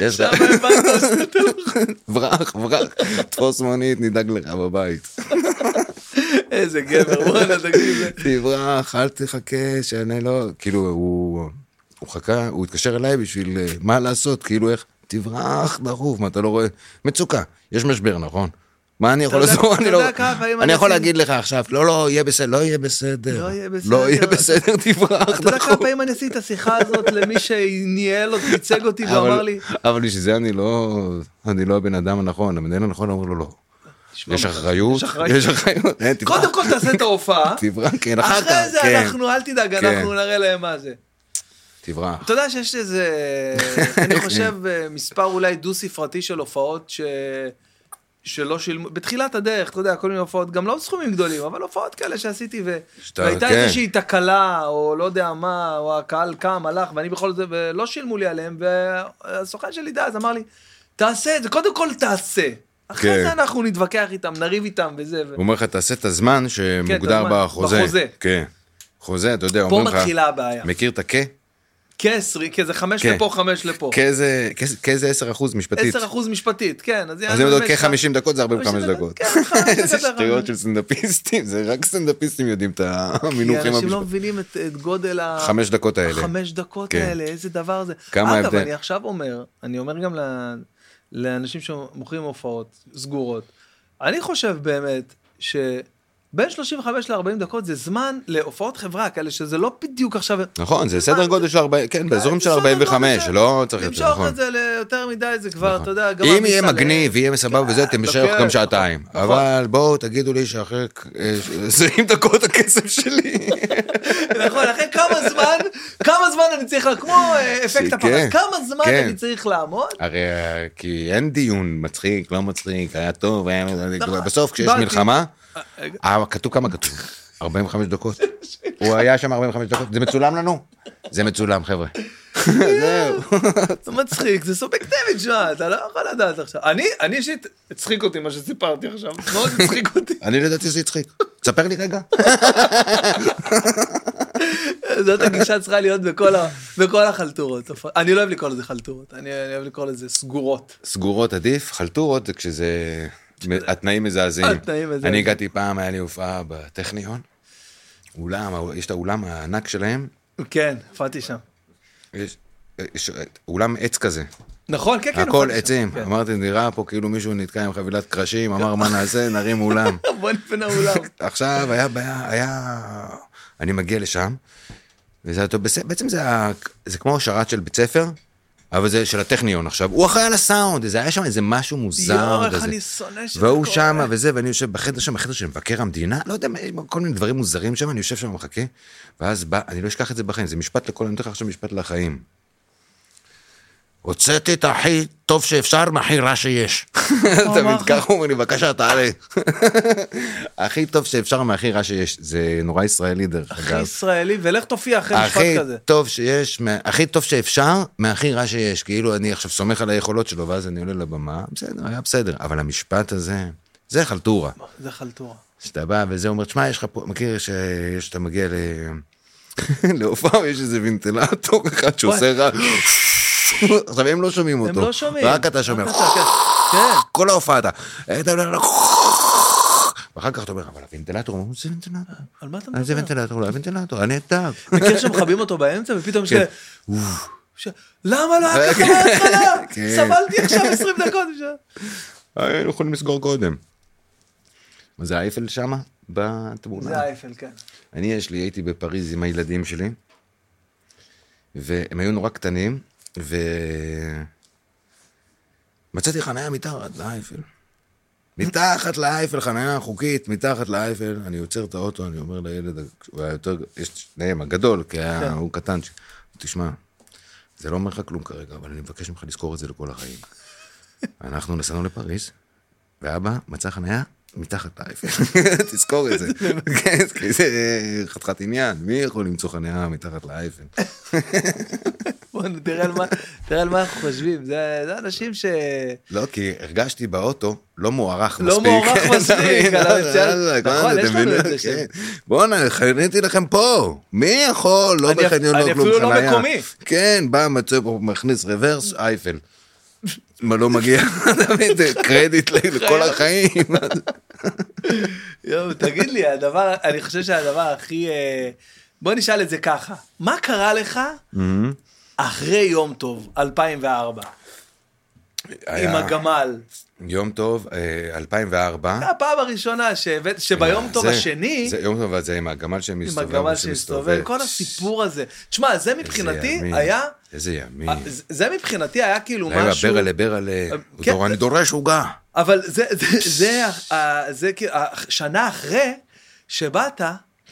יש לך, <laughs> ברח, ברח. תפוס מונית, נדאג לך בבית. איזה גבר, וואלה, תגיד לי. תברח, אל תחכה, שאני לא... כאילו, הוא... הוא חכה, הוא התקשר אליי בשביל אה, מה לעשות, כאילו איך, תברח דחוף, מה אתה לא רואה? מצוקה, יש משבר, נכון? מה אני יכול אתה יודע- לעשות? <laughs> אתה אני לא... יודע כמה אם אני אני יכול אשים- להגיד לך עכשיו, לא, לא, יהיה בסדר, לא יהיה בסדר. לא יהיה לא יהיה בסדר. בסדר, תברח אתה יודע דחוף. כמה פעמים אני עשיתי את השיחה הזאת למי שניהל אותי, ייצג אותי ואמר אבל לי, אבל בשביל זה אני לא, אני לא הבן אדם הנכון, המנהל הנכון אומר לו לא. "תשמע, יש אחריות, יש אחריות. יש אחריות, אה, תברח, קודם כל תעשה את ההופעה, תברח, כן, אחר כך, אחרי זה כן, אנחנו, אל תדאג, כן. אנחנו נראה להם מה זה. תברח. אתה יודע שיש <laughs> איזה, אני חושב, אה, מספר אולי דו-ספרתי של הופעות ש... שלא שילמו, בתחילת הדרך, אתה יודע, כל מיני הופעות, גם לא סכומים גדולים, אבל הופעות כאלה שעשיתי, ו... שאתה- והייתה כן. איזושהי תקלה, או לא יודע מה, או הקהל קם, הלך, ואני בכל זאת, ולא שילמו לי עליהם, והסוכן שלי דאז אמר לי, תעשה את זה, קודם כל תעשה. אחרי כן. זה אנחנו נתווכח איתם, נריב איתם וזה. ו... הוא אומר לך, תעשה את הזמן שמוגדר כן, הזמן, בחוזה. בחוזה. כן. חוזה, אתה יודע, פה אומרים לך, מתחילה הבעיה. מכיר את הכ? כעשרי, כי זה חמש כן. לפה, חמש לפה. כ זה- כ זה- כ זה 10 אחוז משפטית. 10 אחוז משפטית, כן. אז אז אם אתה באמת כ 50 דקות זה 45 50 דקות. כן, 45 דקות, איזה 45. שטויות של סטנדאפיסטים, זה רק סטנדאפיסטים יודעים את כי המינוחים אנשים לא המשפטיים. מבינים את, את גודל ה... חמש דקות האלה. החמש דקות כן. האלה, איזה דבר זה. כמה אגב, ההבדל? אני עכשיו אומר, אני אומר גם ל- לאנשים שמוכרים הופעות סגורות, אני חושב באמת שבין 35 ל-40 דקות זה זמן להופעות חברה כאלה, שזה לא בדיוק עכשיו... נכון, זה זמן- סדר גודל של 40, כן, באזורים של בסדר אה, גודל 45, של- לא צריך את זה, למשוך נכון. את זה ליותר מדי, זה כבר, אתה יודע, גם... אם הכניסה יהיה ל- מגניב, יהיה סבבה וזה, אתם משאיר לוקח, גם שעתיים. נכון, נכון. אבל בואו תגידו לי שאחרי אה, 20 דקות הכסף <laughs> שלי. נכון, אחרי כמה זמן, כמה זמן אני צריך, לה- כמו אה, אפקט כן, הפרק, כמה זמן כן. אני צריך לעמוד? הרי אה, כי אין דיון מצחיק, לא מצחיק, היה טוב, היה... נכון. בסוף כשיש באתי. מלחמה, אה, כתוב כמה כתוב? 45 דקות. הוא היה שם 45 דקות, זה מצולם לנו? זה מצולם חבר'ה. זהו. זה מצחיק, זה סובייקטיבי, תשמע, אתה לא יכול לדעת עכשיו. אני, אני אישית, הצחיק אותי מה שסיפרתי עכשיו, מאוד הצחיק אותי. <laughs> אני לדעתי זה הצחיק. תספר לי רגע. זאת הגישה צריכה להיות בכל, ה, בכל החלטורות. אני לא אוהב לקרוא לזה חלטורות, אני, אני אוהב לקרוא לזה סגורות. סגורות עדיף, חלטורות זה כשזה... התנאים מזעזעים. התנאים מזעזעים. אני הגעתי פעם, היה לי הופעה בטכניון. אולם, יש את האולם הענק שלהם. כן, הופעתי שם. יש- יש אולם עץ כזה. נכון, כן, כן. הכל הופעתי שם. עצים. כן. אמרתי, נראה פה כאילו מישהו נתקע עם חבילת קרשים, אמר מה נעשה, נרים <laughs> אולם. בוא נפנה אולם. <laughs> עכשיו היה בעיה, היה... אני מגיע לשם, וזה היה טוב, בס- בעצם זה, היה- זה כמו שרת של בית ספר, אבל זה של הטכניון עכשיו. הוא אחראי על הסאונד, זה היה שם איזה משהו מוזר. יואו, איך כזה. אני שונא שזה והוא קורה. שם וזה, ואני יושב בחדר שם, בחדר של מבקר המדינה, לא יודע, מה, יש כל מיני דברים מוזרים שם, אני יושב שם ומחכה, ואז בא, אני לא אשכח את זה בחיים, זה משפט לכל, אני נותן לך עכשיו משפט לחיים. הוצאתי את הכי טוב שאפשר מהכי רע שיש. תמיד אמר? ככה הוא אומר לי, בבקשה, תעלה. <laughs> הכי טוב שאפשר מהכי רע שיש. זה נורא ישראלי דרך הכי אגב. ישראלי, ולך תופיע אחרי הכי משפט כזה. טוב שיש, מה- הכי טוב שאפשר מהכי רע שיש. כאילו, אני עכשיו סומך על היכולות שלו, ואז אני עולה לבמה, בסדר, היה בסדר. אבל המשפט הזה, זה חלטורה. זה חלטורה. שאתה בא וזה אומר, תשמע, יש לך פה, מכיר שיש, אתה מגיע ל... <laughs> להופעה, יש איזה וינטלטור אחד שעושה רע. <laughs> עכשיו, הם לא שומעים אותו. הם לא שומעים. רק אתה שומע. כן. כן. <laughs> כל ההופעה אתה. <laughs> ואחר כך אתה אומר, אבל הוונטילטור, הוא אומר, זה וינטילטור. על מה אתה "אה, זה מדבר? וינטילטור, לא הוונטילטור, אני אדאג. מכיר שמכבים אותו באמצע ופתאום יש כאלה, ש- למה לא היה ככה כן. בהתחלה? <laughs> כן. סבלתי עכשיו 20 <laughs> דקות. ש- היינו יכולים לסגור קודם. מה זה אייפל שמה? בתמונה. זה אייפל, כן. אני יש לי, הייתי בפריז עם הילדים שלי, והם היו נורא קטנים, ו... מצאתי חניה מתחת לאייפל. מתחת לאייפל, חניה חוקית, מתחת לאייפל. אני עוצר את האוטו, אני אומר לילד, הוא היה יותר, יש את שניהם, הגדול, כי היה, הוא קטן, ש- תשמע, זה לא אומר לך כלום כרגע, אבל אני מבקש ממך לזכור את זה לכל החיים. אנחנו נסענו לפריז, ואבא מצא חניה מתחת לאייפל, <laughs> <laughs> תזכור את זה. כן, כי זה חתיכת עניין, מי יכול למצוא חניה מתחת לאייפל? בוא תראה על מה- תראה על מה אנחנו חושבים, זה זה אנשים ש... לא, כי הרגשתי באוטו לא מוערך לא מספיק. מוערך <laughs> אתה מספיק, מבין? על המציאה- יאללה, נכון, כמה, יש אתה לנו מבין? את זה שם. כן. בואנה, חניתי לכם פה, מי יכול? לא אני- בחניון, לא אני כלום אפילו לא חניה. מקומי. כן, בא, מצא פה, מכניס רוורס, אייפל. מה לא מגיע, <laughs> אתה מבין? זה קרדיט לכל החיים. יואו, תגיד לי, הדבר, אני חושב שהדבר הכי... אה, בוא נשאל את זה ככה, מה קרה לך Mm-hmm. אחרי יום טוב, 2004, עם היה הגמל? יום טוב, אה, 2004. זה הפעם הראשונה שהבאת, שביום טוב אה, זה- השני, זה יום טוב, אבל זה עם הגמל עם שמסתובב. הגמל ושמסתובב. שהסתובב, כל הסיפור הזה. תשמע, זה איזה מבחינתי ימין, היה, איזה ימין. אה, זה- זה מבחינתי היה כאילו היה משהו, ברלה ברלה, כן, אני דורש עוגה. אבל זה, זה, זה, ה- זה, כאילו, השנה אחרי שבאת,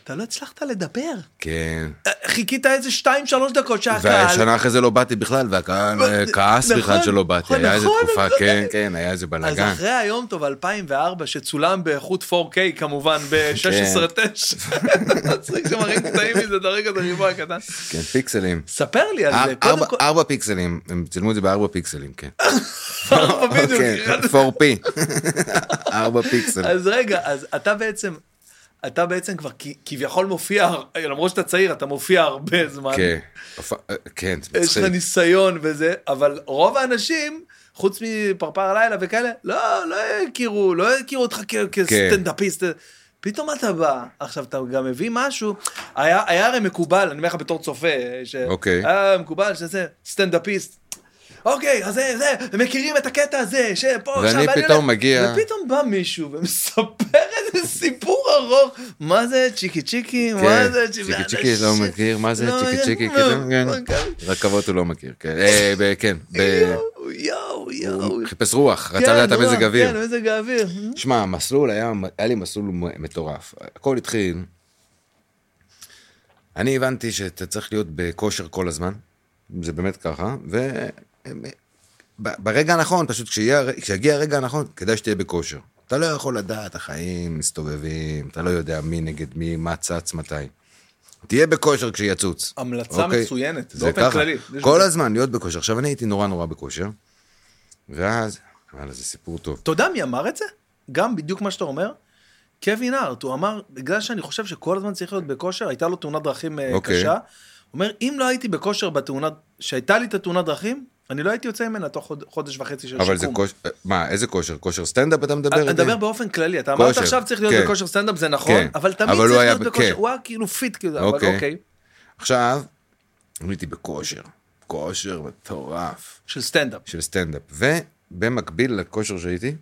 אתה לא הצלחת לדבר. אה, כן. חיכית איזה שתיים, שלוש דקות שהקהל... והשנה אחרי זה לא באתי בכלל, והקהל אה, כעס נכון, בכלל שלא באתי. נכון, היה איזה נכון, תקופה, נכון. כן, כן, היה איזה אז בלאגן. אחרי היום טוב 2004 שצולם באיכות 4K כמובן ב-16.9, מצחיק שמראים קטעים מזה, דרג את הריבוע הקטן. כן, פיקסלים. ספר לי על אר- זה, קודם אה, ארבע- כל, ארבע פיקסלים, הם צילמו את זה בארבע פיקסלים, כן. ארבע בדיוק, כן, אחד- <laughs> 4P. ארבע פיקסלים. אז רגע, אז אתה בעצם, אתה בעצם כבר כ- כביכול מופיע, הר- למרות שאתה צעיר, אתה מופיע הרבה זמן, כן, הופ- אה, כן, זה יש לך מצחיק. ניסיון וזה, אבל רוב האנשים, חוץ מפרפר הלילה וכאלה, לא, לא יכירו, לא יכירו אותך כ- כן. כסטנדאפיסט. פתאום אתה בא, עכשיו אתה גם מביא משהו, היה, היה הרי מקובל, אני אומר לך בתור צופה, ש... אוקיי. היה מקובל שזה סטנדאפיסט. אוקיי, אז זה, זה, הם מכירים את הקטע הזה, שפה, ואני שם, פתאום מגיע- ופתאום בא מישהו ומספר איזה סיפור ארוך, מה זה צ'יקי צ'יקי, מה כן, זה צ'יקי צ'יקי לא מכיר, מה זה לא צ'יקי מכיר, צ'יקי, לא, כאילו, כן. אוקיי. רכבות הוא לא מכיר, כן, אה, ב- כן, <laughs> ב- יואו, יואו, יואו. הוא חיפש רוח, כן, רצה לדעת וואו, המזג אוויר. כן, מזג האוויר. שמע, המסלול היה, היה לי מסלול מ- מטורף. הכל התחיל. אני הבנתי שאתה צריך להיות בכושר כל הזמן, זה באמת ככה, ו... ב- ברגע הנכון, פשוט כשיהיה, הר- כשיגיע הרגע הנכון, כדאי שתהיה בכושר. אתה לא יכול לדעת, החיים מסתובבים, אתה לא יודע מי נגד מי, מה צץ, מתי. תהיה בכושר כשיצוץ. אוקיי? המלצה מצוינת, זה באופן ככה. כללי. יש כל בזה. הזמן להיות בכושר. עכשיו, אני הייתי נורא נורא בכושר, ואז, וואלה, זה סיפור טוב. אתה יודע מי אמר את זה? גם בדיוק מה שאתה אומר. קווין הארט, הוא אמר, בגלל שאני חושב שכל הזמן צריך להיות בכושר, הייתה לו תאונת דרכים אה, אוקיי. קשה. הוא אומר, אם לא הייתי בכושר בתאונת, שהייתה לי את התאונת דרכים, אני לא הייתי יוצא ממנה תוך חוד- חודש וחצי של שיקום. אבל זה כושר, מה, איזה כושר? כושר סטנדאפ אתה מדבר? אני איתי? מדבר באופן כללי, אתה אמרת כושר, עכשיו צריך להיות כן. בכושר סטנדאפ, זה נכון, כן. אבל תמיד אבל צריך הוא היה להיות ב- בכושר, כן. הוא היה כאילו פיט כאילו, אבל אוקיי. אוקיי, עכשיו, הייתי בכושר, כושר מטורף של סטנדאפ. של סטנדאפ. ובמקביל לכושר שהייתי,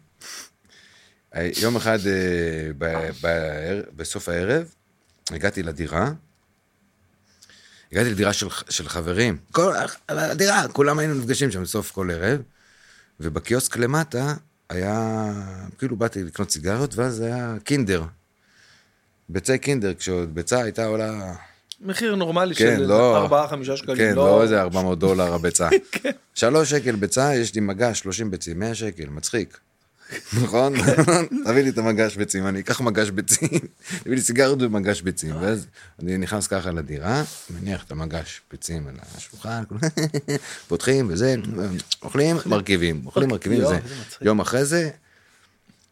אה, יום אחד אה, ב- בער- בסוף הערב, הגעתי לדירה, הגעתי לדירה של, ח- של חברים, כל, הדירה, כולם היינו נפגשים שם בסוף כל ערב, ובקיוסק למטה היה, כאילו באתי לקנות סיגריות, ואז היה קינדר. ביצי קינדר, כשעוד ביצה הייתה עולה מחיר נורמלי כן, של לא. 4-5 שקלים, כן. כן, לא איזה 400 דולר <laughs> הביצה. שלוש שקל ביצה, יש לי מגש, 30 ביצים, 100 שקל, מצחיק. נכון? <laughs> תביא לי את המגש ביצים, אני אקח מגש ביצים, <laughs> תביא לי סיגריות ומגש ביצים, אה. ואז אני נכנס ככה לדירה, מניח את המגש ביצים על השולחן, כולם, <laughs> פותחים וזה, אוכלים, מרכיבים, אוכלים, מרכיבים אוקיי, יואו, וזה. איזה מצחיק. יום אחרי זה,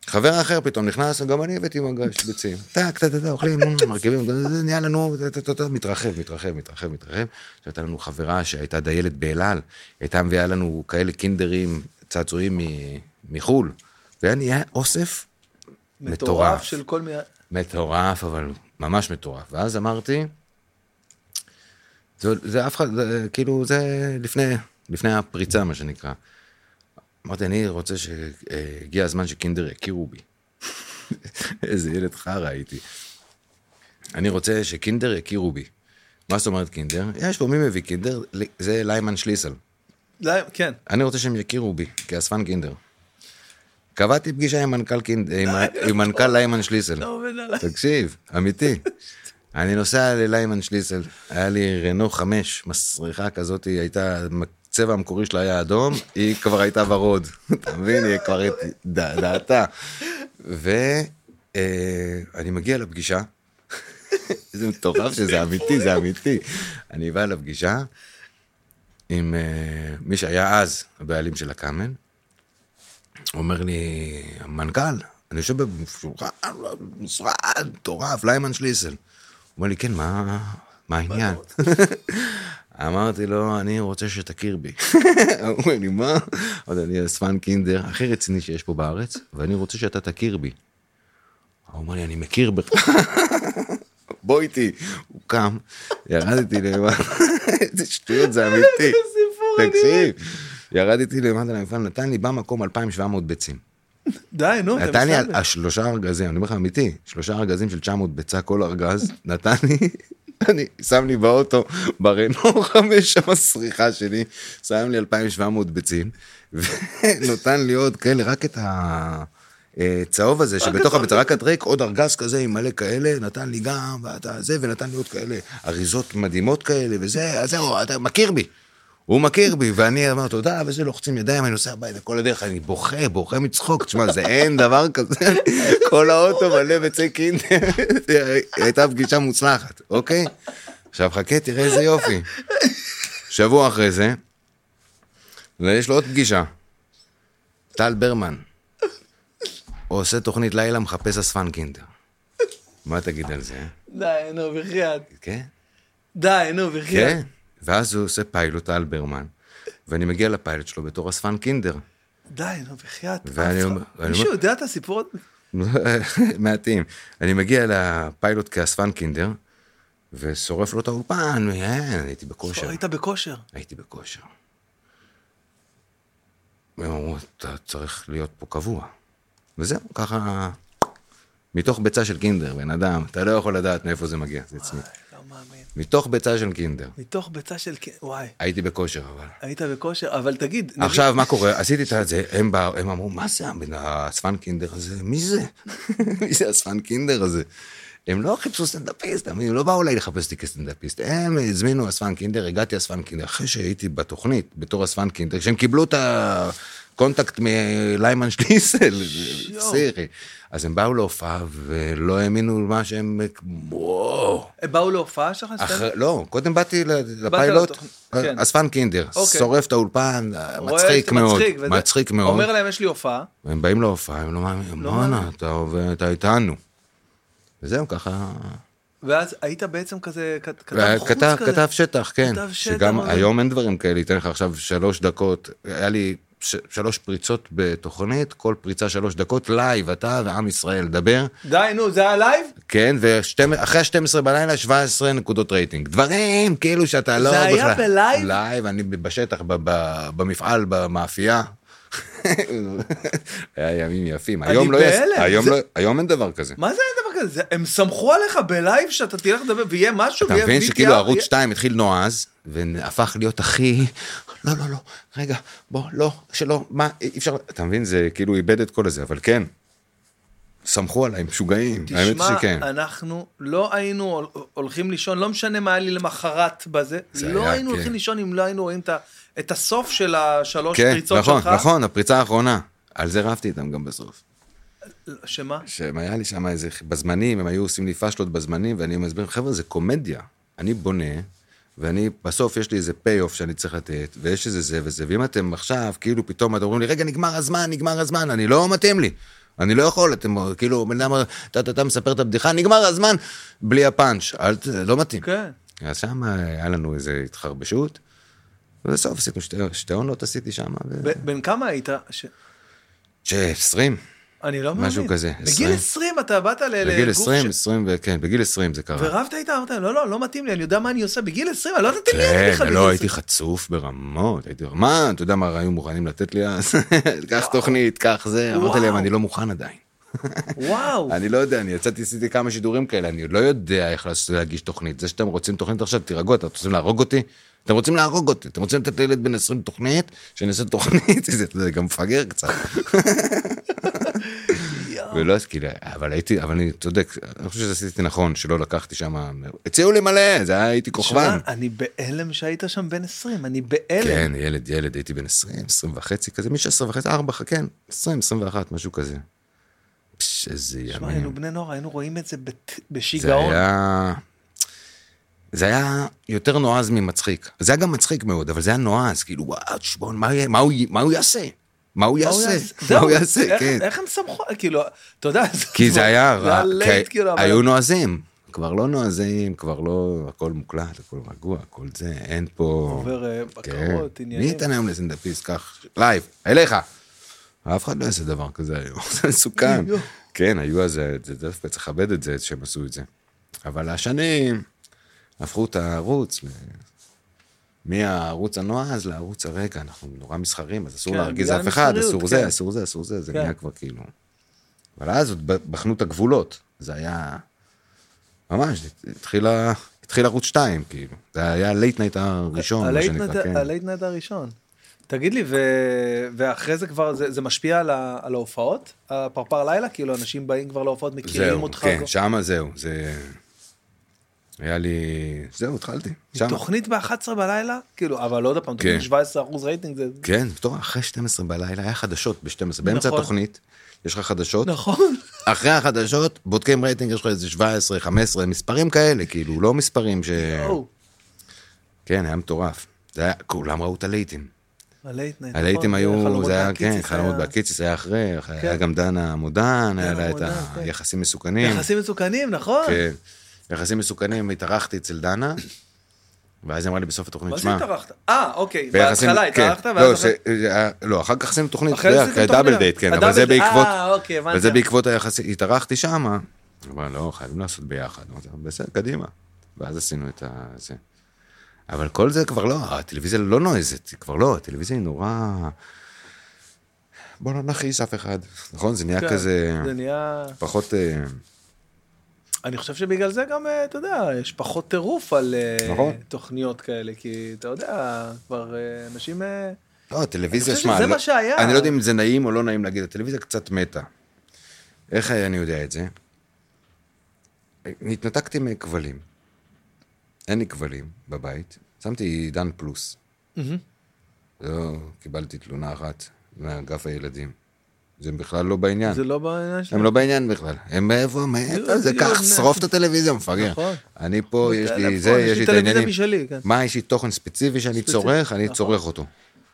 חבר אחר פתאום נכנס, גם אני הבאתי מגש ביצים. טק, טק, טק, אוכלים, מרכיבים, זה נהיה לנו, טק, טק, טק, מתרחב, מתרחב, מתרחב, מתרחב. עכשיו הייתה לנו חברה שהייתה דיילת באל על, הייתה מביאה לנו כאלה קינדרים, צעצועים מ- מחו"ל, והיה נהיה אוסף מטורף מטורף. של כל מיני... מטורף, אבל ממש מטורף. ואז אמרתי, זה, זה אף אחד, זה, כאילו, זה לפני, לפני הפריצה, מה שנקרא. אמרתי, אני רוצה שהגיע הזמן שקינדר יכירו בי. <laughs> איזה ילד חרא הייתי. אני רוצה שקינדר יכירו בי. מה זאת אומרת קינדר? יש פה מי מביא קינדר? זה ליימן שליסל. לא, כן. אני רוצה שהם יכירו בי כאספן קינדר. קבעתי פגישה עם מנכ"ל קינד- עם ה- עם מנכ"ל ליימן שליסל. לא עובד עליי. תקשיב, אמיתי. אני נוסע לליימן שליסל, היה לי רנו חמש, מסריחה כזאת, היא הייתה, הצבע המקורי שלה היה אדום, <laughs> היא כבר הייתה ורוד. אתה מבין? היא כבר הייתה- דע- דעתה. ו... אה, אני מגיע לפגישה, <laughs> זה מטורף שזה אמיתי, זה אמיתי. אני בא לפגישה עם אה, מי שהיה אז הבעלים של הקאמן, אומר לי, המנכ"ל, אני יושב בשולחן, משרד, מטורף, ליימן שליסל. הוא אומר לי, כן, מה, מה העניין? <laughs> אמרתי לו, אני רוצה שתכיר בי. <laughs> הוא אומר לי, מה? עוד אני אספן קינדר הכי רציני שיש פה בארץ, ואני רוצה שאתה תכיר בי. הוא אומר לי, אני מכיר בך. <laughs> בוא איתי. הוא קם, ירדתי למעלה, <laughs> איזה שטויות, זה אמיתי. סיפור תקשיב, ירדתי למטה למפעל, נתן לי במקום 2,700 ביצים. די, נו, אתה נתן לי בסדר. על השלושה ארגזים, אני אומר לך אמיתי, שלושה ארגזים של 900 ביצה כל ארגז, <laughs> נתן לי, אני שם לי באוטו, ברנו <laughs> חמש שם הסריחה שלי, שם לי 2,700 ביצים, <laughs> ונתן לי עוד כאלה, רק את ה... אה, צהוב הזה שבתוך הביצה, רק הדרק, עוד ארגז כזה עם מלא כאלה, נתן לי גם, ואתה זה, ונתן לי עוד כאלה אריזות מדהימות כאלה, וזה, אז זהו, אתה מכיר בי. הוא מכיר בי, ואני אמר תודה, וזה לוחצים ידיים, אני נוסע הביתה כל הדרך, אני בוכה, בוכה מצחוק, תשמע, זה אין דבר כזה, כל האוטו מלא ביצי קינדר, הייתה פגישה מוצלחת, אוקיי? עכשיו חכה, תראה איזה יופי. שבוע אחרי זה, ויש לו עוד פגישה. טל ברמן, הוא עושה תוכנית לילה, מחפש אספן קינדר. מה תגיד על זה? די, נו, בחייאת. כן? די, נו, בחייאת. כן. ואז הוא עושה פיילוט על ברמן, ואני מגיע לפיילוט שלו בתור אספן קינדר. <laughs> די, נו, בחייאת. ואני אומר- אף אחד- ואני מישהו אומר- יודע את הסיפור הזה? מעטים. אני מגיע לפיילוט כאספן קינדר, ושורף לו את האולפן, אין, הייתי בכושר. היית בכושר. הייתי בכושר. והם אמרו, אתה צריך להיות פה קבוע. וזהו, ככה... מתוך ביצה של קינדר, בן אדם, אתה לא יכול לדעת מאיפה זה מגיע, זה עצמי. לא מאמין. מתוך ביצה של קינדר. מתוך ביצה של... כ- וואי, הייתי בכושר, אבל. היית בכושר, אבל תגיד... נגיד- עכשיו, מה קורה? עשיתי את זה, הם באו, הם אמרו, מה זה הבן- האספן קינדר הזה? מי זה? <laughs> מי זה האספן קינדר הזה? הם לא חיפשו סטנדאפיסט, הם לא באו אליי לחפש אותי כסטנדאפיסט. הם הזמינו אספן קינדר, הגעתי אספן קינדר. אחרי שהייתי בתוכנית, בתור אספן קינדר, כשהם קיבלו את הקונטקט מליימן שליסל, <laughs> סירי. אז הם באו להופעה ולא האמינו למה שהם... וואו. באו להופעה שלך? סטנדאפ? אחרי, לא, קודם באתי ל- לפיילוט, לתוכנית, כן. אספן קינדר, אוקיי. שורף את האולפן, רואה, מצחיק מאוד, מצחיק וזה- מצחיק מאוד. אומר להם, יש לי הופעה. הם באים להופעה, הם לא מאמינים, בואנה, אתה עובד- אתה איתנו. וזהו, ככה... אה, ואז היית בעצם כזה, כת- כתב חוץ כתב כזה. כתב שטח, כן. כתב שטח, שגם אבל- היום אין דברים כאלה, ייתן לך עכשיו שלוש דקות, היה לי ש- שלוש פריצות בתוכנית, כל פריצה שלוש דקות, לייב, אתה ועם ישראל, דבר. די, נו, זה היה לייב? כן, ואחרי ה-12 בלילה 17 נקודות רייטינג. דברים כאילו שאתה לא... זה היה בלייב? לייב, אני בשטח, ב- ב- במפעל, במאפייה. <laughs> היה ימים יפים. אני היום לא יש... בהלם. היום זה- לא- היום אין דבר כזה. מה זה היה דבר כזה? זה- הם סמכו עליך בלייב שאתה תלך לדבר ויהיה משהו אתה ויהיה מבין VTR, שכאילו ערוץ יהיה- 2 התחיל נועז, והפך להיות הכי... לא, לא, לא, רגע, בוא, לא, שלא, מה, אי אפשר... אתה מבין, זה כאילו איבד את כל הזה, אבל כן. סמכו עליי, משוגעים. האמת שכן. תשמע, אנחנו לא היינו הול- הולכים לישון, לא משנה מה היה לי למחרת בזה, זה לא היה, היינו כן. הולכים לישון אם לא היינו רואים את ה- את הסוף של השלוש כן, פריצות נכון, שלך. נכון, הפריצה האחרונה. על זה רבתי איתם גם בסוף. שמה? שהם היה לי שם איזה, בזמנים, הם היו עושים לי פאשלות בזמנים, ואני מסביר, חבר'ה, זה קומדיה. אני בונה, ואני, בסוף יש לי איזה פי-אוף שאני צריך לתת, ויש איזה זה וזה, ואם אתם עכשיו, כאילו פתאום אתם אומרים לי, רגע, נגמר הזמן, נגמר הזמן, אני לא מתאים לי. אני לא יכול, אתם כאילו, בן אדם, אתה, אתה, אתה מספר את הבדיחה, נגמר הזמן, בלי הפאנץ', אל ת- לא מתאים. כן. אז שם היה לנו איזו התחרבשות, ובסוף עשינו שתי, שתי עונות עשיתי שם. ו... ב- בן כמה היית? ש- ש-20, אני לא מאמין. משהו כזה, בגיל עשרים. 20 אתה באת ל- בגיל לגוף ש- 20, 20, ו- כן, בגיל 20 זה קרה. ורבת איתה, אמרת, לא, לא, לא מתאים לי, אני יודע מה אני עושה. בגיל 20, אני לא יודעת מי אני כן, בכלל. בגיל לא, הייתי 20. חצוף ברמות, הייתי, מה, אתה יודע מה היו מוכנים לתת לי אז? <laughs> קח תוכנית, קח זה, אמרתי וואו. להם, אני לא מוכן עדיין. וואו. אני לא יודע, אני יצאתי, עשיתי כמה שידורים כאלה, אני עוד לא יודע איך לעשות- להגיש תוכנית. זה שאתם רוצים תוכנית עכשיו, תירגעו, אתם רוצים להרוג אותי? אתם רוצים להרוג אותי, אתם רוצים לתת לילד בן 20 תוכנית, שאני אעשה תוכנית, <laughs> זה- זה גם מפגר קצת. ולא, אז כאילו, אבל הייתי, אבל אני צודק, אני חושב שעשיתי נכון, שלא לקחתי שם, הציעו לי מלא, זה היה, הייתי כוכבן. שמע, אני בהלם שהיית שם בן 20, אני בהלם. כן, ילד, ילד, הייתי בן 20, 20 וחצי כזה, מ-16 וחצי, 4, כן, 20, 21, משהו כזה. פש, איזה שמע, ימים. היינו בני נוער, היינו רואים את זה בת- זה בשיגעון. היה... זה היה יותר נועז ממצחיק. זה היה גם מצחיק מאוד, אבל זה היה נועז, כאילו, וואו, תשמעון, מה, יהיה- מה, הוא י- מה הוא יעשה? מה הוא מה הוא יעשה? יעשה? מה זהו, אה, הוא יעשה, איך- כן. איך הם סמכו, כאילו, אתה יודע, כי זה היה רע, לייט, כי כאילו, אבל- היו נועזים. כבר לא נועזים, כבר לא, הכל מוקלט, הכל רגוע, הכל זה, אין פה... עובר אה, כן. בקרות, מי עניינים. ייתן היום לסנדאפיסט כך? לייב, אליך. אף אחד לא יעשה דבר כזה היום, <laughs> זה מסוכן. יואו. כן, היו אז, זה זה דווקא צריך לכבד את זה שהם עשו את זה. אבל השנים הפכו את הערוץ, ל- מהערוץ הנועז לערוץ הרגע, אנחנו נורא מסחרים, אז אסור כן, להרגיז בגלל אף אחד, המסחריות, אסור זה, כן. אסור זה, אסור זה, זה כן. נהיה כבר כאילו... אבל אז עוד ב- בחנו את הגבולות, זה היה... ממש, התחילה, התחיל ערוץ 2, כאילו. זה היה הלייט נייט הראשון, מה הלייט שנקרא, נייט- כן. הלייט נייט הראשון. תגיד לי, ו- ואחרי זה כבר, זה זה משפיע על ה- על ההופעות? הפרפר לילה? כאילו, אנשים באים כבר להופעות, מכירים אותך? זהו, כן, כבר? שמה זהו, זה... היה לי... זהו, התחלתי. שמה. תוכנית ב-11 בלילה? כאילו, אבל עוד פעם, תוכנית כן. 17% רייטינג זה... כן, בתור אחרי 12 בלילה, היה חדשות ב-12, באמצע נכון. התוכנית, יש לך חדשות, נכון. אחרי החדשות, בודקים רייטינג, יש לך איזה 17, 15, מספרים כאלה, כאילו, לא מספרים ש... יואו, כן, היה מטורף. זה היה, כולם ראו את הלייטים. הלייט נייט. הלהיטים נכון, היו, חלומות זה היה, מהקיציס כן, חלומות בהקיציס היה אחרי, היה גם דנה עמודן, היה לה את עמודן, כן. היחסים מסוכנים. יחסים מסוכנים, נכון? כן. יחסים מסוכנים, התארחתי אצל דנה, ואז היא אמרה לי בסוף התוכנית, מה זה שמע... התארחת? אה, אוקיי, ביחסים- בהתחלה כן. התארחת, לא, ואז... אחרי- זה- אה, לא, אחר כך עשינו תוכנית, אחרי אתה זה יודע, עשיתם דאבל תוכנית. דייט, כן, אבל זה הדאבל דייט, בעקבות, אה, אוקיי, הבנתי. אבל זה בעקבות היחסים, התארחתי שמה, אבל לא, חייבים לעשות ביחד, אמרתי, בסדר, קדימה, ואז עשינו את ה... זה. אבל כל זה כבר לא, הטלוויזיה לא נועזת, היא כבר לא, הטלוויזיה היא נורא... בוא לא נכעיס אף אחד, נכון? זה נהיה כן, כזה, זה נהיה... פחות... אה, אני חושב שבגלל זה גם, אה, אתה יודע, יש פחות טירוף על אה, נכון. תוכניות כאלה, כי אתה יודע, כבר אה, אנשים... אה, לא, הטלוויזיה, אני חושב שמע, שזה לא- מה שהיה. אני לא יודע אם זה נעים או לא נעים להגיד, הטלוויזיה קצת מתה. איך אני יודע את זה? התנתקתי מכבלים. אין לי כבלים בבית, שמתי עידן פלוס. לא קיבלתי תלונה אחת מאגף הילדים. זה בכלל לא בעניין. זה לא בעניין שלהם. הם לא בעניין בכלל. הם מאיפה, מאיפה, לא, זה לא, כך, לא. שרוף את הטלוויזיה, מפגר. נכון. אני פה, יש לי טלפון, זה, יש לי את העניינים. טלוויזיה משלי, כן. מה, יש לי תוכן ספציפי שאני ספציפי, צורך, אני נכון. צורך אותו.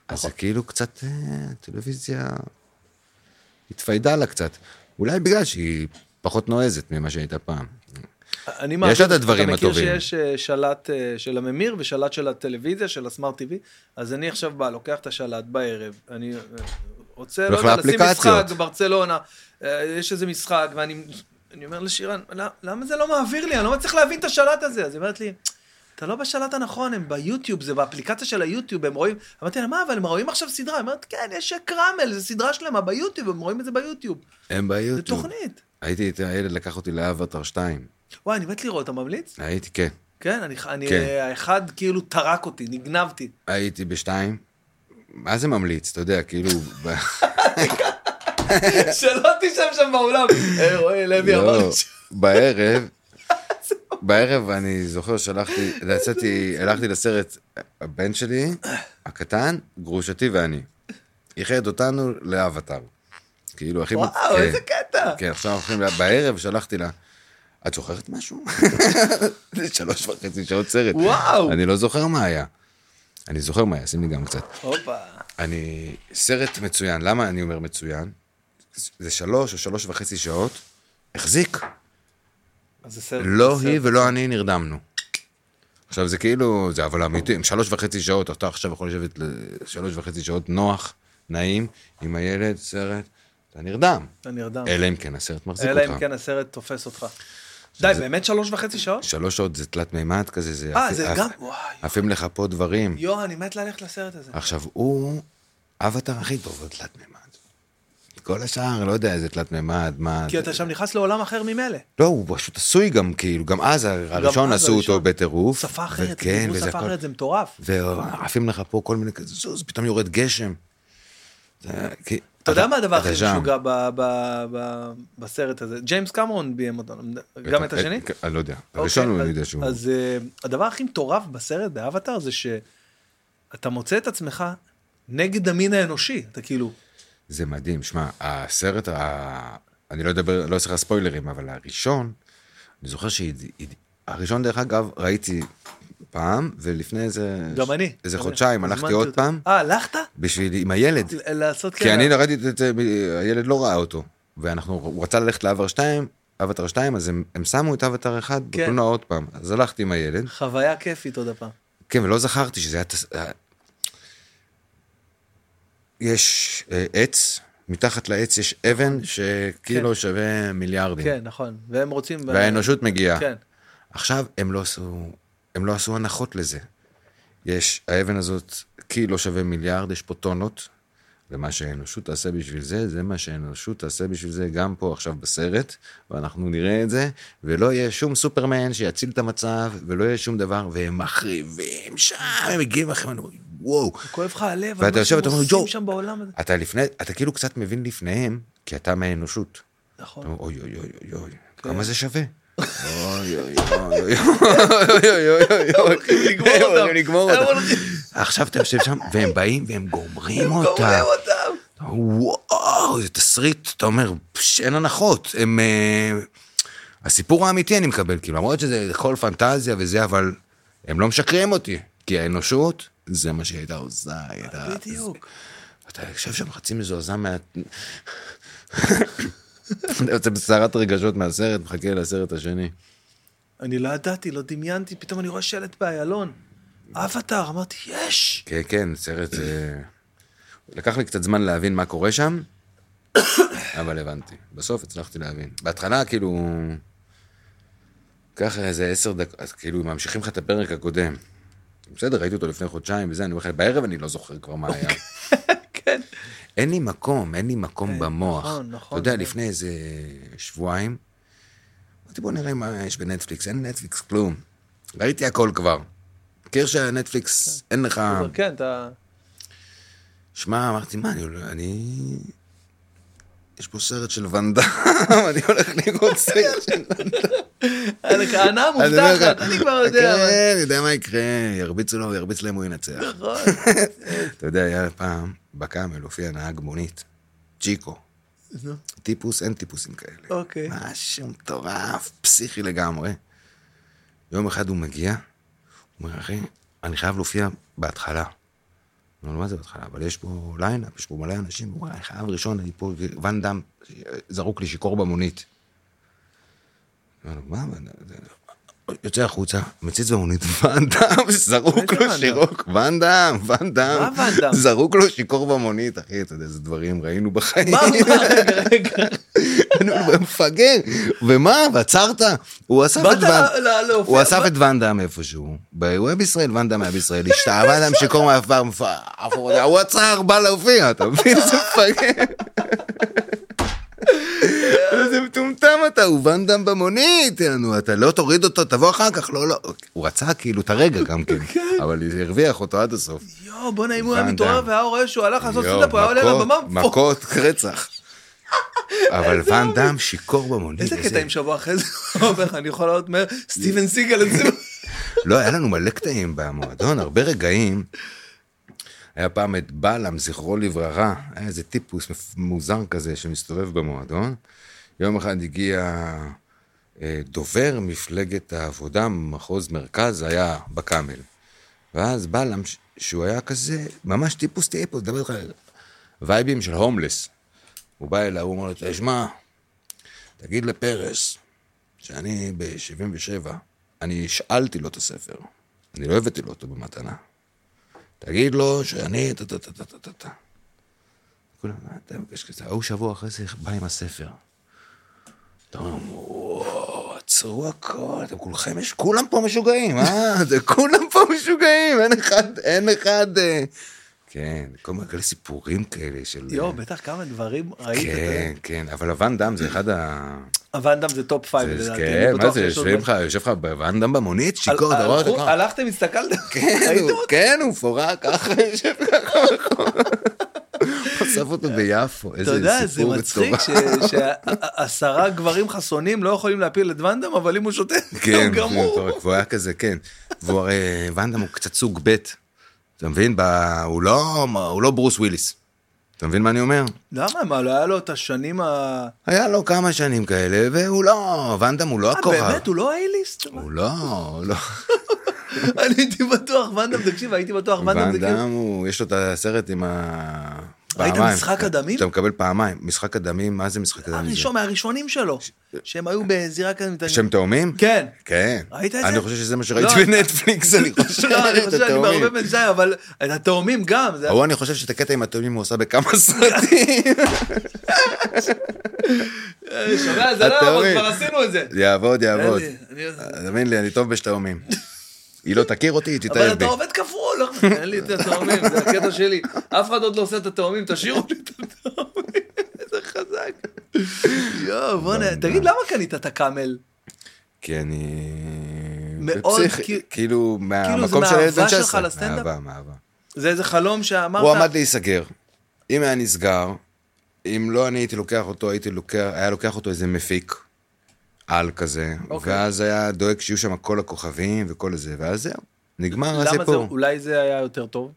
אז זה כאילו קצת, אה, טלוויזיה התפיידה לה קצת. אולי בגלל שהיא פחות נועזת ממה שהייתה פעם. אני יש לה את מעדיף- הדברים אתה הטובים. מכיר שיש אה, שלט אה, של הממיר ושלט של הטלוויזיה, של הסמארט TV, אז אני עכשיו בא, לוקח את השלט בערב, אני אה, רוצה, לא הולך יודע, לשים משחק לאפליקציות. ברצלונה, אה, יש איזה משחק, ואני אני אומר לשירן, "למה- למה זה לא מעביר לי? אני לא מצליח להבין את השלט הזה. אז היא אומרת לי, אתה לא בשלט הנכון, הם ביוטיוב, זה באפליקציה של היוטיוב, הם רואים, אמרתי לה, מה, אבל הם רואים עכשיו סדרה? היא אומרת, כן, יש קרמל, זו סדרה שלמה ביוטיוב, הם רואים את זה ביוטיוב. הם זה ביוטיוב. תוכנית. הייתי, את הילד לקח אותי לאבטר 2. וואי, אני מת לראות, אתה ממליץ? הייתי, כן. כן, אני, אני כן. האחד כאילו טרק אותי, נגנבתי. <laughs> הייתי בשתיים. מה זה ממליץ? אתה יודע, כאילו... <laughs> ב- שלא תשב שם באולם. אה, רועי לוי אמר לא, לי ש... <laughs> לא- בערב, בערב אני זוכר שהלכתי, יצאתי, הלכתי לסרט הבן שלי, הקטן, גרושתי ואני. איחד אותנו לאבטאר. כאילו, הכי... וואו, כן. איזה קטע. כן, עכשיו הולכים, לה- בערב שלחתי לה, את זוכרת משהו? <laughs> זה שלוש וחצי שעות סרט. וואו. אני לא זוכר מה היה. אני זוכר מה היה, שים לי גם קצת. הופה. אני... סרט מצוין. למה אני אומר מצוין? זה שלוש או שלוש וחצי שעות. החזיק. אז זה סרט. לא זה היא סרט. ולא אני נרדמנו. עכשיו זה כאילו, זה אבל אמיתי, הם שלוש וחצי שעות, אתה עכשיו יכול לשבת שלוש וחצי שעות נוח, נעים, עם הילד, סרט, אתה נרדם. אתה נרדם. אלא אם כן הסרט מחזיק אה. אלא אם אותך. כן הסרט תופס אותך. די, באמת שלוש וחצי שעות? שלוש שעות זה תלת מימד כזה, זה... אה, עפ- זה עפ- גם... וואי. עפים לך פה דברים. יואו, אני מת ללכת לסרט הזה. עכשיו, הוא אבטר הכי טוב בתלת מימד. כל השאר, לא יודע איזה תלת מימד, מה... כי אתה שם נכנס לעולם אחר ממילא. לא, הוא פשוט עשוי גם, כאילו, גם אז הראשון אז עשו אותו הראשון. בטירוף. שפה אחרת, וכן, תראו וזה שפה הכל- אחרת זה מטורף. ועפים לך פה כל מיני כזה, זוז, פתאום יורד גשם. אתה יודע מה הדבר הכי משוגע ב- ב- ב- בסרט הזה? ג'יימס קמרון ביים אותנו. גם את השני? אני לא יודע. אוקיי, הראשון הוא אז- אני יודע שהוא... אז אה, הדבר הכי מטורף בסרט באבטאר זה שאתה מוצא את עצמך נגד המין האנושי, אתה כאילו, זה מדהים, שמע, הסרט, ה- אני לא אדבר, לא אעשה לך ספוילרים, אבל הראשון, אני זוכר שהראשון, דרך אגב, ראיתי פעם, ולפני איזה... גם אני. איזה גם חודשיים אני. הלכתי הזמנתי עוד אותה. פעם, אה, הלכת? בשביל, עם הילד. ל- לעשות כי כאלה. אני לא- ראיתי את זה, הילד לא ראה אותו. ואנחנו, הוא רצה ללכת לאבר 2, אבטר 2, אז הם, הם שמו את אבטר כן. 1 בקולנוע עוד פעם. אז הלכתי עם הילד, חוויה כיפית עוד הפעם. כן, ולא זכרתי שזה היה... תס- אה, יש אה, עץ, מתחת לעץ יש אבן שכאילו כן. שווה מיליארדים. כן, נכון. והם רוצים... והאנושות מגיעה. כן. עכשיו, הם לא עשו, הם לא עשו הנחות לזה. יש, האבן הזאת, קילו שווה מיליארד, יש פה טונות. ומה שהאנושות תעשה בשביל זה, זה מה שהאנושות תעשה בשביל זה גם פה עכשיו בסרט, ואנחנו נראה את זה, ולא יהיה שום סופרמן שיציל את המצב, ולא יהיה שום דבר, והם מחריבים שם, הם מגיעים אחרי, אני אומר, וואו. כואב לך הלב, ואתה על מה יושב שהם ואתה אומר, עושים "ג'ו". שם בעולם הזה. אתה לפני, אתה כאילו קצת מבין לפניהם, כי אתה מהאנושות. אתה נכון. אומר, אוי אוי אוי אוי אוי, כמה זה שווה? כן. אוי אוי אוי אוי אוי אוי אוי אוי אוי לגמור הם אותם. הולכים לגמור הם אותם. הולכים- עכשיו אתה יושב שם והם באים והם גומרים אותה. גומרים אותם. וואו, זה תסריט, אתה אומר, פש, אין הנחות. הם... אה, הסיפור האמיתי אני מקבל, כאילו, למרות שזה הכל פנטזיה וזה, אבל הם לא משקרים אותי, כי האנושות, זה מה שהיא הייתה עושה, היא הייתה... בדיוק. אתה יושב שם חצי מזועזע מה... <laughs> אתה יוצא בסערת רגשות מהסרט, מחכה לסרט השני. אני לא ידעתי, לא דמיינתי, פתאום אני רואה שלט באיילון. אבטאר, אמרתי, יש! כן, כן, סרט... אה, לקח לי קצת זמן להבין מה קורה שם, אבל הבנתי. בסוף הצלחתי להבין. בהתחלה, כאילו... ככה איזה עשר דקות, אז כאילו ממשיכים לך את הפרק הקודם. בסדר, ראיתי אותו לפני חודשיים וזה, אני אומר לך, בערב אני לא זוכר כבר מה היה. <laughs> כן. אין לי מקום, אין לי מקום במוח. נכון, נכון, אתה יודע, נכון. לפני איזה שבועיים, אמרתי, בוא נראה מה יש בנטפליקס. אין נטפליקס כלום. ראיתי הכל כבר. מכיר שהנטפליקס, אין לך... כן, אתה... שמע, אמרתי, מה, אני... עולה- אני... יש פה סרט של ואן דאם, <laughs> אני הולך <laughs> לראות סרט של ואן דאם. היה לך ענה אז אני אומר אה, מובטחת, לך, אני כבר יודע. מה. כן, אני יודע מה יקרה, ירביצו לו, ירביץ להם, הוא ינצח. נכון. <laughs> אתה יודע, היה פעם, בקאמל הופיע נהג מונית, צ'יקו. נו, טיפוס, אין טיפוסים כאלה. אוקיי. משהו מטורף, פסיכי לגמרי. יום אחד הוא מגיע, הוא אומר, אחי, אני חייב להופיע בהתחלה. אני אומר, מה זה בהתחלה? אבל יש פה ליינאפ, יש פה מלא אנשים, הוא אומר, אני חייב ראשון, אני פה, ואן דאם זרוק לי שיכור במונית. אני אומר, לו, מה, ואן דאם?" זה- יוצא החוצה, מציץ במונית, <laughs> ואן דאם, זרוק איזה לו ואן דאם? שירוק, ואן דאם, ואן דאם, מה ואן דאם? זרוק לו שיכור במונית, אחי, אתה יודע, איזה דברים ראינו בחיים. מה, מה, רגע, רגע. אני אומר, מפגר, ומה, ועצרת? הוא אסף באת את ואן... ל- להופיע, הוא אסף באת- את ואן דאם איפשהו, ב- הוא היה בישראל, ואן דאם היה בישראל, <laughs> השתעבד להם שיכור מהעפר, אפור, הוא עצר, בא להופיע, אתה מבין? זה מפגר. איזה מטומטם אתה, הוא ואן דאם במונית, יענו, אתה לא תוריד אותו, תבוא אחר כך, לא, לא. הוא רצה כאילו את הרגע <laughs> גם כן, אבל הרוויח אותו עד הסוף. יואו, בואנה, אם הוא היה ואן מתעורר דאם. והיה רואה שהוא הלך לעשות יואו, סטנדאפ, הוא היה עולה מכות- לבמה, פו, מכות <laughs> רצח. אבל ואן דאם שיכור במונית. איזה קטעים שבוע אחרי זה, <laughs> הוא אומר לך, אני יכול לעלות מהר, סטיבן <laughs> סיגל אצלנו. לא, היה לנו מלא קטעים במועדון, הרבה רגעים. היה פעם את בלעם, זכרו לברכה, היה איזה טיפוס מוזר כזה שמסתובב במועדון. יום אחד הגיע אה, דובר מפלגת העבודה, מחוז מרכז, היה בקאמל. ואז בלעם, ש- שהוא היה כזה, ממש טיפוס טיפוס, דבר איתך, וייבים של הומלס. הוא בא אליו, הוא אומר לו, תשמע, תגיד לפרס, שאני ב-77, אני השאלתי לו את הספר. אני לא הבאתי לו אותו במתנה. תגיד לו שאני... טה-טה-טה-טה-טה-טה. כולם, מה אתה מבקש כזה? ההוא שבוע אחרי זה בא עם הספר. אתה אומר, וואו, עצרו הכל, אתם כולכם, יש, כולם פה משוגעים, אה? <laughs> זה כולם פה משוגעים, אין אחד, אין אחד... אה. כן, כל מיני כאלה סיפורים כאלה של... יואו, בטח כמה דברים ראית. אתה יודע. כן, כן, אבל הוואן דאם זה אחד ה... הוואן דאם זה טופ פייב, זה- לדעתי. כן, אני מה בטוח זה, שיש עוד יושבים דברים. לך, יושב לך בוואן דאם במונית, שיכור, הל- אתה רואה אותו הלכו- ככה. הלכתם, הסתכלתם? כן, ראיתם הוא- אותו? כן, הוא מפורק ככה, <laughs> יושב ככה. <laughs> אסף אותו ביפו, אתה איזה יודע, זה סיפור מצחיק מטורף. שעשרה גברים חסונים לא יכולים להפיל את ואן דאם, אבל אם הוא שותה, <laughs> כן, הוא גמור. והוא היה כזה, כן. והוא הרי, ואן דאם הוא קצת סוג ב', אתה מבין? ב- הוא לא- הוא לא ברוס וויליס. אתה אתה מבין מה אני אומר? למה? מה, לא היה לו את השנים ה... היה לו כמה שנים כאלה, והוא לא, ואנדם הוא לא אה, הכוכב. באמת, הוא לא הייליסט? הוא לא, הוא לא. אני הייתי בטוח, ואנדם, תקשיב, הייתי בטוח, ואנדם זה כאילו... ואנדם הוא, יש לו את הסרט עם ה... ראית פעמיים. משחק הדמים? שאתה מקבל פעמיים. משחק הדמים, מה זה משחק הדמים? זה? הראשון, מהראשונים שלו, שהם היו בזירה כזאת. שהם תאומים? <laughs> כן. כן. ראית את זה? אני חושב שזה מה שראיתי לא. <laughs> בנטפליקס, אני חושב. לא, אני חושב את שאני התאומים. מערבב בין זה, אבל את התאומים גם. זה- ההוא, אני חושב שאת הקטע עם התאומים הוא עושה <laughs> בכמה סרטים. אה, שומע, זה לא, אבל התאומים. כבר עשינו את זה. יעבוד, יעבוד. אני- אני- תאמין לי, אני טוב בשתאומים. היא לא תכיר אותי, היא אבל תתאהב אתה בי. עובד כפול, לא, אין לי את התאומים, זה הקטע שלי. אף אחד עוד לא עושה את התאומים, תשאירו לי את התאומים. איזה חזק. יואו, בוא'נה, תגיד, למה קנית את הקאמל? כי אני... מאוד, פסיכי, כי- כאילו, מהמקום של מהאהבה הילד בן שלך 16. לסטנדאפ? מאהבה, מאהבה. זה איזה חלום שאמרת? הוא עמד להיסגר. אם היה נסגר, אם לא אני הייתי לוקח אותו, הייתי לוקח, היה לוקח אותו איזה מפיק על כזה, אוקיי. ואז היה דואג שיהיו שם כל הכוכבים וכל זה, ואז זהו, נגמר למה זה, הסיפור. אולי זה היה יותר טוב?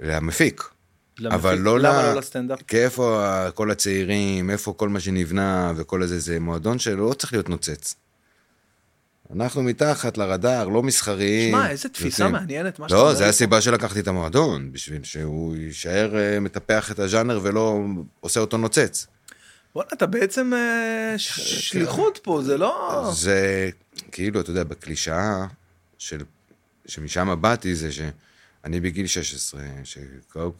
למפיק. למפיק. אבל לא למה ל- לא לסטנדאפ? כי איפה ה- כל הצעירים, איפה כל מה שנבנה וכל הזה, זה מועדון שלא צריך להיות נוצץ. אנחנו מתחת לרדאר, לא מסחריים. שמע, איזה תפיסה יוצאים. מעניינת, מה שאתה לא, אומר. זה הסיבה שלקחתי את המועדון, בשביל שהוא יישאר אה, מטפח את הז'אנר ולא עושה אותו נוצץ. וואלה, אתה בעצם אה, ש- שליחות פה, זה לא... זה כאילו, אתה יודע, בקלישאה של... שמשם באתי זה שאני בגיל 16, שכל...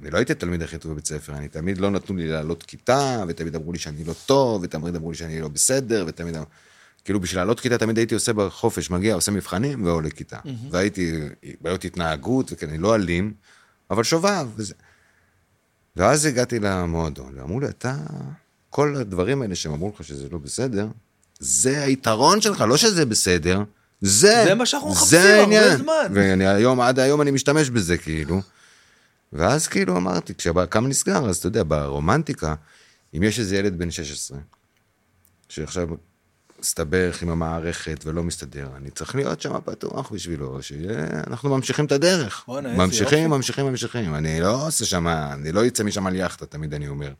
אני לא הייתי התלמיד הכי טוב בבית ספר, אני תמיד לא נתנו לי לעלות כיתה, ותמיד אמרו לי שאני לא טוב, ותמיד אמרו לי שאני לא בסדר, ותמיד... אמ- כאילו בשביל לעלות כיתה תמיד הייתי עושה בחופש, מגיע, עושה מבחנים ועולה כיתה. והייתי, בעיות התנהגות, וכן, אני לא אלים, אבל שובב. וזה. ואז הגעתי למועדון, ואמרו לי, אתה, כל הדברים האלה שהם אמרו לך שזה לא בסדר, זה היתרון שלך, לא שזה בסדר, זה, זה מה שאנחנו זה מחפשים הרבה העניין. זמן. ואני היום, עד היום אני משתמש בזה, כאילו. ואז כאילו אמרתי, כשהקם נסגר, אז אתה יודע, ברומנטיקה, אם יש איזה ילד בן 16, שעכשיו מסתבך עם המערכת ולא מסתדר, אני צריך להיות שם פתוח בשבילו, שאנחנו ממשיכים את הדרך. בואנה, איזה ממשיכים, ממשיכים, ממשיכים. אני לא עושה שם, אני לא יוצא משם על יאכטה, תמיד אני אומר.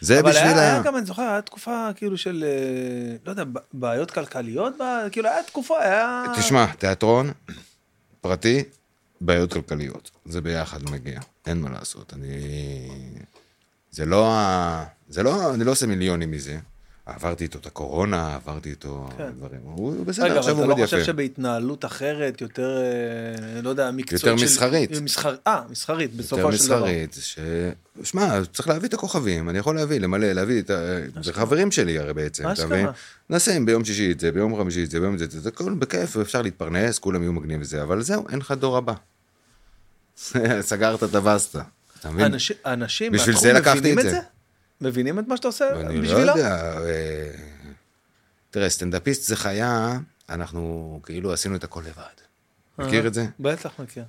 זה אבל בשביל היה ה... היה גם, אני זוכר, היה תקופה כאילו של, אה, לא יודע, ב- בעיות כלכליות, ב- כאילו היה תקופה, היה... תשמע, תיאטרון, פרטי, בעיות כלכליות. זה ביחד מגיע, אין מה לעשות. אני... זה לא ה... זה לא... אני לא עושה מיליונים מזה. עברתי איתו את הקורונה, עברתי איתו כן. דברים. הוא בסדר, רגע, אבל עכשיו הוא אתה לא עובד חושב יפה. שבהתנהלות אחרת, יותר, אה, לא יודע, מקצועית של... יותר מסחרית. מסחר- אה, מסחרית, יותר בסופו של דבר. מסחרית, ש... שמע, צריך להביא את הכוכבים, אני יכול להביא, למלא, להביא את ה... זה חברים שלי הרי בעצם, אתה אשכרה. מבין? נשים ביום שישי את זה, ביום חמישי את זה, ביום זה, זה, זה הכל בכיף, אפשר להתפרנס, כולם יהיו מגניבים וזה, אבל זהו, אין לך דור הבא. <laughs> סגרת את הבסטה, אתה מבין? אנשים- אנשים בשביל מהתחום זה לקחתי מבינים את את זה. זה? מבינים את מה שאתה עושה אני לא בשבילם? יודע, אה, תראה, סטנדאפיסט זה חיה, אנחנו כאילו עשינו את הכל לבד. מכיר את זה? אה, בטח מכיר.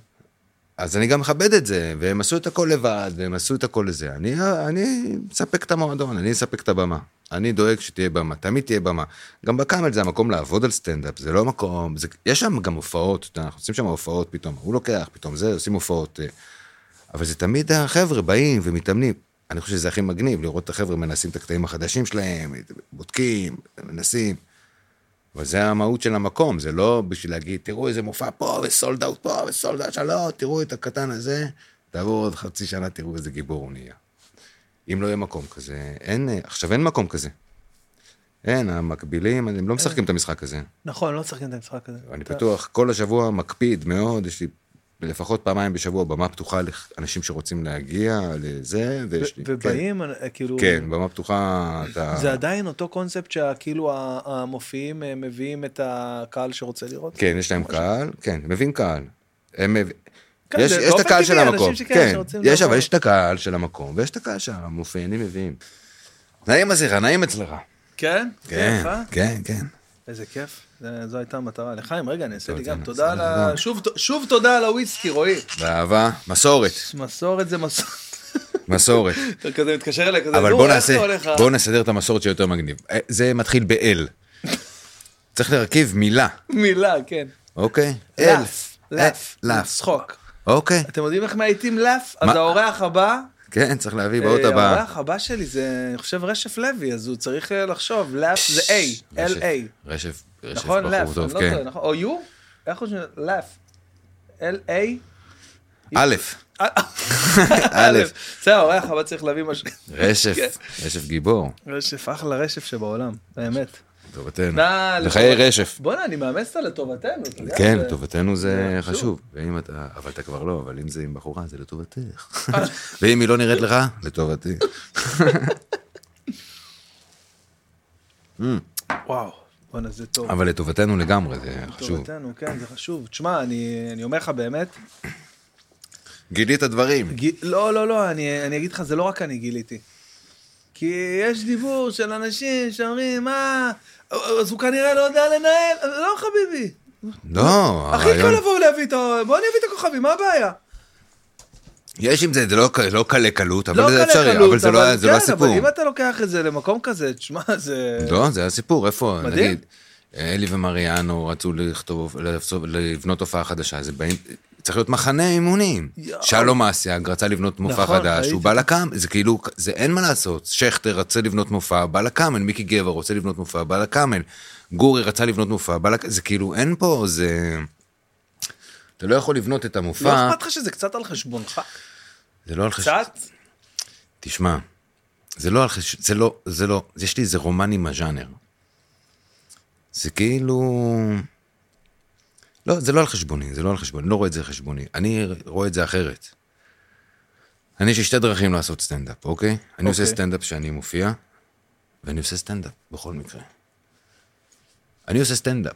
אז אני גם מכבד את זה, והם עשו את הכל לבד, והם עשו את הכל לזה. אני, אני מספק את המועדון, אני מספק את הבמה. אני דואג שתהיה במה, תמיד תהיה במה. גם בקאמל זה המקום לעבוד על סטנדאפ, זה לא מקום, זה, יש שם גם הופעות, אתה יודע, אנחנו עושים שם הופעות פתאום, הוא לוקח, פתאום זה, עושים הופעות. אה. אבל זה תמיד החבר'ה באים ומתאמנים. אני חושב שזה הכי מגניב, לראות את החבר'ה מנסים את הקטעים החדשים שלהם, בודקים, מנסים. אבל זה המהות של המקום, זה לא בשביל להגיד, תראו איזה מופע פה, וסולד אאוט פה, וסולד אאוט שלא, תראו את הקטן הזה, תעבור עוד חצי שנה, תראו איזה גיבור הוא נהיה. אם לא יהיה מקום כזה, אין, אה, עכשיו אין מקום כזה. אין, המקבילים, הם לא משחקים את המשחק הזה. נכון, לא משחקים את המשחק הזה. אני אתה- בטוח, כל השבוע מקפיד מאוד, יש לי לפחות פעמיים בשבוע במה פתוחה לאנשים שרוצים להגיע לזה, ויש לי... ובאים, אה, כאילו... כן, כן, במה פתוחה, אתה... זה עדיין אותו קונספט שכאילו ה- המופיעים אה, מביאים את הקהל שרוצה לראות? כן, יש להם קהל, כן, מביאים קהל. הם מב... כן, יש, זה יש את באופן הקהל טבעי, של אנשים המקום, שכן, כן, שרוצים יש, לבוא. אבל יש את הקהל של המקום, ויש את הקהל של המופיינים מביאים. נעים אצלך, נעים אצלך. כן? כן, כיף, אה? כן, כן. איזה כיף. זה- זו הייתה המטרה. לחיים, רגע, אני אעשה לי תודה, גם תודה על ה... תודה. שוב ת- שוב תודה על הוויסקי, רועי. באהבה, מסורת, מסורת זה מסורת. מסורת. <laughs> אתה כזה מתקשר אליי כזה, אבל "נו, בוא איך נעשה, זה לא הולך ה-" בוא נסדר את המסורת שיותר מגניב. אה, זה מתחיל ב-L. צריך להרכיב מילה, מילה, כן. אוקיי? לאף. L. לאף. אה, לאף. צחוק. אוקיי. אתם יודעים איך מאייתים לאף? אז מה? האורח הבא כן, צריך להביא באות אה, הבאה. האורח הבא שלי זה, אני חושב, רשף לוי, אז הוא צריך אה, לחשוב, לאפ זה A, רשף- L-A. רשף, רשף נכון, בחור לאף, אני טוב, לא כן. טועה, נכון, או U? איך חושבים? לאף. L-A? אה, א', א'. בסדר, האורח הבא צריך להביא משהו. רשף, כן. רשף גיבור, רשף, אחלה רשף שבעולם, באמת. טובתנו. נא... בחיי לטובת- רשף. בואנה, אני מאמץ אותה לטובתנו. אתה יודע, כן, זה- לטובתנו זה זה חשוב. חשוב. ואם אתה, אבל אתה כבר לא, אבל אם זה עם בחורה, זה לטובתך. אה. <laughs> ואם היא לא נראית לך, <laughs> לטובתי. וואו, בואנה, זה טוב. אבל לטובתנו לגמרי, זה חשוב. לטובתנו, כן, זה חשוב. תשמע, אני אני אומר לך באמת, גילית דברים. ג- לא, לא, לא, אני אני אגיד לך, זה לא רק אני גיליתי. כי יש דיבור של אנשים שאומרים, מה, אז הוא כנראה לא יודע לנהל, לא חביבי. לא, הכי קל הרעיון... לבוא ולהביא את ה... בוא אני אביא את הכוכבים, מה הבעיה? יש עם זה, זה לא ק- לא קלה קלות, אבל לא זה קלה אפשרי, קלות, אבל זה לא ה- זה לא כן, הסיפור. אבל אם אתה לוקח את זה למקום כזה, תשמע, זה... לא, זה הסיפור, איפה, מדהים. נגיד, אלי ומריאנו רצו לכתוב, לעשות- לבנות הופעה חדשה, אז הם באים, צריך להיות מחנה אימונים. יואו. שלום אסיאג רצה לבנות מופע נכון, חדש, הוא ראיתי. בא לקאמל, זה כאילו, זה אין מה לעשות. שכטר רצה לבנות מופע, בא לקאמל, מיקי גבע רוצה לבנות מופע, בא לקאמל. גורי רצה לבנות מופע, בא לקאמל, זה כאילו, אין פה, זה... אתה לא יכול לבנות את לא המופע, אכפת לך שזה קצת על חשבונך? זה לא על חשבון... קצת? תשמע, זה לא על חש... זה לא, זה לא, יש לי איזה רומן עם הז'אנר. זה כאילו... לא, זה לא על חשבוני, זה לא על חשבוני, לא רואה את זה חשבוני. אני רואה את זה אחרת. אני יש לי שתי דרכים לעשות סטנדאפ, אוקיי? אני עושה אוקיי. סטנדאפ שאני מופיע, ואני עושה סטנדאפ בכל מקרה. אני עושה סטנדאפ.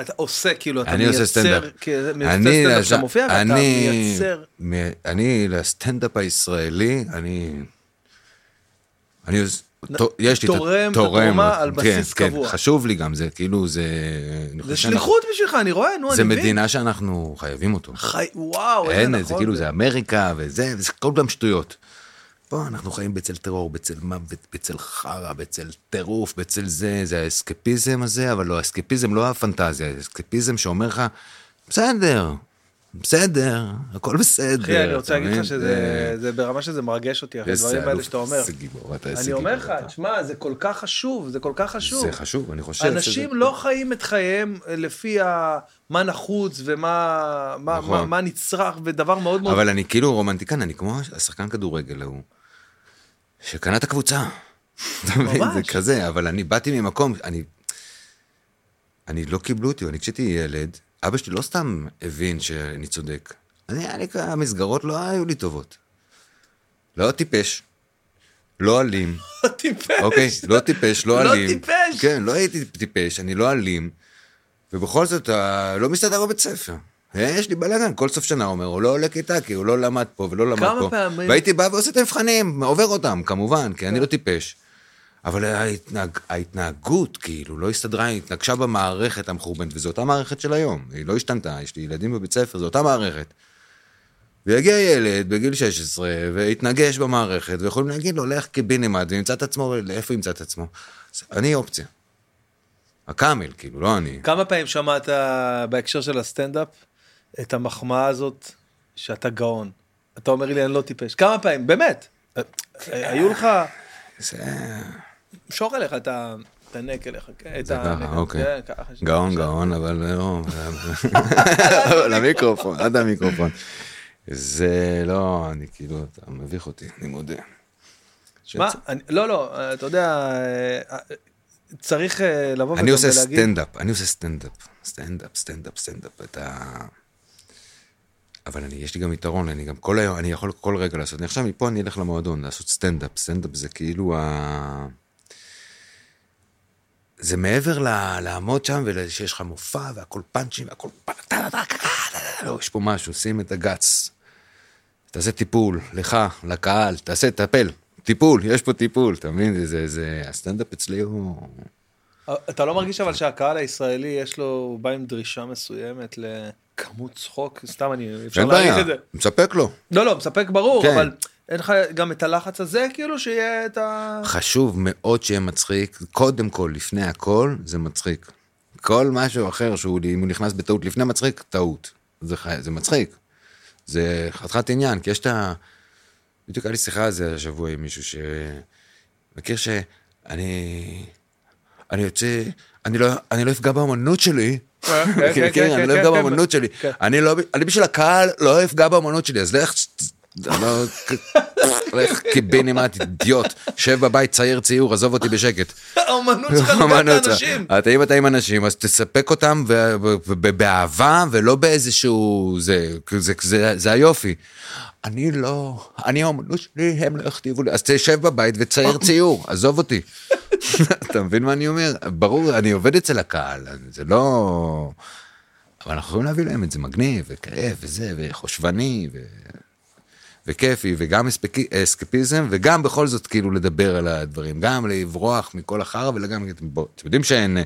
אתה עושה, כאילו, אתה אני עושה סטנדאפ. מייצר, כאילו, מייצר אני סטנדאפ לז'א- שאתה מופיע, ואתה אני- מייצר... מ- אני לסטנדאפ הישראלי, אני... אני עוש- טו- יש לי את ה- תורם את התרומה על בסיס כן, קבוע. כן, חשוב לי גם זה, כאילו זה... אני חושב זה שאנחנו- שליחות בשבילך, אני רואה, נו, זה אני מבין. מדינה שאנחנו חייבים אותו. חי... וואו, איזה אין, נכון. זה כאילו זה אמריקה וזה, וזה כל פעם שטויות. פה אנחנו חיים בצל טרור, בצל מוות, בצל חרא, בצל טירוף, בצל זה, זה האסקפיזם הזה, אבל לא, האסקפיזם לא הפנטזיה, האסקפיזם שאומר לך, בסדר, בסדר, הכל בסדר. אחי, אני רוצה אתה להגיד לך מבין? שזה זה ברמה שזה מרגש אותי, אחרי איזה הדברים האלה אלוף, שאתה אומר. איזה גיבור, אתה איזה אני אומר גיבור לך, אתה. תשמע, זה כל כך חשוב, זה כל כך חשוב. זה חשוב, אני חושב אנשים שזה- לא חיים את חייהם אה, לפי ה- מה נחוץ ומה מה- נכון. מה- מה נצרך, ודבר מאוד מאוד... אבל אני כאילו רומנטיקן, אני כמו השחקן כדורגל ההוא, שקנה את הקבוצה. אתה מבין? זה ממש. כזה, אבל אני באתי ממקום, אני... אני לא קיבלו אותי, אני כשהייתי ילד, אבא שלי לא סתם הבין שאני צודק. אני, אני, המסגרות לא היו לי טובות. לא טיפש, לא אלים, לא טיפש. אוקיי? לא טיפש, לא לא אלים. טיפש. כן, לא הייתי טיפש, אני לא אלים. ובכל זאת, אה, לא מסתדר בבית ספר. אה, יש לי בלאגן, כל סוף שנה אומר, הוא לא עולה כיתה, כי הוא לא למד פה ולא למד פה. כמה פעמים- כן. והייתי בא ועושה את המבחנים, עובר אותם, כמובן, כי אני לא טיפש. אבל ההתנהג, ההתנהגות, כאילו, לא הסתדרה, היא התנגשה במערכת המחורבנת, וזו אותה מערכת של היום. היא לא השתנתה, יש לי ילדים בבית ספר, זו אותה מערכת. ויגיע ילד בגיל 16 ויתנגש במערכת, ויכולים להגיד לו, לך קיבינימט, וימצא את עצמו, איפה ימצא את עצמו? אז אני אופציה. הקאמל, כאילו, לא אני. כמה פעמים שמעת בהקשר של הסטנדאפ את המחמאה הזאת שאתה גאון? אתה אומר לי אני לא טיפש. כמה פעמים? באמת. אה, אה, היו לך, זה שור אליך את ה- את הנק אליך. כן, את ככה, הנק, אוקיי. כן, ככה ש- גאון, גאון, אבל לא... <laughs> למיקרופון, עד המיקרופון. זה לא, אני כאילו, אתה מביך אותי, אני מודה. מה? אני- לא, לא, אה, אתה יודע, אה, אה, צריך אה, לבוא אני וגם עושה ולהגיד- סטנדאפ, אני עושה סטנדאפ, סטנדאפ, סטנדאפ, סטנדאפ, את ה... אבל אני, יש לי גם יתרון, אני גם כל היום, אני יכול כל רגע לעשות, אני עכשיו מפה אני אלך למועדון, לעשות סטנדאפ, סטנדאפ זה כאילו ה... זה מעבר ל... לעמוד שם ושיש לך מופע והכל פאנצ'ים והכל פאנצ'ים, טה, טה, טה, טה, טה, לא, יש פה משהו, שים את הגץ, תעשה טיפול, לך, לקהל, תעשה, תטפל, טיפול, יש פה טיפול, אתה מבין? זה- זה, זה, הסטנדאפ אצלי הוא... אתה לא מרגיש אבל שהקהל הישראלי יש לו, הוא בא עם דרישה מסוימת לכמות צחוק? סתם אני, אפשר אין להעריך בעיה, את זה. מספק לו. לא, לא, מספק ברור, כן. אבל אין לך גם את הלחץ הזה, כאילו שיהיה את ה... <laughs> חשוב מאוד שיהיה מצחיק, קודם כל, לפני הכל, זה מצחיק. כל משהו אחר שהוא, אם הוא נכנס בטעות לפני מצחיק, טעות. זה, חי- זה מצחיק. זה חתיכת עניין, כי יש את ה... בדיוק היה לי שיחה על זה השבוע עם מישהו ש... מכיר שאני... אני יוצא... אני לא, אני לא אפגע באמנות שלי. כן, כן, כן, כן, אני כן, לא כן, אפגע כן. באמנות שלי. כן. אני לא... אני בשביל הקהל לא אפגע באמנות שלי, אז לך... <laughs> לא- לך קיבינימט, אידיוט. שב בבית, צייר ציור, עזוב אותי בשקט. האומנות שלך נוגעת אמנות, לאנשים. אתה אם אתה עם אנשים אז תספק אותם ו- ו- ו- באהבה ולא באיזשהו זה זה זה זה היופי. אני לא אני האומנות שלי הם לא הכתיבו לי אז תשב בבית וצייר ציור עזוב אותי. <laughs> אתה מבין מה אני אומר ברור אני עובד אצל הקהל זה לא. אבל אנחנו יכולים להביא להם את זה מגניב וכיף וזה וחושבני ו... וכיפי וגם אספקי- אסקפיזם וגם בכל זאת כאילו לדבר על הדברים גם לברוח מכל החרא וגם בוא, אתם יודעים שאין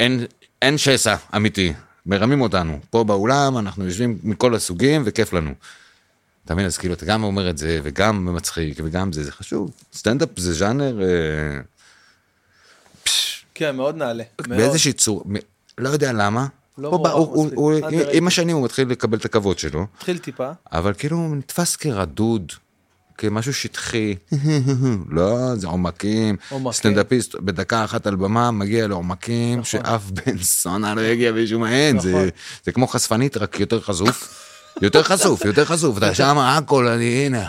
אין, אין שסע אמיתי מרמים אותנו פה באולם אנחנו יושבים מכל הסוגים וכיף לנו. אתה מבין אז כאילו אתה גם אומר את זה וגם מצחיק וגם זה זה חשוב סטנדאפ זה ז'אנר אה, כן, מאוד נעלה. מאוד. באיזושהי צורה מ- לא יודע למה. לא פה בא- מוערך הוא- מספיק. הוא- הוא- underrated. עם השנים הוא מתחיל לקבל את הכבוד שלו. התחיל טיפה. אבל כאילו הוא נתפס כרדוד, כמשהו <laughs> שטחי. לא, זה עומקים. עומקים. סטנדאפיסט בדקה אחת על במה מגיע לעומקים שאף <laughs> בן סונה לא יגיע בשום מהן. נכון. זה, זה כמו חשפנית, רק יותר <laughs> חשוף. יותר חשוף, יותר חשוף. נכון. אתה שם הכל, אני, הנה.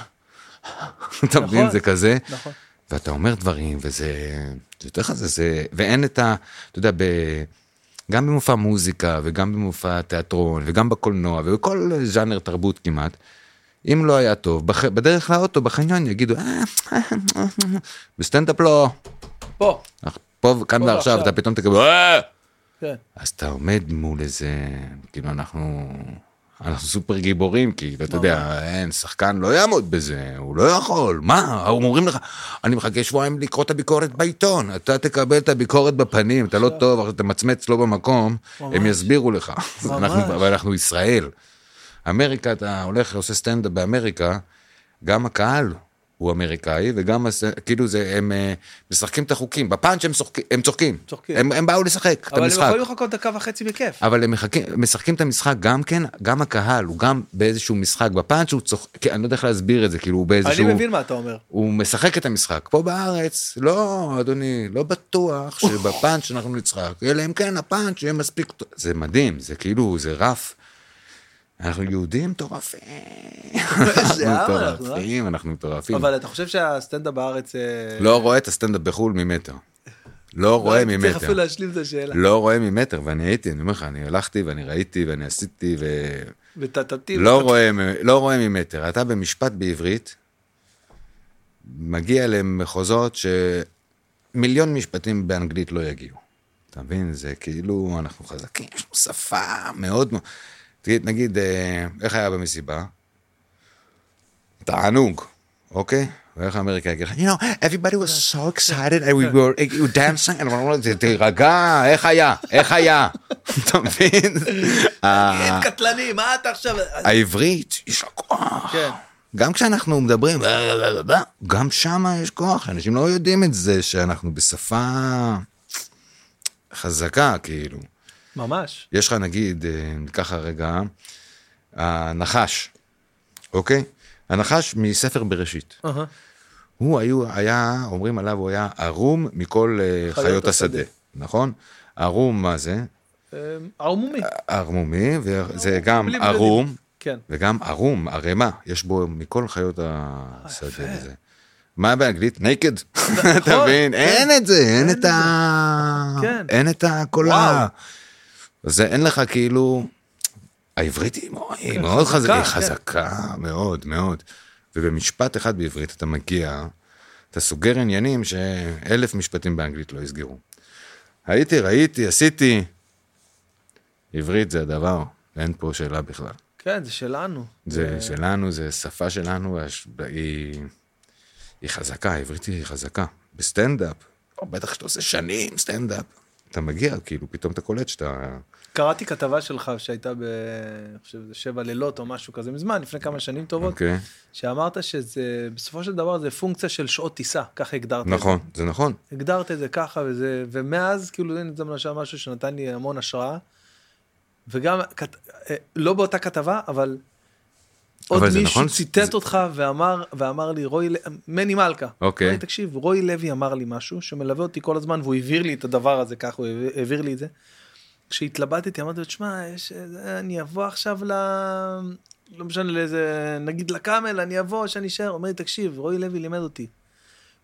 <laughs> אתה מבין, זה כזה. נכון. ואתה אומר דברים, וזה... זה יותר חזק, זה... ואין את ה... אתה יודע, ב... גם במופע מוזיקה, וגם במופע תיאטרון, וגם בקולנוע, ובכל ז'אנר תרבות כמעט, אם לא היה טוב, בח... בדרך לאוטו, בחניון, יגידו, "אה, בסטנדאפ לא. פה. פה, כאן פה ועכשיו, ועכשיו. אתה פתאום תקבל, "אה!" כן. אז אתה עומד מול איזה, כאילו אנחנו, אנחנו סופר גיבורים, כאילו, אתה יודע, אין, שחקן לא יעמוד בזה, הוא לא יכול, מה, אומרים לך, אני מחכה שבועיים לקרוא את הביקורת בעיתון, אתה תקבל את הביקורת בפנים, אתה לא טוב, עכשיו אתה מצמץ לא במקום, הם יסבירו לך, <laughs> אנחנו- אבל אנחנו ישראל. אמריקה, אתה הולך ועושה סטנדאפ באמריקה, גם הקהל הוא אמריקאי, וגם, הס- כאילו זה, הם אה, משחקים את החוקים, בפאנץ' הם שוחק- הם צוחקים, צוחקים. הם- הם באו לשחק את אבל הם המשחק. אה, יכולים לחכות דקה וחצי בכיף. אבל הם מחכים, משחקים את המשחק גם כן, גם הקהל, הוא גם באיזשהו משחק בפאנץ', הוא צוחק, כן, אני לא יודע איך להסביר את זה, כאילו הוא באיזשהו... אני מבין מה אתה אומר. הוא משחק את המשחק. פה בארץ, לא, אדוני, לא בטוח שבפאנץ' אנחנו נצחק, אלא אם כן הפאנץ' יהיה מספיק... טוב." זה מדהים, זה כאילו, זה רף. אנחנו יהודים מטורפים. אנחנו איזה עם אנחנו, אה? מטורפים, אנחנו מטורפים. אבל אתה חושב שהסטנדאפ בארץ... אה, לא רואה את הסטנדאפ בחו"ל ממטר. לא רואה הייתי צריך ממטר. אפילו להשלים את השאלה. לא רואה ממטר, ואני הייתי, אני אומר לך, אני הלכתי ואני ראיתי ואני עשיתי ו... וטטטי. לא רואה, מ- לא רואה ממטר. אתה במשפט בעברית, מגיע למחוזות שמיליון משפטים באנגלית לא יגיעו. אתה מבין? זה כאילו, אנחנו חזקים, יש לנו שפה מאוד... מ- תגיד, נגיד, אה, איך היה במסיבה? תענוג, אוקיי? ואיך אמריקה יגיד לך, you know, everybody was so excited and we were we were dancing and we were- תירגע, איך היה? איך היה? <laughs> אתה מבין? אה, אין קטלני, מה אתה עכשיו... העברית, יש לה כוח. כן. גם כשאנחנו מדברים, לא, גם שם יש כוח, אנשים לא יודעים את זה, שאנחנו בשפה חזקה, כאילו. ממש. יש לך נגיד, אה, ניקח רגע, הנחש, אוקיי? הנחש מספר בראשית. אהה. הוא היו, היה, אומרים עליו, הוא היה ערום מכל אה, חיות חיות השדה. השדה, נכון? ערום, מה זה? אה, ערמומי. ערמומי, וזה גם לא, בלי בגדים. ערום, כן. וגם ערום, ערימה, יש בו מכל חיות השדה הזה. מה באנגלית? נקד. נכון. אתה מבין? אין את זה, אין את ה... כן. אין את הכל וואו. ה... זה אין לך כאילו... העברית היא מאוד- היא מאוד חזקה, חזקה, היא כן. חזקה מאוד מאוד. ובמשפט אחד בעברית אתה מגיע, אתה סוגר עניינים שאלף משפטים באנגלית לא יסגרו. הייתי, ראיתי, עשיתי. עברית זה הדבר, אין פה שאלה בכלל. כן, זה שלנו. זה שלנו, זה שפה שלנו, הש- היא, היא חזקה, העברית היא חזקה. בסטנדאפ, או, בטח שאתה עושה שנים סטנדאפ. אתה מגיע, כאילו, פתאום אתה קולט שאתה... קראתי כתבה שלך שהייתה ב... אני חושב שזה שבע לילות או משהו כזה מזמן, לפני כמה שנים טובות, אוקיי. שאמרת שזה, בסופו של דבר זה פונקציה של שעות טיסה, ככה הגדרת את זה. נכון, זה נכון. הגדרת את זה ככה וזה, ומאז כאילו זה נתן למשל משהו שנתן לי המון השראה. וגם, כת- אה, לא באותה כתבה, אבל עוד אבל זה מישהו נכון? ציטט זה- אותך ואמר, ואמר לי, רוי, ל- מני מלכה. אוקיי. אמר לי, תקשיב, רוי לוי אמר לי משהו שמלווה אותי כל הזמן, והוא העביר לי את הדבר הזה, ככה הוא העביר- העביר לי את זה. כשהתלבטתי, אמרתי לו, תשמע, יש, אה, אני אבוא עכשיו ל... לא משנה לאיזה, נגיד לקאמל, אני אבוא, שאני אשאר. הוא אומר לי, תקשיב, רוי לוי לימד אותי.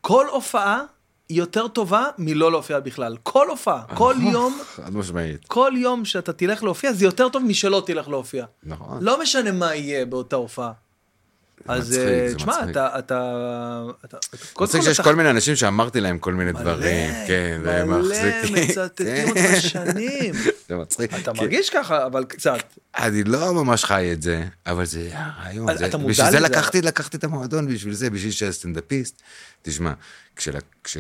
כל הופעה היא יותר טובה מלא להופיע בכלל. כל הופעה, אה, כל נכון. יום, חד משמעית. כל יום שאתה תלך להופיע, זה יותר טוב משלא תלך להופיע. נכון. לא משנה מה יהיה באותה הופעה. אז מצחיק, אה, זה תשמע, מצחיק. אתה, אתה, אתה, קודם מצחיק שיש כל מיני אנשים שאמרתי להם כל מיני דברים, כן, זה מחזיק. מלא, מצטטים אותך כן, שנים. <laughs> זה מצחיק. אתה כי- מרגיש ככה, אבל קצת. אני לא ממש חי את זה, אבל זה הרעיון. אז זה- אתה מודע בשביל זה לזה? לקחתי, לקחתי את המועדון, בשביל זה, בשביל שהסטנדאפיסט. תשמע, כשל- כש...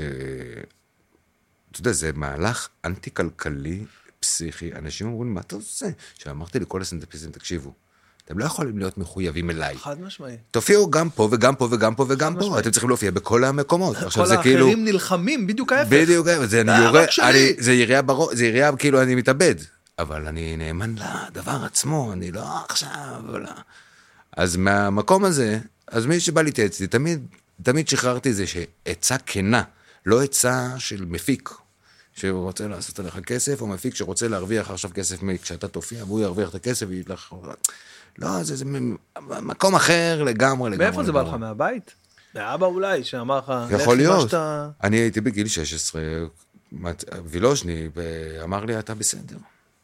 אתה יודע, זה מהלך אנטי-כלכלי, פסיכי. אנשים אומרים, מה אתה עושה? שאמרתי לכל הסטנדאפיסטים, תקשיבו, אתם לא יכולים להיות מחויבים אליי. חד משמעי. תופיעו גם פה וגם פה וגם פה וגם פה, משמעית. אתם צריכים להופיע בכל המקומות. כל עכשיו זה כאילו... האחרים נלחמים, בדיוק ההפך. בדיוק, זה אני אה, יורה, רק שלי. אני- זה ירייה בראש, זה ירייה כאילו אני מתאבד, אבל אני נאמן לדבר עצמו, אני לא עכשיו, אבל... אז מהמקום הזה, אז מי שבא להתייעץ איתי, תמיד, תמיד שחררתי זה שעצה כנה, לא עצה של מפיק. שרוצה לעשות עליך כסף, או מפיק שרוצה להרוויח עכשיו כסף מ- כשאתה תופיע, והוא ירוויח את הכסף ויגיד לך... לא, זה, זה מ- מקום אחר לגמרי, לגמרי. מאיפה זה בא לך? לגמרי. מהבית? מאבא אולי, שאמר לך, לך יכול עם מה להיות. שאתה- אני הייתי בגיל 16, מת- וילוז'ני ב- אמר לי, אתה בסדר.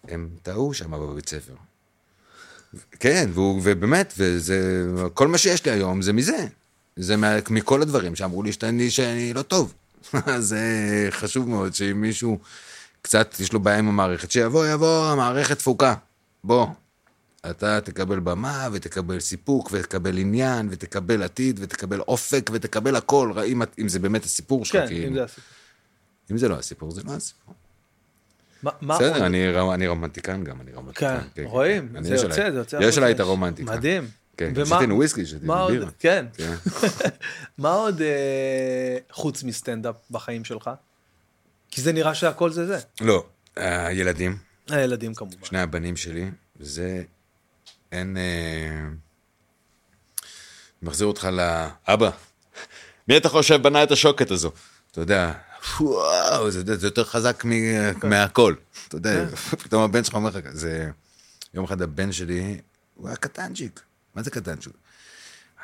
הם טעו שם בבית ספר. כן, והוא, ובאמת, וזה, כל מה שיש לי היום זה מזה. זה מה, מכל הדברים שאמרו לי שאני, שאני לא טוב. <laughs> אז אה, חשוב מאוד שאם מישהו קצת יש לו בעיה עם המערכת, שיבוא, יבוא, המערכת תפוקה. בוא. אתה תקבל במה, ותקבל סיפוק, ותקבל עניין, ותקבל עתיד, ותקבל אופק, ותקבל הכל, רא- אם, את- אם זה באמת הסיפור שלך, כן, כאילו. אם זה הסיפור. אם זה לא הסיפור, זה לא הסיפור. מה- מה עוד? בסדר, אני, רא- אני רומנטיקן גם, אני רומנטיקן. כן, רואים, אני- זה יש יוצא, עליי- זה יוצא. יש החוצה. עליי את הרומנטיקה. מדהים. כן, ומה- שתינו וויסקי, שתינו מה עוד- בירה. כן. כן. <laughs> מה עוד אה, חוץ מסטנדאפ בחיים שלך? כי זה נראה שהכל זה זה. לא, הילדים, הילדים כמובן. שני הבנים שלי, זה... אין... אה, מחזיר אותך לאבא. מי אתה חושב בנה את השוקת הזו? אתה יודע, וואו, זה, זה יותר חזק מ, כן. מהכל. אתה יודע, פתאום הבן שלך אומר לך, זה... יום אחד הבן שלי, הוא היה קטנצ'יק. מה זה קטנצ'יק?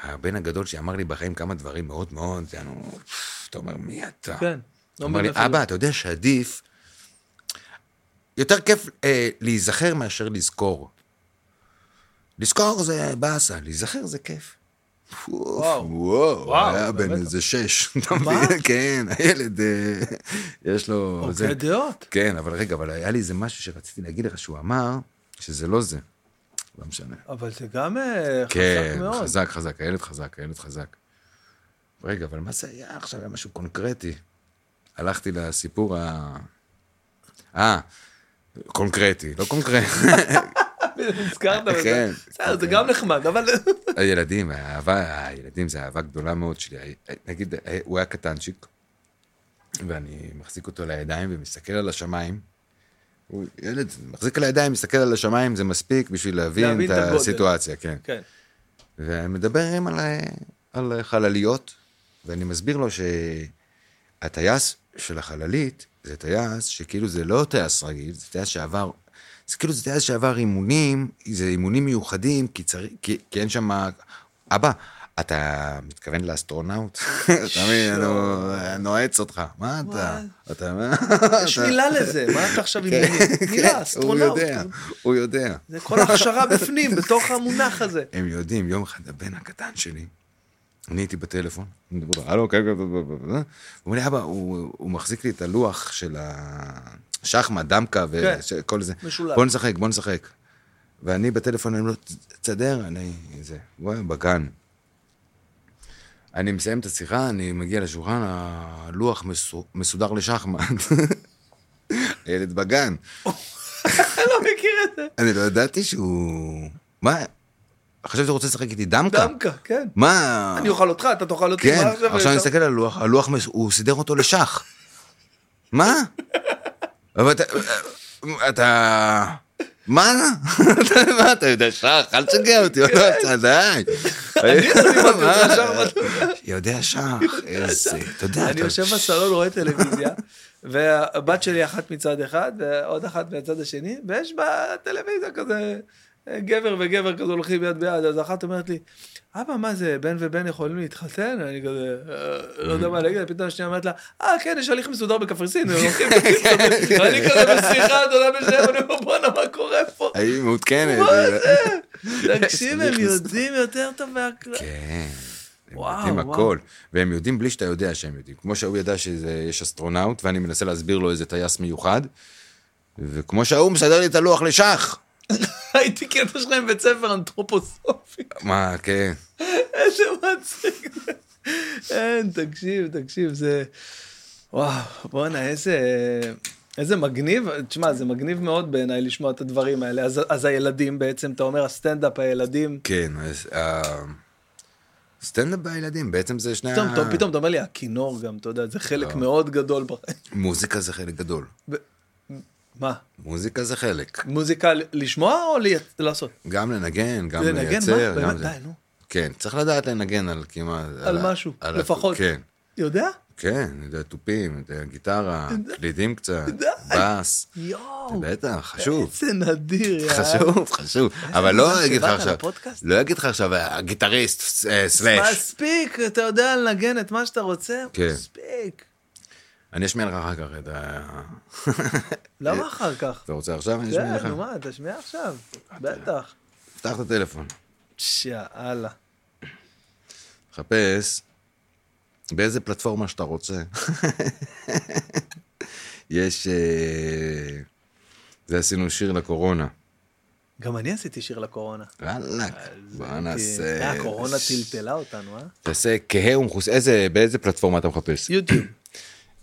הבן הגדול שאמר לי בחיים כמה דברים מאוד מאוד, זה היה נו, אתה אומר, מי אתה? כן, לא הוא אמר לי, מבין איפה אבא, אתה יודע שעדיף, יותר כיף אה, להיזכר מאשר לזכור. לזכור זה באסה, להיזכר זה כיף. וואו, וואו, וואו, היה בן באמת. איזה שש. <laughs> אתה מה? מבין? כן, הילד, אה, יש לו... זה. אוקיי דעות. כן, אבל רגע, אבל היה לי איזה משהו שרציתי להגיד לך שהוא אמר, שזה לא זה. לא משנה. אבל זה גם אה, חזק כן, מאוד. חזק, חזק, הילד חזק, הילד חזק. רגע, אבל מה זה היה עכשיו? היה משהו קונקרטי. הלכתי לסיפור ה... אה, קונקרטי, לא קונקרטי. הזכרת כן. בזה. בסדר, זה גם נחמד, אבל... הילדים, האהבה, הילדים זה אהבה גדולה מאוד שלי. הי- נגיד, אה, הוא היה קטנצ'יק, ואני מחזיק אותו לידיים ומסתכל על השמיים. הוא ילד, מחזיק על הידיים, מסתכל על השמיים, זה מספיק בשביל להבין להבין את את הגודל. הסיטואציה, כן. כן. ומדבר עם על, על חלליות, ואני מסביר לו שהטייס של החללית זה טייס שכאילו זה לא טייס רגיל, זה טייס שעבר, זה כאילו זה טייס שעבר אימונים, זה אימונים מיוחדים, כי, צר, כי, כי אין שם... אבא, אתה מתכוון לאסטרונאוט? <laughs> אתה מבין, אני נועץ אותך. מה אתה? אתה... <laughs> יש מילה לזה, מה אתה עכשיו עם מילים? מילה, כן, הוא אסטרונאוט. יודע, הוא יודע. זה כל ההכשרה בפנים, <laughs> בתוך המונח הזה. הם יודעים, יום אחד הבן הקטן שלי, אני הייתי בטלפון, אני מדבר לו, הלו, כן, כן, כן, כן, כן." הוא אומר לי, אבא, הוא הוא מחזיק לי את הלוח של השחמט, דמקה כן. וכל זה. משולב. בוא נשחק, בוא נשחק. ואני בטלפון, אני לא, תסדר, אני, זה, הוא היה בגן. אני מסיים את השיחה, אני מגיע לשולחן, הלוח מסו- מסודר לשחמט. <laughs> הילד בגן. אתה לא מכיר את זה. אני לא ידעתי שהוא... מה? חשבתי שהוא רוצה לשחק איתי דמקה. דמקה, כן. מה? אני אוכל אותך, אתה תאכל אותי. כן, מה עכשיו אני אתה- מסתכל על הלוח, הלוח, מס- הוא סידר אותו לשח. <laughs> מה? אבל אתה... אתה... מה? <laughs> מה, אתה יודע, שח, אל תשגע אותי, כן. אתה די. <laughs> יודע שח, איזה, אתה יודע, אני אתה- יושב בסלון, רואה טלוויזיה, <laughs> והבת שלי אחת מצד אחד, ועוד אחת מהצד השני, ויש בטלוויזיה כזה אה, גבר וגבר כזה הולכים יד ביד, אז אחת אומרת לי, אבא, מה זה, בן ובן יכולים להתחתן? אני כזה, "אה, Mm. לא יודע מה להגיד, פתאום השנייה אומרת לה, אה, כן, יש הליך מסודר בקפריסין, <laughs> הם הולכים בקיצור." כן, ואני כזה בשיחה, אתה יודע, בשניהם, אני אומר, בואנה, מה קורה פה? היא מעודכנת. מה היא- זה? תקשיב, אה, הליך הם מסודר. יודעים יותר טוב מהכלל. כן. הם וואו, יודעים וואו. הכל, והם יודעים בלי שאתה יודע שהם יודעים. כמו שהוא ידע שיש אסטרונאוט, ואני מנסה להסביר לו איזה טייס מיוחד, וכמו שההוא מסדר לי את הלוח לשח. <laughs> הייתי קטע שלהם בבית ספר אנתרופוסופי. מה, כן. איזה מצחיק זה. אין, תקשיב, תקשיב, זה... וואו, בואנה, איזה... איזה מגניב, תשמע, זה מגניב מאוד בעיניי לשמוע את הדברים האלה. אז, אז הילדים בעצם, אתה אומר, הסטנדאפ, הילדים... כן, אז... אה, סטנדאפ בילדים, בעצם זה שני פתאום, ה- פתאום, פתאום אתה אומר לי, הכינור גם, אתה יודע, זה חלק לא. מאוד גדול בחיים. מוזיקה זה חלק גדול. מה, מוזיקה זה חלק. מוזיקה ל- לשמוע או לי... לעשות? גם לנגן, גם לנגן, מה? לייצר. גם באמת, זה. די, נו. כן, צריך לדעת לנגן על כמעט... על ה- משהו, על ה- לפחות. כן, יודע? כן, אני יודע, תופים, אני יודע, גיטרה, קלידים קצת, די. בס. יואו, בטח, חשוב. איזה נדיר, יאללה. חשוב, חשוב. אבל לא מזל אגיד לך אה. שבאת עכשיו, לפודקאסט. לא אגיד לך עכשיו, הגיטריסט אה, סלאש. מספיק, אתה יודע לנגן את מה שאתה רוצה? כן. מספיק. אני אשמיע לך אחר כך את ה... <laughs> למה אחר כך? אתה רוצה עכשיו? אני אשמיע לך. כן, נו מה, תשמיע עכשיו, בטח. פתח את הטלפון. יאללה. חפש באיזה פלטפורמה שאתה רוצה. <laughs> יש... אה, זה עשינו שיר לקורונה. גם אני עשיתי שיר לקורונה. וואלכ, בוא כי- נעשה... אה, הקורונה טלטלה אותנו, <clears throat> אה? תעשה כהה ומכוס... איזה... באיזה פלטפורמה אתה מחפש? יוטיוב.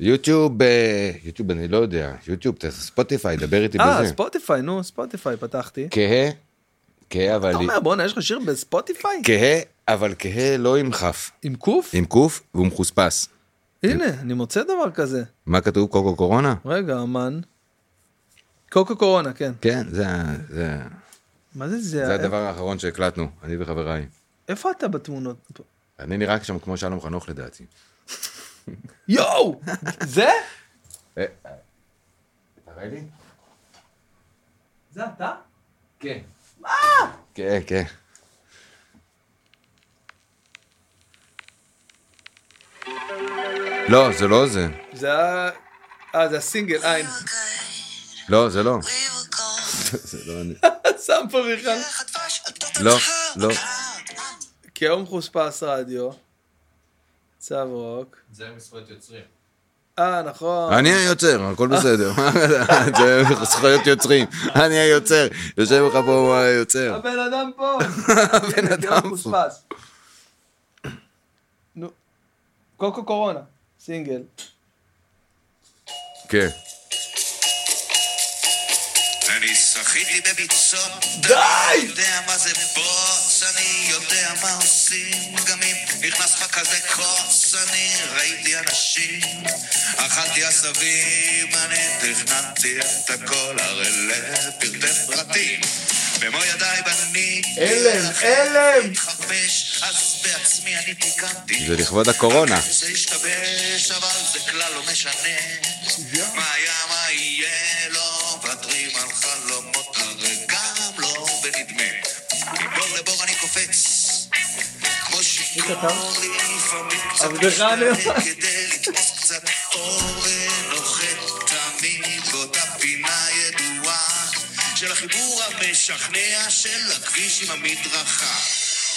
יוטיוב... אה, יוטיוב אני לא יודע. יוטיוב, תעשה ספוטיפיי, דבר <clears throat> איתי אה, בזה. ספוטיפיי, נו, ספוטיפיי פתחתי. כהה, כהה אבל... אתה אומר, בואנה, יש לך שיר בספוטיפיי? כהה, אבל כהה לא עם כף. עם קוף? עם קוף והוא מחוספס. הנה, אני מוצא דבר כזה. מה כתוב? קוקו קורונה? רגע, אמן. קוקו קורונה, כן. כן, זה ה- זה ה- מה זה זה? זה הדבר האחרון שהקלטנו, אני וחבריי. איפה אתה בתמונות? אני נראה שם כמו שלום חנוך לדעתי. יואו! <laughs> זה? אה, אה, תראה לי? זה אתה? כן. מה? כן, כן. לא, זה לא זה. זה ה... אה, זה הסינגל, אה, הנה. <laughs> לא, זה לא. שם פה בכלל. לא, לא. כאום חוספס רדיו, צב רוק. זה מזכויות יוצרים. אה, נכון. אני היוצר, הכל בסדר. <laughs> זה זכויות יוצרים. אני היוצר. יושב לך פה היוצר. הבן אדם <laughs> פה. כן, הבן אדם פה. נו. קוקו קורונה, סינגל. כן. אני שחיתי בביצות, די! אני יודע מה זה בוץ, אני יודע מה עושים, גם אם נכנס לך כזה כוס, אני ראיתי אנשים, אכלתי עשבים, אני תכננתי את הכל, הרי לפרטי פרטים, במו ידיי בניתי, הלם, אחרי הלם! להתחמש, אז בעצמי אני תיקנתי. זה לכבוד הקורונה. זה השתבש, אבל זה כלל לא משנה. מה היה, מה יהיה, לא מוותרים על חלומות, הרי גם לא בנדמה. מבור לבור אני קופץ, כמו שיכור לפעמים קצת עבדך הנאמן. כדי לתפוס קצת אור ונוחת תמיד באותה פינה ידועה של החיבור המשכנע של הכביש עם המדרכה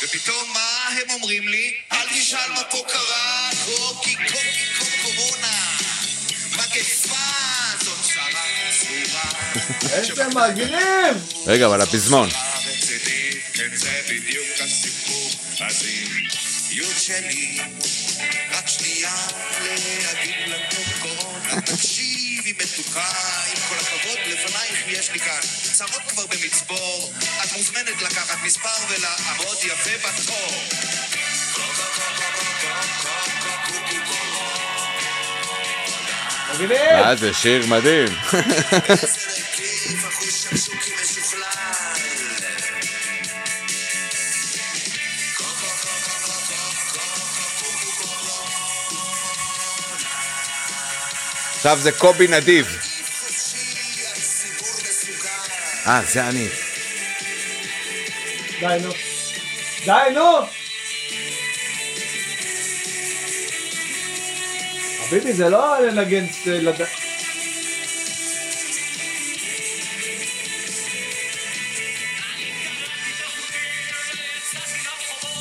ופתאום מה הם אומרים לי? אל תשאל מה פה קרה קוקי קוקי קוקי קורונה מגפה זאת צרה צרורה איזה מגניב! רגע, אבל <laughs> הפזמון. הרציני, כן זה בדיוק הסיפור. אז אם יוד שלי, רק שנייה להגיד לנו קורונה. תקשיבי מתוקה, עם כל הכבוד לפנייך יש לי כאן צרות כבר במצבור. את מוזמנת לקחת מספר ולעמוד יפה בתור. מגניב! אה, זה שיר מדהים. איזה נקי, סוף אחוז שקשוקי משוכלל עכשיו זה קובי נדיב. אה, זה אני. די, נו. די, נו! חביבי, זה לא לנגן... אה, לד-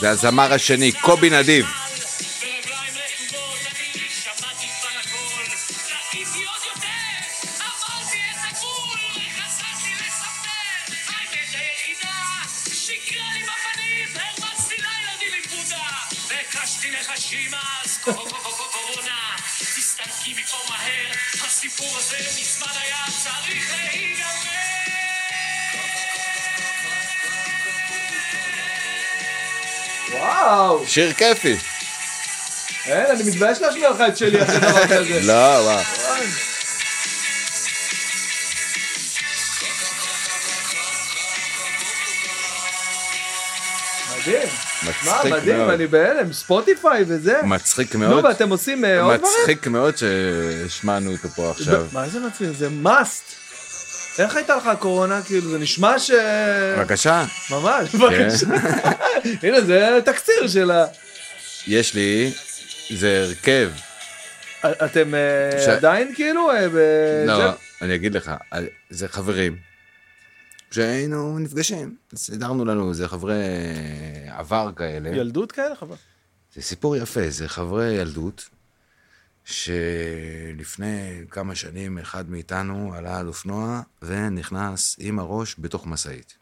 זה הזמר השני, קובי נדיב. ברגליים רטובות אני שמעתי כבר הכל רציתי עוד יותר עברתי את הגבול וחזרתי לספר האמת היחידה שיקרה לי בפנים הרבצתי לילדים עם בודה והקשתי נחשים אז קורונה תסתלקי מפה מהר הסיפור הזה מזמן היה צריך להיגמר וואו! שיר כיפי. אין, אני מתבייש להשמיע לך את שלי אחרי <laughs> דבר כזה. לא, מה. מדהים. מה, לא. מצחיק מדהים, מאוד. אני בהלם, ספוטיפיי וזה. מצחיק נו, מאוד. ואתם עושים אה, עוד דברים? מצחיק מאוד שהשמענו אותו פה עכשיו. מה זה מצחיק? זה must. איך הייתה לך הקורונה? כאילו, זה נשמע ש... בבקשה. כן. ממש, בבקשה. <laughs> הנה, זה תקציר של ה... יש לי, זה הרכב. אתם אה, ש- עדיין כאילו? אה, ב- לא, זה? אני אגיד לך, אה, זה חברים. כשהיינו נפגשים, סידרנו לנו, זה חברי עבר כאלה. ילדות כאלה? חבל. זה סיפור יפה, זה חברי ילדות, שלפני כמה שנים אחד מאיתנו עלה על אופנוע ונכנס עם הראש בתוך משאית.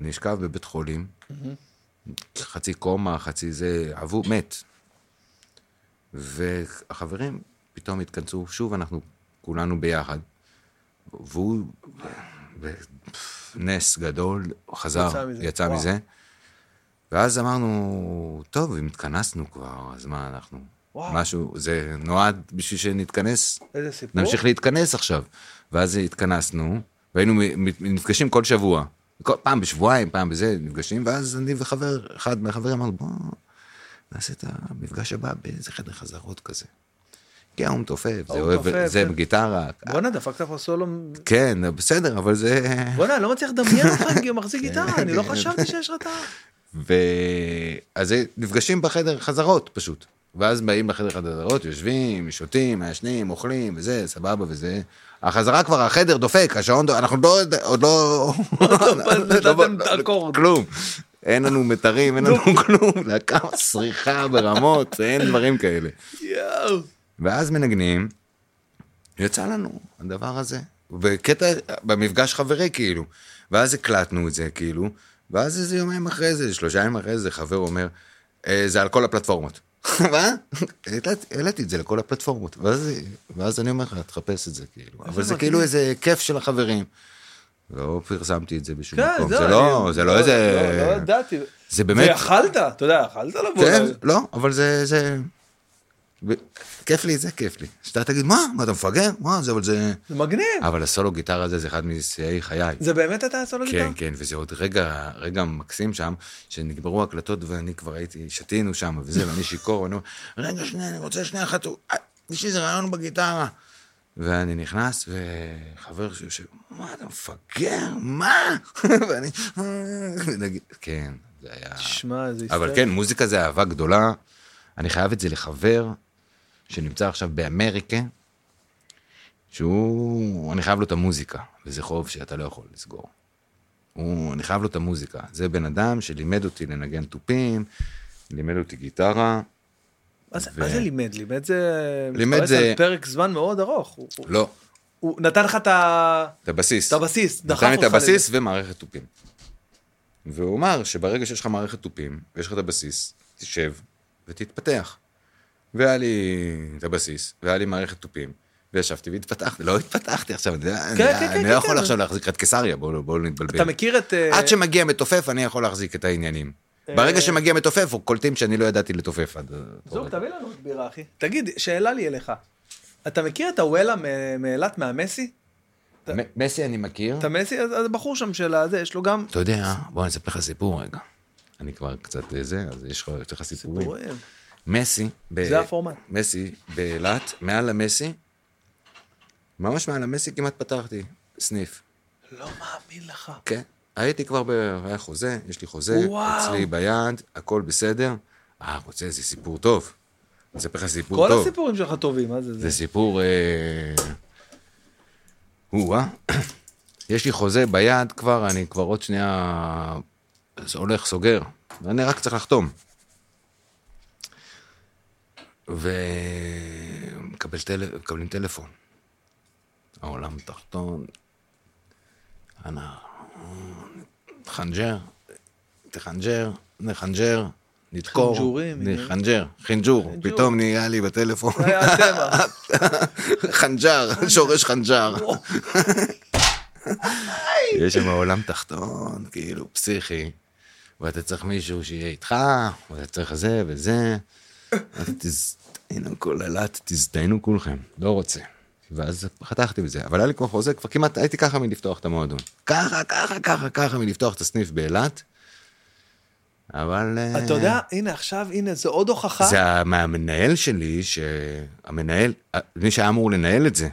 נשכב בבית חולים, חצי קומה, חצי זה, עבור, מת. והחברים פתאום התכנסו, שוב אנחנו כולנו ביחד, והוא בנס גדול חזר, יצא מזה, יצא וואו. מזה. ואז אמרנו, טוב, אם התכנסנו כבר, אז מה אנחנו? וואו. משהו, זה נועד בשביל שנתכנס, איזה סיפור. נמשיך להתכנס עכשיו. ואז התכנסנו, והיינו מ- מ- נפגשים כל שבוע. כל פעם בשבועיים, פעם בזה, נפגשים, ואז אני וחבר, אחד מהחברים אמרנו, בוא נעשה את המפגש הבא באיזה חדר חזרות כזה. כי ההוא מתופף, זה ההוא אוהב, מתופף, זה כן. גיטרה. בואנה, דפקת פה סולו כן, בסדר, אבל זה... בואנה, אני לא מצליח לדמיין אותך כן, מחזיק גיטרה, אני לא חשבתי שיש לך את ה... ו... אז נפגשים בחדר חזרות פשוט. ואז באים לחדר חזרות, יושבים, שותים, מעשנים, אוכלים, וזה, סבבה וזה. החזרה כבר, החדר דופק, השעון דופק, אנחנו לא, עוד לא... נתתם את האקורד. כלום. אין לנו מיתרים, אין לנו כלום. להקה מסריחה ברמות, אין דברים כאלה. יואו. ואז מנגנים, יצא לנו הדבר הזה. בקטע, במפגש חברי כאילו. ואז הקלטנו את זה כאילו, ואז איזה יומיים אחרי זה, שלושה ימים אחרי זה, חבר אומר, "אה, זה על כל הפלטפורמות. <laughs> מה? העלת- העליתי את זה לכל הפלטפורמות. ואז, ואז אני אומר לך, תחפש את זה כאילו. אבל זה מדהים. כאילו איזה כיף של החברים. לא פרסמתי את זה בשום כן, מקום. זהו, זה אני- לא, זה לא איזה... לא, לא ידעתי. זה באמת- ויכלת, אתה יודע, יכלת לבוא. כן, ל- לא, אבל זה, זה... ו- כיף לי, זה כיף לי. שאתה תגיד, מה, מה, אתה מפגר? מה, זה, אבל זה... זה מגניב. אבל הסולו גיטרה הזה, זה אחד משיאי חיי. זה לא. באמת אתה סולו גיטרה? כן, כן, וזה עוד רגע, רגע מקסים שם, שנגמרו ההקלטות ואני כבר הייתי, שתינו שם וזה, ואני שיכור, ואני אומר, רגע, שנייה, אני רוצה שנייה אחת, הוא- אה, יש איזה רעיון בגיטרה. ואני נכנס, וחבר שיושב, מה, אתה מפגר? מה? <laughs> ואני... ונגיד, כן, זה היה... שמע, איזה היסטריה. אבל כן, מוזיקה זה אהבה גדולה. אני חייב את זה לחבר שנמצא עכשיו באמריקה, שהוא, אני חייב לו את המוזיקה, וזה חוב שאתה לא יכול לסגור. הוא, אני חייב לו את המוזיקה. זה בן אדם שלימד אותי לנגן תופים, לימד אותי גיטרה. מה זה- ו- מה זה לימד? לימד זה... לימד מתפרס זה- על פרק זמן מאוד ארוך. הוא- הוא- לא, הוא נתן לך את ה... את הבסיס. את הבסיס, דחף נתן לי את אותך הבסיס ומערכת תופים. והוא אמר שברגע שיש לך מערכת תופים, ויש לך את הבסיס, תשב ותתפתח. והיה לי את הבסיס, והיה לי מערכת תופים, וישבתי והתפתחתי, לא התפתחתי עכשיו, אני, כן, אני, כן, אני כן, לא כן, יכול כן. עכשיו להחזיק את קיסריה, בואו בוא לא נתבלבל. אתה מכיר את... אה, עד שמגיע מתופף, אני יכול להחזיק את העניינים. ברגע שמגיע מתופף, קולטים שאני לא ידעתי לתופף עד... זוג, תביא לנו עוד בירה, אחי. תגיד, שאלה לי אליך. אתה מכיר את הוולה מ- מאילת מהמסי? מ- מסי אני מכיר. את המסי, אז אז הבחור שם של הזה, יש לו גם... אתה יודע, בוא אני אספר לך סיפור רגע. אני כבר קצת אה, זה, אז יש לך יש לך סיפורים. רואה. מסי, ב- זה הפורמט. מסי באילת, מעל המסי, ממש מעל המסי כמעט פתחתי סניף. לא מאמין לך. כן. הייתי כבר, ב... היה חוזה, יש לי חוזה, וואו. אצלי ביד, הכל בסדר. אה, רוצה איזה סיפור טוב. אני אספר לך סיפור כל טוב. הסיפורים שלך טובים, מה זה? זה זה סיפור... אה, או-אה. <coughs> יש לי חוזה ביד כבר, אני כבר עוד שנייה אז הולך, סוגר. אני רק צריך לחתום. ומקבל טל... מקבלים טלפון. העולם תחתון. אנא... חנג'ר. תחנג'ר, נחנג'ר, נדקור. חנג'ורים, נחנג'ר, חינג'ור. פתאום נהיה לי בטלפון. זה היה הטבע. חנג'ר, שורש חנג'ר. <laughs> יש שם עולם תחתון, כאילו, פסיכי. ואתה צריך מישהו שיהיה איתך, ואתה צריך זה וזה. אז תזדיינו כל אילת, תזדיינו כולכם, לא רוצה. ואז חתכתי בזה, אבל היה לי כבר חוזה, כבר כמעט הייתי ככה מלפתוח את המועדון. ככה, ככה, ככה, ככה מלפתוח את הסניף באילת. אבל... אה, אתה יודע, הנה עכשיו, הנה, זה עוד הוכחה. זה ה- מהמנהל שלי, שהמנהל, מי שהיה אמור לנהל את זה,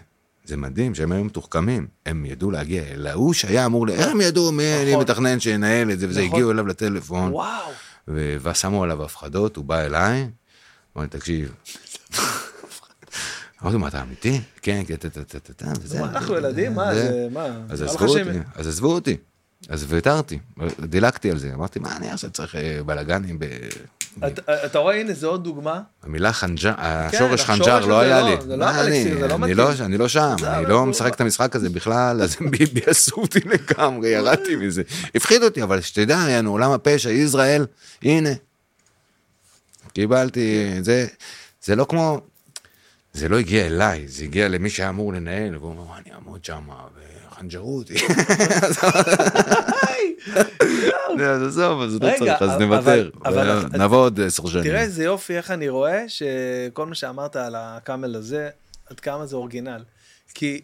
זה מדהים שהם היו מתוחכמים, הם ידעו להגיע אל ההוא שהיה אמור, ל- הם ידעו מי אני נכון. מתכנן שינהל את זה, וזה נכון. הגיעו אליו לטלפון, וואו. ו- ושמו עליו הפחדות, הוא בא אליי, אמר לי, תקשיב. אמרתי לו, מה אתה אמיתי? כן, כן, טה, טה, טה, טה, טה, וזה. מה, אנחנו ילדים? מה, זה- מה? אז מה עזבו לך אותי, שהם- אז עזבו אותי, אז ויתרתי, דילגתי על זה, אמרתי, מה אני עכשיו צריך אה, בלאגנים ב... אתה- אתה רואה, הנה, זה עוד דוגמה. המילה חנג'ר, השורש השורש חנג'ר הזה לא היה כן, לא, לי. זה לא מה אלכסיס, אני? זה לא אני מתאים. לא- אני לא שם, זה אני לא- לא משחק את המשחק הזה בכלל, אז ביבי עשו אותי <laughs> לגמרי, ירדתי מזה. הפחיד אותי, אבל שתדע, יענו, עולם הפשע, ישראל, הנה. קיבלתי, זה, זה לא כמו, זה לא הגיע אליי, זה הגיע למי שהיה אמור לנהל, והוא אומר, "וואי, אני אעמוד שם, וחנג'רו <laughs> אותי. אז עזוב, אז לא רגע, צריך, אז אבל- נוותר. אבל- נבוא עוד עשר שנים. <laughs> תראה איזה יופי איך אני רואה שכל מה שאמרת על הקאמל הזה, עד כמה זה אורגינל. כי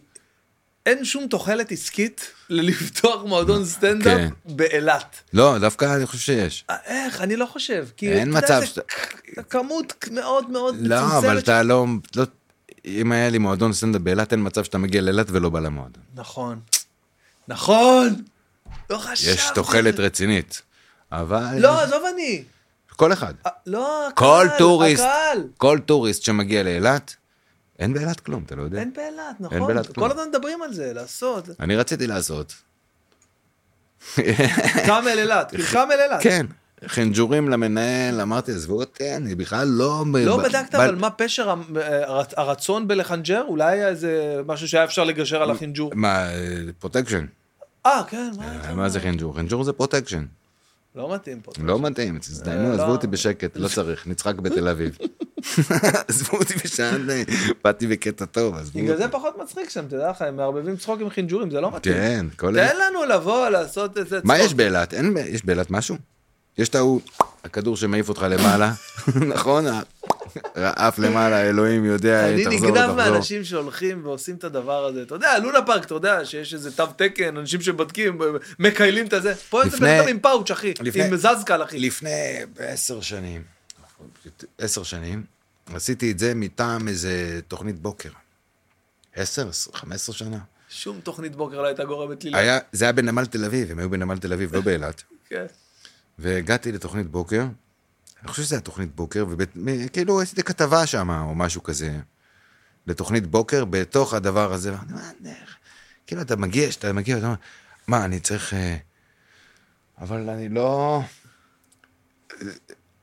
אין שום תוחלת עסקית ללפתוח <laughs> מועדון סטנדאפ כן. באילת. לא, דווקא אני חושב שיש. אה, איך? אני לא חושב. כי אתה אין יודע, מצב זה שאתה- כ- כמות מאוד מאוד לא, אבל מצומצמת. אתה לא... לא- אם היה לי מועדון סטנדאפ באילת, אין מצב שאתה מגיע לאילת ולא בא למועדון. נכון. נכון! לא חשבתי. יש על תוחלת זה. רצינית. אבל... לא, עזוב אני. כל אחד. אה, לא, הקהל. כל טוריסט, הקהל. כל טוריסט שמגיע לאילת, אין באילת כלום, אתה לא יודע. אין באילת, נכון. אין באילת כלום. כל הזמן מדברים על זה, לעשות. אני רציתי לעשות. קאמל אילת, כאילו קאמל אילת. כן. חנג'ורים למנהל, אמרתי, עזבו אותי, אני בכלל לא... לא ב- בדקת ב- אבל מה פשר המ- הר- הרצון בלחנג'ר? אולי היה איזה משהו שהיה אפשר לגשר על החינג'ור. מה, אה, פרוטקשן. אה, כן, מה אתה מה זה חנג'ור? חנג'ור זה פרוטקשן. לא מתאים פה. לא מתאים, תזדיינו, אה, עזבו לא. אותי בשקט, לא צריך, נצחק בתל <laughs> אביב. עזבו אותי בשעה, אה, באתי בקטע טוב, עזבו בגלל אותי. זה פחות מצחיק שם, תדע לך, הם מערבבים צחוק עם חינג'ורים, זה לא מתאים. כן, כל... תן לנו לבוא, לעשות איזה צחוק. מה יש באילת? אין, ב- יש באילת משהו? יש את ההוא, הכדור שמעיף אותך למעלה, <laughs> נכון? ה- העף למעלה, אלוהים יודע, אני תחזור, נגנב תחזור. מאנשים שהולכים ועושים את הדבר הזה. אתה יודע, לונה פארק, אתה יודע שיש איזה תו תקן, אנשים שבודקים, מקיילים את הזה. פה איזה לפני- בן אדם עם פאוץ', אחי. לפני- עם זזקל, אחי. לפני עשר שנים, עשר שנים, עשיתי את זה מטעם איזה תוכנית בוקר. עשר, חמש עשרה שנה. שום תוכנית בוקר לא הייתה גורמת לי. ל- היה, זה היה בנמל תל אביב, הם היו בנמל תל אביב, לא באילת. כן. והגעתי לתוכנית בוקר, אני חושב שזה היה תוכנית בוקר, וכאילו עשיתי כתבה שם או משהו כזה, לתוכנית בוקר, בתוך הדבר הזה, ואני אומר, "מה, איך?" כאילו אתה מגיע, כשאתה מגיע, אתה אומר, מה, אני צריך... אה, אבל אני לא...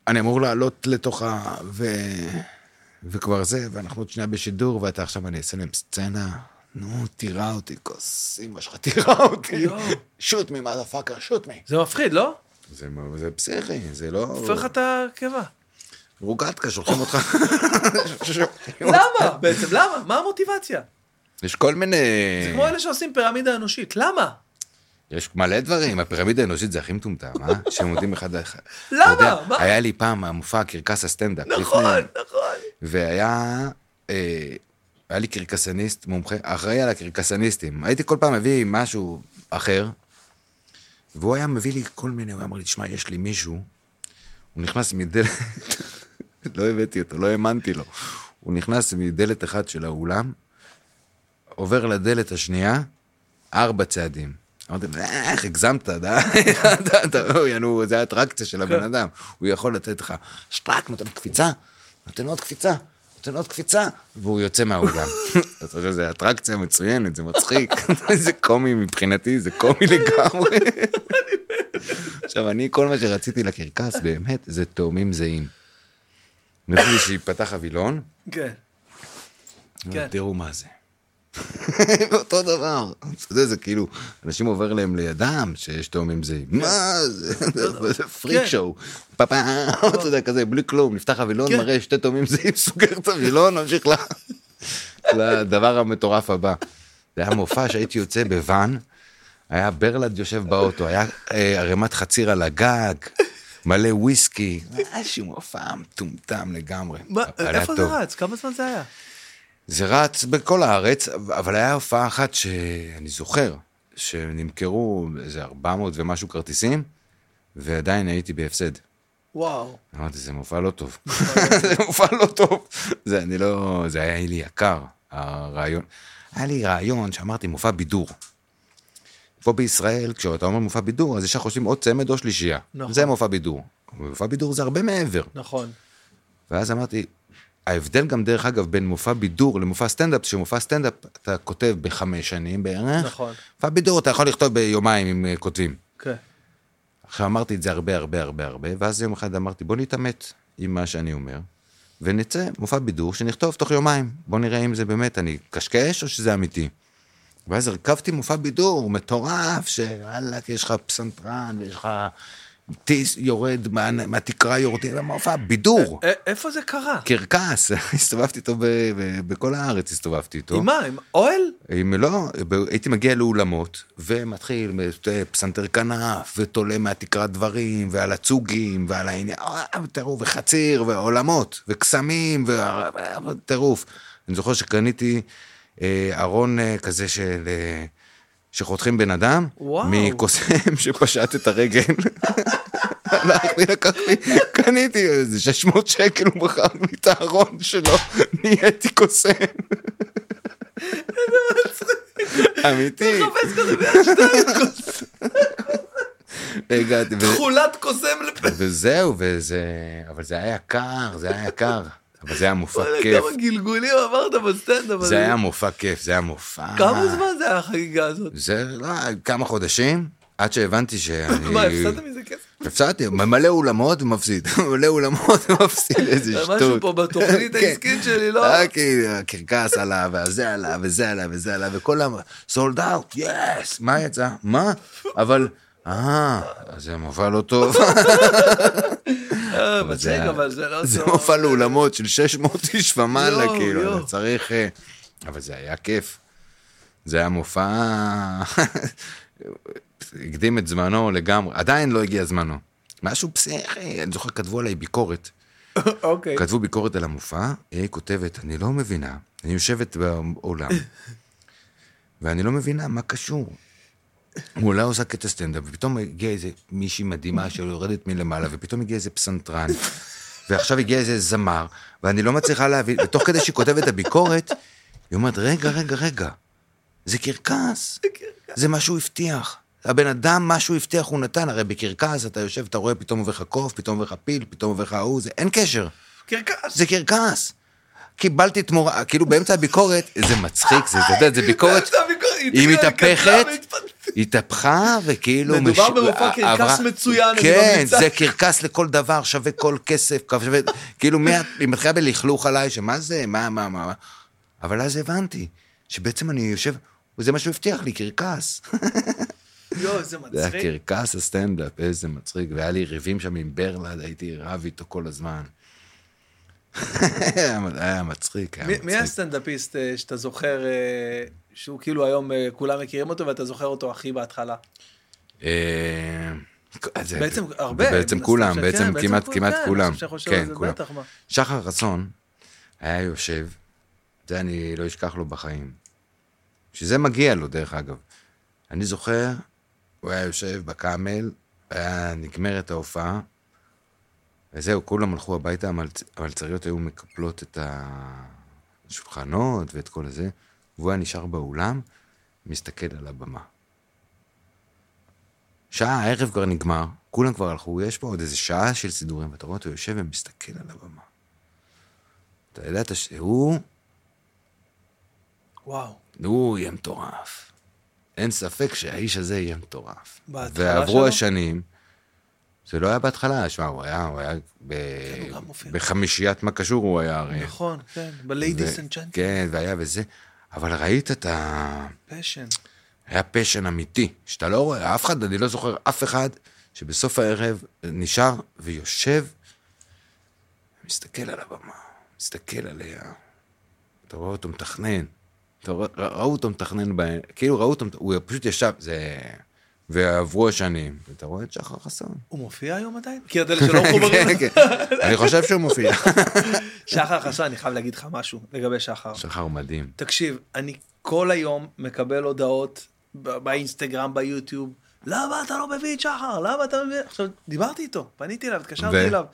אני אמור לעלות לתוך ה... ו... וכבר זה, ואנחנו עוד שנייה בשידור, ואתה עכשיו, אני אעשה להם סצנה. נו, תירה אותי, כוס אמא שלך, תירה אותי. יואו. שוט מי, מה דה פאקר, שוט מי. זה מפחיד, לא? זה, זה פסיכי, זה לא... הופך לך את הקיבה. רוגטקה, שולחים אותך. <laughs> למה? בעצם למה? מה המוטיבציה? אה. יש כל מיני... זה כמו אלה שעושים פירמידה אנושית, למה? יש מלא דברים, הפירמידה האנושית זה הכי מטומטם, אה? שהם עומדים אחד לאחד. למה? אתה יודע, מה? היה לי פעם המופע קרקס הסטנדאפ. נכון, לפני, נכון. והיה... אה, היה לי קרקסניסט מומחה, אחראי על הקרקסניסטים. הייתי כל פעם מביא משהו אחר, והוא היה מביא לי כל מיני, הוא היה אומר לי, תשמע, יש לי מישהו, הוא נכנס מדלת, <laughs> לא הבאתי אותו, לא האמנתי לו. הוא נכנס מדלת אחת של האולם, עובר לדלת השנייה, ארבע צעדים. אמרתי לו, "אה, איך הגזמת, די, אתה- אתה- אוי, נו, זה האטרקציה של הבן אדם, הוא יכול לתת לך, שטראק, נותן קפיצה, נותן עוד קפיצה, נותן עוד קפיצה, והוא יוצא מהאולם. אתה חושב, זה אטרקציה מצוינת, זה מצחיק, <laughs> זה קומי מבחינתי, זה קומי לגמרי. <laughs> עכשיו, אני, כל מה שרציתי לקרקס, באמת, זה תאומים זהים. נראה לי שיפתח הווילון, כן. כן. תראו מה זה. <laughs> אותו דבר. אתה יודע, זה כאילו, אנשים עובר להם לידם שיש תאומים זהים. מה <laughs> <laughs> זה? זה פריק כן. שואו. פאפה, <laughs> אתה יודע, כזה, בלי כלום, נפתח הווילון, כן. מראה שתי תאומים זהים, <laughs> סוגר את הווילון, ממשיך ל- <laughs> לדבר המטורף הבא. זה היה מופע שהייתי יוצא בוואן, היה ברלד יושב באוטו, היה אה, ערימת חציר על הגג, מלא וויסקי, היה איזשהו מופע מטומטם לגמרי. מה, אבל היה איפה זה טוב. רץ? כמה זמן זה היה? זה רץ בכל הארץ, אבל היה הופעה אחת שאני זוכר, שנמכרו איזה 400 ומשהו כרטיסים, ועדיין הייתי בהפסד. וואו. אמרתי, זה מופע לא טוב. <laughs> זה מופע לא טוב. זה אני לא... זה היה לי יקר, הרעיון. היה לי רעיון שאמרתי, מופע בידור. פה בישראל, כשאתה אומר מופע בידור, אז ישר חושבים או צמד או שלישייה. נכון. זה מופע בידור. מופע בידור זה הרבה מעבר. נכון. ואז אמרתי, ההבדל גם דרך אגב בין מופע בידור למופע סטנדאפ, שמופע סטנדאפ אתה כותב בחמש שנים בערך, נכון. מופע בידור אתה יכול לכתוב ביומיים אם אה, כותבים. כן. עכשיו אמרתי את זה הרבה הרבה הרבה הרבה, ואז יום אחד אמרתי בוא נתעמת עם מה שאני אומר, ונצא מופע בידור שנכתוב תוך יומיים, בוא נראה אם זה באמת אני קשקש או שזה אמיתי. ואז הרכבתי מופע בידור מטורף, שוואלאק, יש לך פסנתרן ויש לך טיס יורד, מה- מהתקרה יורדים, זה מופע בידור. א- איפה זה לא. קרה? קרקס, <laughs> הסתובבתי איתו ב, ב, בכל הארץ, הסתובבתי איתו. עם מה? עם אוהל? אם לא, ב- הייתי מגיע לאולמות, ומתחיל מ- פסנתר כנף, ותולה מהתקרה דברים, ועל הצוגים, ועל העניין, אה, טירוף, וחציר, ועולמות, וקסמים, וטירוף. אני זוכר שקניתי אה, ארון אה, כזה של... אה, שחותכים בן אדם, וואו. מקוסם <laughs> שפשט את הרגל. הלכתי, לקחתי, קניתי איזה 600 שקל, הוא מכר לי את הארון שלו, נהייתי קוסם. אמיתי. חפש כזה ביד הגעתי, ו- תכולת קוסם לפה. וזהו, וזה... אבל זה היה יקר, זה היה יקר. אבל זה היה מופע וואלה, כיף. כמה גלגולים עברת בסטנדאפ. זה הזה. היה מופע כיף, זה היה מופע. כמה זמן זה היה החגיגה הזאת? זה לא, כמה חודשים, עד שהבנתי שאני... מה, הפסדת מזה כסף? הפסדתי, מלא אולמות ומפסיד, מלא אולמות ומפסיד, איזה שטות. משהו פה בתוכנית <laughs> כן. אה, העסקית שלי, לא? רק הקרקס עלה, כן, וזה עלה, וזה עלה, וזה עלה, וכל ה... סולד אאוט, יס! מה יצא? מה? אבל... אה, זה מופע לא <laughs> טוב. אה, אבל מצחיק, זה- אבל זה לא זה טוב. מופע לאולמות של 600 איש ומעלה, יואו, כאילו, יואו. אתה צריך... אה, אבל זה היה כיף. זה היה מופע... <laughs> הקדים את זמנו לגמרי, עדיין לא הגיע זמנו. משהו פסיכי, אני זוכר, כתבו עליי ביקורת. לא- אוקיי. כתבו ביקורת על המופע, היא כותבת, אני לא מבינה, אני יושבת באולם, ואני לא מבינה מה קשור. הוא אולי עושה קטע סטנדאפ, ופתאום הגיעה איזה מישהי מדהימה שיורדת מלמעלה, ופתאום הגיע איזה פסנתרן, ועכשיו הגיע איזה זמר, ואני לא מצליחה להבין, ותוך כדי שהיא כותבת את הביקורת, היא אומרת, רגע, רגע, רגע, זה קרקס, זה מה שהוא הבטיח. הבן אדם, מה שהוא הבטיח הוא נתן, הרי בקרקס אתה יושב, אתה רואה, פתאום עובר לך קוף, פתאום עובר לך פיל, פתאום עובר לך ההוא, זה אין קשר. קרקס. זה קרקס. קיבלתי תמורה, כאילו באמצע הביקורת, זה מצחיק, זה, אתה יודע, זה <laughs> ביקורת, זה הביקורת, היא התחילה, מתהפכת, קטנה, והתפ- התהפכה וכאילו... אה, מדובר במופע קרקס עברה- מצוין, אני כן, ממליצה. זה קרקס לכל דבר, שווה כל כסף, שווה... כאילו, מה- היא מתחילה בלכלוך עליי, שמה זה, מה, מה, מה, מה. אבל אז הבנתי, שבעצם אני יושב, זה מה שהוא הבטיח לי, קרקס. יואו, זה זה מצחיק. היה קרקס הסטנדאפ, איזה מצחיק, והיה לי ריבים שם עם ברלד, הייתי רב איתו כל הזמן. <laughs> היה מצחיק, היה מי- מצחיק. מי הסטנדאפיסט אה, שאתה זוכר, אה, שהוא כאילו היום אה, כולם מכירים אותו ואתה זוכר אותו הכי בהתחלה? אה, זה- בעצם הרבה. בעצם מן הסתם כולם, שכן, בעצם כמעט כול- כמעט כן, כולם. עכשיו שאני חושב על כן, זה, כולם. בטח, מה. שחר חסון היה יושב זה אני לא אשכח לו בחיים. שזה מגיע לו, דרך אגב. אני זוכר, הוא היה יושב בקאמל, היה נגמרת ההופעה, וזהו, כולם הלכו הביתה, המלצ- המלצריות היו מקפלות את השולחנות ואת כל הזה, והוא היה נשאר באולם, מסתכל על הבמה. שעה, הערב כבר נגמר, כולם כבר הלכו, יש פה עוד איזה שעה של סידורים, ואתה רואה אותו יושב ומסתכל על הבמה. אתה ידעת שהוא, וואו. הוא יהיה מטורף. אין ספק שהאיש הזה יהיה מטורף. בהתחלה ועברו שלו? השנים, זה לא היה בהתחלה, שמע, הוא היה, הוא היה ב... כן, הוא גם מופיע. בחמישיית מה קשור הוא היה הרי. נכון, כן, ו- ב-Ladies and Gentlemen, כן, והיה וזה, אבל ראית את ה... פשן. היה פשן אמיתי, שאתה לא רואה, אף אחד, אני לא זוכר אף אחד שבסוף הערב נשאר ויושב, מסתכל על הבמה, מסתכל עליה. אתה רואה אותו מתכנן, אתה רואה, רא- ראו אותו מתכנן, ב... כאילו ראו אותו, מת- הוא פשוט ישב, זה... ועברו השנים, ואתה רואה את שחר חסון. הוא מופיע היום עדיין? כי עוד אלה שלא לא מחוברים. <laughs> כן, כן. אני חושב שהוא מופיע. <laughs> שחר חסון, אני חייב להגיד לך משהו לגבי שחר. שחר מדהים. תקשיב, אני כל היום מקבל הודעות ב- באינסטגרם, ביוטיוב, למה אתה לא מביא את שחר? למה אתה מביא... עכשיו, דיברתי איתו, פניתי אליו, ו? התקשרתי אליו.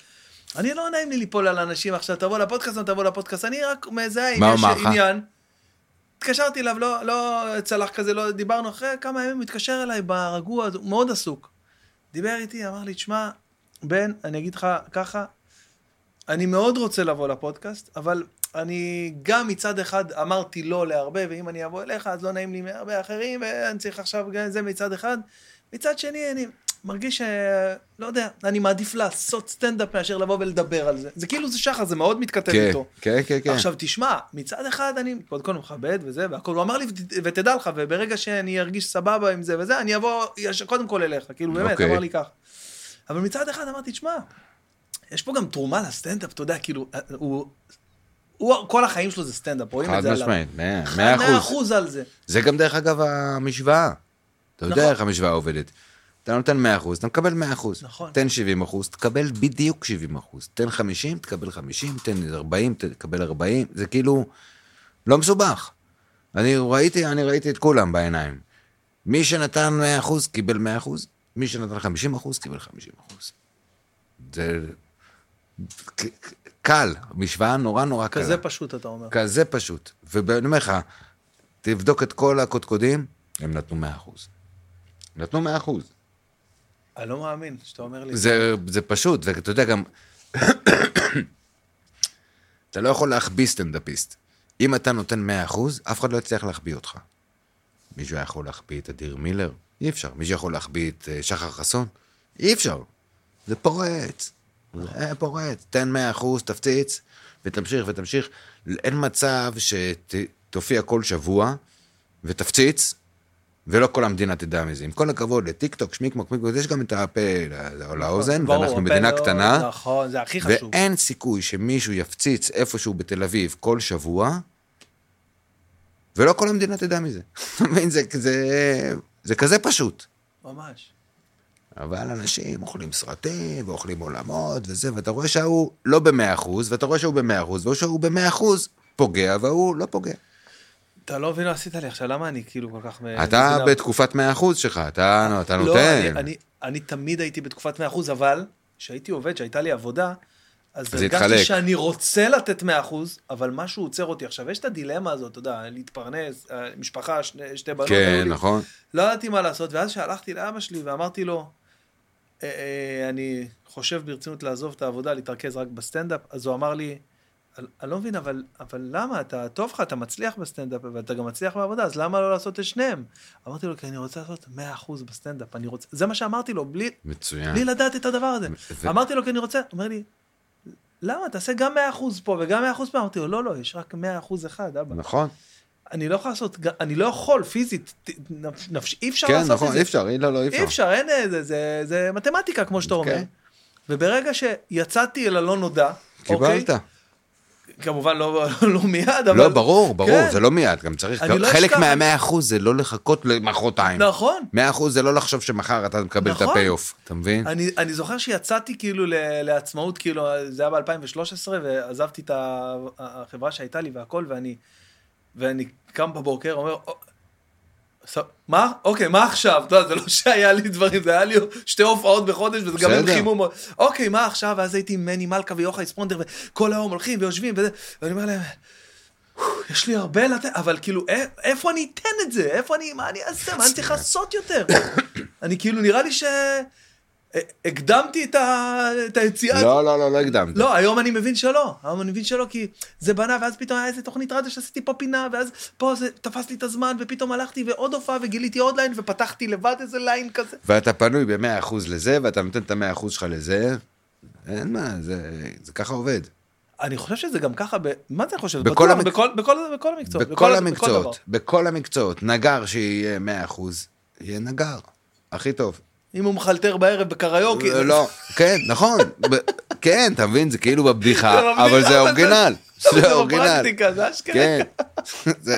אני לא נעים לי ליפול על אנשים עכשיו, תבוא לפודקאסט, לא תבוא לפודקאסט, אני רק מזהה אם מה יש הוא אמר לך? עניין. התקשרתי אליו, לא, לא צלח כזה, לא דיברנו, אחרי כמה ימים הוא התקשר אליי ברגוע, הוא מאוד עסוק. דיבר איתי, אמר לי, תשמע, בן, אני אגיד לך ככה, אני מאוד רוצה לבוא לפודקאסט, אבל אני גם מצד אחד אמרתי לא להרבה, ואם אני אבוא אליך אז לא נעים לי מהרבה אחרים, ואני צריך עכשיו גם את זה מצד אחד. מצד שני, אני מרגיש ש... לא יודע, אני מעדיף לעשות סטנדאפ מאשר לבוא ולדבר על זה. זה כאילו זה שחר, זה מאוד מתכתב כן, איתו. כן, כן, כן. עכשיו תשמע, מצד אחד אני קודם כל מכבד וזה והכל, הוא אמר לי "ות- ותדע לך, וברגע שאני ארגיש סבבה עם זה וזה, אני אבוא יש- קודם כל אליך, כאילו באמת, אוקיי. אמר לי ככה. אבל מצד אחד אמרתי, תשמע, יש פה גם תרומה לסטנדאפ, אתה יודע, כאילו, הוא, הוא, כל החיים שלו זה סטנדאפ, רואים את חד זה עליו. משמעית, מאה חד- מאה מאה אחוז. אחוז על זה. זה גם דרך אגב המשוואה. אתה יודע נכון. איך המשוואה עובדת. אתה נותן 100 אחוז, אתה מקבל 100 אחוז. נכון. תן 70 אחוז, תקבל בדיוק 70 אחוז. תן 50, תקבל 50, תן 40, תקבל 40. זה כאילו לא מסובך. אני ראיתי, אני ראיתי את כולם בעיניים. מי שנתן 100 אחוז, קיבל 100 אחוז. מי שנתן 50 אחוז, קיבל 50 אחוז. זה ק- ק- קל, משוואה נורא נורא קלה. כזה פשוט, אתה אומר. כזה פשוט. ואני אומר לך, תבדוק את כל הקודקודים, הם נתנו 100%. נתנו 100%. אני לא מאמין שאתה אומר לי. זה, זה פשוט, ואתה יודע גם, <coughs> אתה לא יכול להחביא סטנדאפיסט. אם אתה נותן 100%, אף אחד לא יצליח להחביא אותך. מישהו היה יכול להחביא את אדיר מילר? אי אפשר. מישהו יכול להחביא את אה, שחר חסון? אי אפשר. זה פורץ. זה פורץ. תן 100%, תפציץ, ותמשיך ותמשיך. אין מצב שתופיע כל שבוע ותפציץ, ולא כל המדינה תדע מזה. עם כל הכבוד לטיק טוק, שמיקמוק, מיקמוק, יש גם את הפה לא- לאוזן, ברור, ואנחנו הפה מדינה לא- קטנה. נכון, זה הכי חשוב. ואין סיכוי שמישהו יפציץ איפשהו בתל אביב כל שבוע, ולא כל המדינה תדע מזה. <laughs> אתה מבין? זה, זה, זה כזה פשוט. ממש. אבל אנשים אוכלים סרטים, ואוכלים עולמות, וזה, ואתה רואה שההוא לא במאה אחוז, ואתה רואה שהוא במאה אחוז, והוא שהוא במאה אחוז פוגע, וההוא לא פוגע. אתה לא מבין מה עשית לי עכשיו, למה אה, אני כאילו כל כך... אתה מזינה? בתקופת מאה אחוז שלך, אתה, נו, אתה לא, אני, נותן. אני, אני תמיד הייתי בתקופת 100%, אבל כשהייתי עובד, כשהייתה לי עבודה, אז זה הרגשתי התחלק. שאני רוצה לתת 100%, אבל משהו עוצר אותי. עכשיו, יש את הדילמה הזאת, אתה יודע, להתפרנס, אה, משפחה, שני, שתי בנות. כן, היו לי. נכון. לא ידעתי מה לעשות, ואז כשהלכתי לאבא שלי ואמרתי לו, "אה, אה, אני חושב ברצינות לעזוב את העבודה, להתרכז רק בסטנדאפ, אז הוא אמר לי, "אני- אני לא מבין, אבל, אבל למה? אתה טוב לך, אתה מצליח בסטנדאפ, ואתה גם מצליח בעבודה, אז למה לא לעשות את שניהם? אמרתי לו, כי אני רוצה לעשות 100% בסטנדאפ, אני רוצה... זה מה שאמרתי לו, בלי, מצוין. בלי לדעת את הדבר הזה. ו- אמרתי לו, כי אני רוצה, הוא אומר לי, למה? תעשה גם 100% פה וגם 100% פה. אמרתי לו, לא, לא, יש רק 100% אחד, אבא. נכון. אני לא יכול לעשות, ג- אני לא יכול פיזית, ת- נפש- נפש, אי אפשר כן, לעשות את נכון, זה. אי אפשר, אי- לא, לא, אי אפשר, אין איזה, זה, זה מתמטיקה, כמו שאתה אומר. אוקיי. וברגע שיצאתי אל הלא נודע, קיבלת. אוקיי? כמובן לא, <laughs> לא מיד, אבל... לא, ברור, ברור, כן, זה לא מיד, גם צריך, אני גם- לא חלק אשכח- מהמאה אחוז זה לא לחכות למחרתיים. נכון. 100 אחוז זה לא לחשוב שמחר אתה מקבל את נכון. הפי-אוף, אתה מבין? אני, אני זוכר שיצאתי כאילו ל- לעצמאות, כאילו זה היה ב-2013, ועזבתי את ה- החברה שהייתה לי והכל, ואני ואני קם בבוקר, אומר, "או, ס- מה? אוקיי, מה עכשיו? אתה יודע, זה לא <laughs> שהיה לי דברים, זה היה לי שתי הופעות בחודש, וזה גם עם בסדר. חימום. אוקיי, מה עכשיו? ואז הייתי עם מני מלכה ויוחאי ספונדר, וכל היום הולכים ויושבים, וזה, ואני אומר להם, יש לי הרבה לתת, אבל כאילו, א- איפה אני אתן את זה? איפה אני, מה אני אעשה? מה אני צריך לעשות יותר? <coughs> אני כאילו, נראה לי ש... א- הקדמתי את ה- את היציאה. לא, לא, לא, לא הקדמת. לא, היום אני מבין שלא. היום אני מבין שלא, כי זה בנה, ואז פתאום היה איזה תוכנית רדיו שעשיתי פה פינה, ואז פה זה תפס לי את הזמן, ופתאום הלכתי ועוד הופעה, וגיליתי עוד ליין, ופתחתי לבד איזה ליין כזה. ואתה פנוי ב-100% לזה, ואתה נותן את ה-100% שלך לזה. אין מה, זה, זה ככה עובד. אני חושב שזה גם ככה, ב... מה זה אני חושב? בכל בטוח, המק- בכל, בכל, בכל המקצועות. בכל דבר. המקצועות, בכל המקצועות. נגר שיהיה 100%, יהיה נגר. הכי טוב. אם הוא מחלטר בערב בקריוקי. זה- לא, כן, נכון. ב- כן, אתה מבין, זה כאילו בבדיחה, בבדיחה, אבל אבל זה- זה אורגינל. <laughs> זה זה אורגינל. בפרקטיקה, זה אשכרה. כן. <laughs> זה-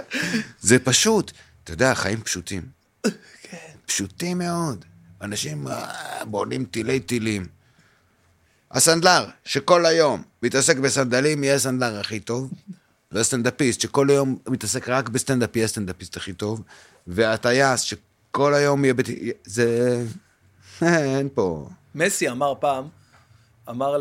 זה פשוט, אתה יודע, חיים פשוטים. פשוטים מאוד. אנשים אה, בונים תילי תילים. הסנדלר, שכל היום מתעסק בסנדלים, יהיה הסנדלר הכי טוב. והסטנדאפיסט, שכל היום מתעסק רק בסטנדאפ, יהיה הסטנדאפיסט הכי טוב. והטייס, שכל היום יהיה... בת- זה... <laughs> אין פה... מסי אמר פעם, אמר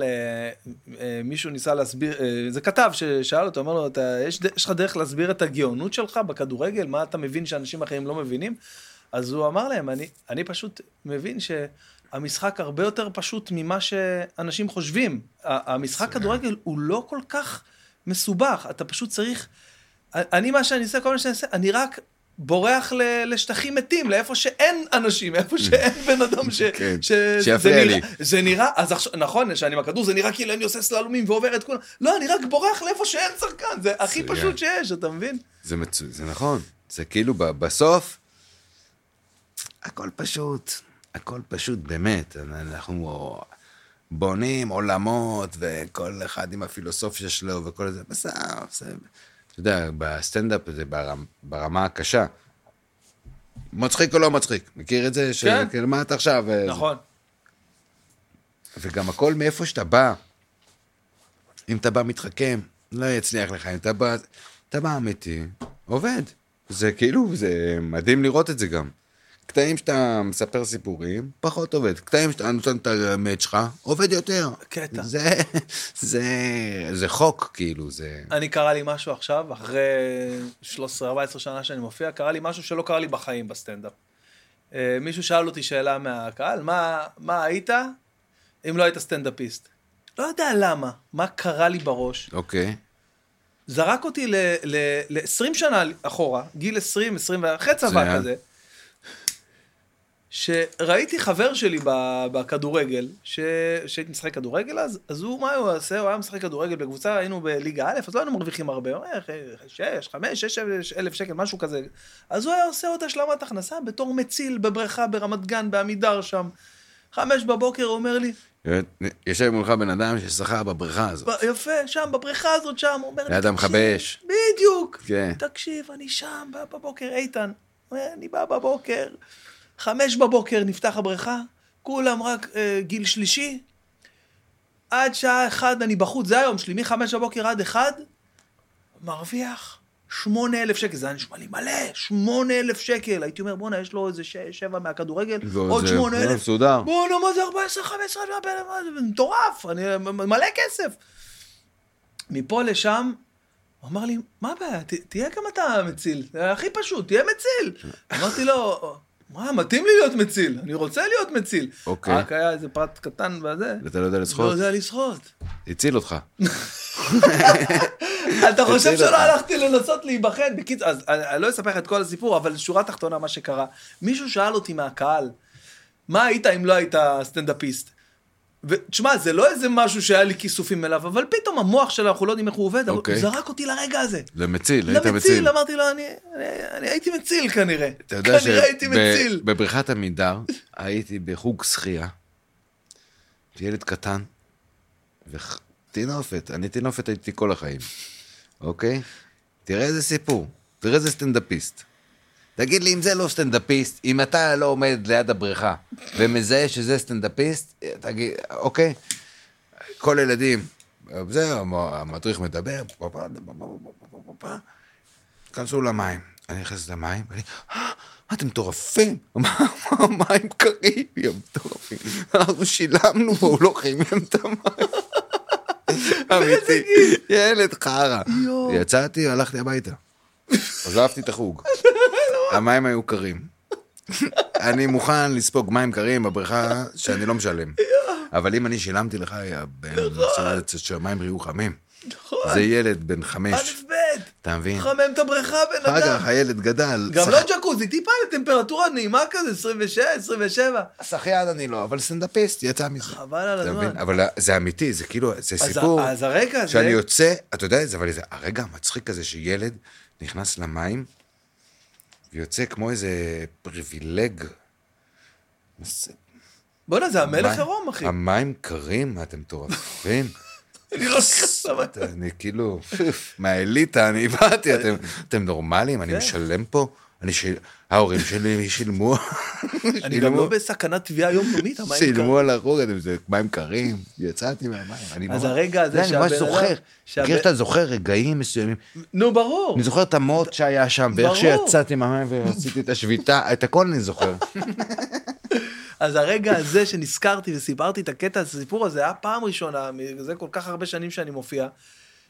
למישהו ניסה להסביר, אה, זה כתב ששאל אותו, אמר לו, אתה, יש, ד- יש לך דרך להסביר את הגאונות שלך בכדורגל? מה אתה מבין שאנשים אחרים לא מבינים? אז הוא אמר להם, אני, אני פשוט מבין שהמשחק הרבה יותר פשוט ממה שאנשים חושבים. ה- המשחק כדורגל הוא לא כל כך מסובך, אתה פשוט צריך... אני, מה שאני עושה, כל מה שאני עושה, אני רק בורח ל- לשטחים מתים, לאיפה שאין אנשים, איפה שאין בן אדם ש... כן, ש- זה נראה- שיפריע לי. זה נראה, אז עכשיו, נכון, שאני עם הכדור, זה נראה כאילו אני עושה סללומים ועובר את כולם. לא, אני רק בורח לאיפה שאין שחקן, זה הכי מצוין. פשוט שיש, אתה מבין? זה, מצו... זה נכון, זה כאילו ב- בסוף, הכל פשוט, הכל פשוט באמת, אנחנו בונים עולמות, וכל אחד עם הפילוסופיה שלו וכל זה, בסוף, זה... אתה יודע, בסטנדאפ זה ברמ... ברמה הקשה. מצחיק או לא מצחיק, מכיר את זה? ש... כן. כאילו, מה אתה עכשיו? אה, זה- נכון. וגם הכל מאיפה שאתה בא. אם אתה בא מתחכם, לא יצליח לך. אם אתה בא... אתה בא אמיתי, עובד. זה כאילו, זה מדהים לראות את זה גם. קטעים שאתה מספר סיפורים, פחות עובד. קטעים שאתה נותן את האמת שלך, עובד יותר. קטע. זה, זה, זה חוק, כאילו, זה... אני קרה לי משהו עכשיו, אחרי 13-14 שנה שאני מופיע, קרה לי משהו שלא קרה לי בחיים בסטנדאפ. אה, מישהו שאל אותי שאלה מהקהל, מה, מה היית אם לא היית סטנדאפיסט? לא יודע למה, מה קרה לי בראש. אוקיי. זרק אותי ל-20 שנה אחורה, גיל 20, 20, אחרי זה צבא היה. כזה, שראיתי חבר שלי ב- בכדורגל, ש- שהייתי משחק כדורגל אז, אז הוא, מה הוא עושה? הוא היה משחק כדורגל בקבוצה, היינו בליגה א', אז לא היינו מרוויחים הרבה, הוא היה ח- שש, חמש, שש אלף שקל, משהו כזה. אז הוא היה עושה עוד השלמת הכנסה בתור מציל בבריכה ברמת גן, בעמידר שם. חמש בבוקר הוא אומר לי, יושב מולך בן אדם ששחה בבריכה הזאת. "ב- יפה, שם, בבריכה הזאת, שם, הוא אומר לי, ליד המכבי אש. בדיוק. כן. תקשיב, אני שם, בא בבוקר, איתן. אני בא בבוקר, חמש בבוקר נפתח הבריכה, כולם רק אה, גיל שלישי. עד שעה אחד אני בחוץ, זה היום שלי, מחמש בבוקר עד אחד, מרוויח שמונה אלף שקל. זה היה נשמע לי מלא, שמונה אלף שקל. הייתי אומר, בואנה, יש לו איזה ש- שבע מהכדורגל, ועוד עוד זה, שמונה זה אלף. מסודר. בואנה, מה זה 14, 15, מה זה- מה זה- זה מטורף, אני- מלא כסף. מפה לשם, הוא אמר לי, מה הבעיה, ת- תהיה גם אתה מציל, זה הכי פשוט, תהיה מציל. אמרתי לו, מה, מתאים לי להיות מציל, אני רוצה להיות מציל. אוקיי. רק היה איזה פרט קטן וזה. אתה לא יודע לא לשחות? יודע לשחות. <laughs> הציל אותך. אתה חושב אותך. שלא הלכתי לנסות להיבחן? בקיצור, אז אני אני לא אספר לך את כל הסיפור, אבל שורה תחתונה, מה שקרה, מישהו שאל אותי מהקהל, מה היית אם לא היית סטנדאפיסט? ותשמע, זה לא איזה משהו שהיה לי כיסופים אליו, אבל פתאום המוח שלו, אנחנו לא יודעים איך הוא עובד, אבל הוא אוקיי. זרק אותי לרגע הזה. לא למציל, לא היית מציל. למציל, אמרתי לו, "אני- אני- אני הייתי מציל כנראה. אתה יודע כנראה הייתי מציל. שבבריכת עמידר הייתי בחוג שחייה, ילד קטן, וטינופת, אני טינופת הייתי כל החיים, אוקיי? תראה איזה סיפור, תראה איזה סטנדאפיסט. תגיד לי, אם זה לא סטנדאפיסט, אם אתה לא עומד ליד הבריכה ומזהה שזה סטנדאפיסט, אה, תגיד, אוקיי? כל אה, הילדים, זהו, המדריך מדבר, פה, פה, פה, פה, פה, פה, פה, פה. תיכנסו למים. אני נכנס למים, ואני, "אה, מה אתם מטורפים? מה, מה, המים קרים? יא מטורפים. אנחנו שילמנו, הוא לא חימם את המים. אמיתי, ילד חרא. יצאתי, הלכתי הביתה. עזבתי את החוג. המים היו קרים. אני מוכן לספוג מים קרים בבריכה שאני לא משלם. אבל אם אני שילמתי לך, יא בן, שהמים יהיו חמים. זה ילד בן חמש, א' ב', אתה מבין? חמם את הבריכה בן אחר אדם. כך הילד גדל. לא גם שח- לא ג'קוזי, טיפה לטמפרטורה נעימה כזה, 26, 27. שחיין אני לא, אבל סטנדאפיסט יצא מזה. חבל על אתה מבין? הזמן. אבל זה אמיתי, זה כאילו, זה אז סיפור. ה- אז הרקע הזה- שאני יוצא, אתה יודע את זה, אבל זה הרגע המצחיק הזה שילד נכנס למים ויוצא כמו איזה פריבילג. זה- בואנה, זה המלך המים- עירום, אחי. המים קרים, מה אתם <laughs> מטורפים? אני לא נכנס אתה- אני כאילו, מהאליטה אני באתי, אתם- אתם נורמלים, כן. אני משלם פה, אני של- ההורים שלי שילמו, אני גם לא שילמו- בסכנת תביעה יומיומית, המים קרים. שילמו על החוג, אתם- זה מים קרים, יצאתי מהמים. אני אז ממש- הרגע הזה אתה יודע, אני ממש שהבן זוכר, אדם- שהבן- מכיר שאתה זוכר רגעים מסוימים, נו, ברור. אני זוכר את המוט שהיה שם, ואיך ברור. שיצאתי מהמים ועשיתי את השביתה, את הכל אני זוכר. <laughs> אז הרגע הזה שנזכרתי וסיפרתי את הקטע, את הסיפור הזה, היה פעם ראשונה, זה כל כך הרבה שנים שאני מופיע,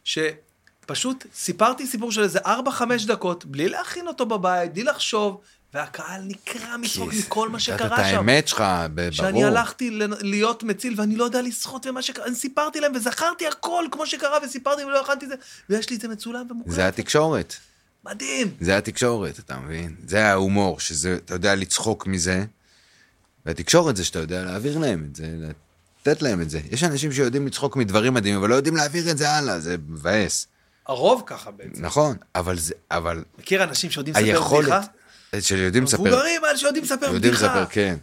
שפשוט סיפרתי סיפור של איזה 4-5 דקות, בלי להכין אותו בבית, בלי לחשוב, והקהל נקרע מצחוק מכל מה נתת שקרה את שם. האמת שלך, ב- ברור. שאני הלכתי לנ- להיות מציל ואני לא יודע לשחות ומה שקרה, אני סיפרתי להם וזכרתי הכל כמו שקרה וסיפרתי ולא יכלתי את זה, ויש לי את זה מצולם ומוקלט, זה התקשורת. מדהים. זה התקשורת, אתה מבין? זה ההומור, שזה, אתה יודע לצחוק מזה, והתקשורת זה שאתה יודע להעביר להם את זה, לתת להם את זה. יש אנשים שיודעים לצחוק מדברים מדהימים, אבל לא יודעים להעביר את זה הלאה, זה מבאס. הרוב ככה בעצם. נכון, אבל זה, אבל מכיר אנשים שיודעים לספר בדיחה? היכולת, אה, שיודעים לספר, מבוגרים אבל שיודעים לספר יודעים בדיחה. לספר, כן.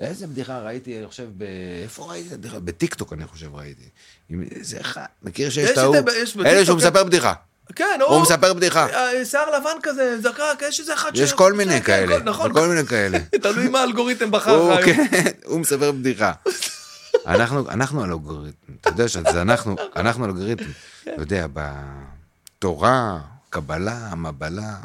איזה בדיחה ראיתי, אני חושב, ב... איפה ראיתי את הבדיחה? בטיקטוק, אני חושב, ראיתי. עם איזה אחד, מכיר שיש יש את את ההוא, ה- יש אלה בטיקטוק, שהוא כן. מספר בדיחה. כן, הוא מספר בדיחה. אה, שיער לבן כזה, זקק, יש איזה אחד יש ש- כל כן, מיני כן, כאלה, כל- נכון, כל מיני כאלה. <laughs> תלוי מה האלגוריתם בחר הוא, לך. היום. כן, הוא מספר בדיחה. אנחנו, אנחנו אלגוריתם, אתה יודע שזה אנחנו, אנחנו אלגוריתם. אתה יודע, בתורה, קבלה, מבלה,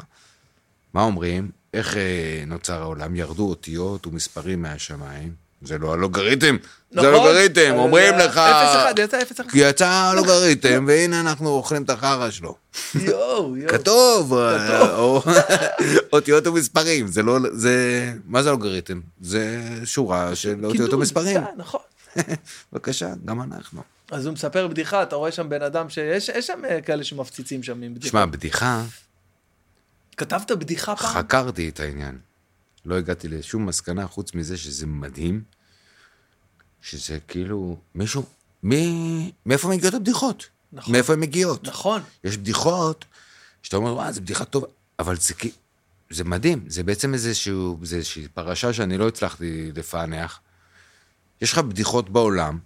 מה אומרים? איך אה, נוצר העולם? ירדו אותיות ומספרים מהשמיים. זה לא אלוגריתם, זה נכון? אלוגריתם, אומרים אה, לך... אפס אחד, יצא אפס אחד. יצא אלוגריתם, והנה אנחנו אוכלים את החרא שלו. יואו, יואו. כתוב, אה, או- <laughs> אותיות ומספרים, זה לא, זה, מה זה אלגוריתם? זה שורה של אותיות קידוד, ומספרים. כן, נכון. בבקשה, גם אנחנו. אז הוא מספר בדיחה, אתה רואה שם בן אדם שיש יש שם אה, כאלה שמפציצים שם עם בדיחה. שמע, בדיחה, כתבת בדיחה פעם? חקרתי את העניין. לא הגעתי לשום מסקנה חוץ מזה שזה מדהים, שזה כאילו, מישהו, מי, מאיפה מגיעות הבדיחות? נכון. מאיפה הן מגיעות? נכון. יש בדיחות שאתה אומר, וואה, זו בדיחה טובה, אבל זה כי... זה מדהים, זה בעצם איזשהו, זה איזושהי פרשה שאני לא הצלחתי לפענח. יש לך בדיחות בעולם,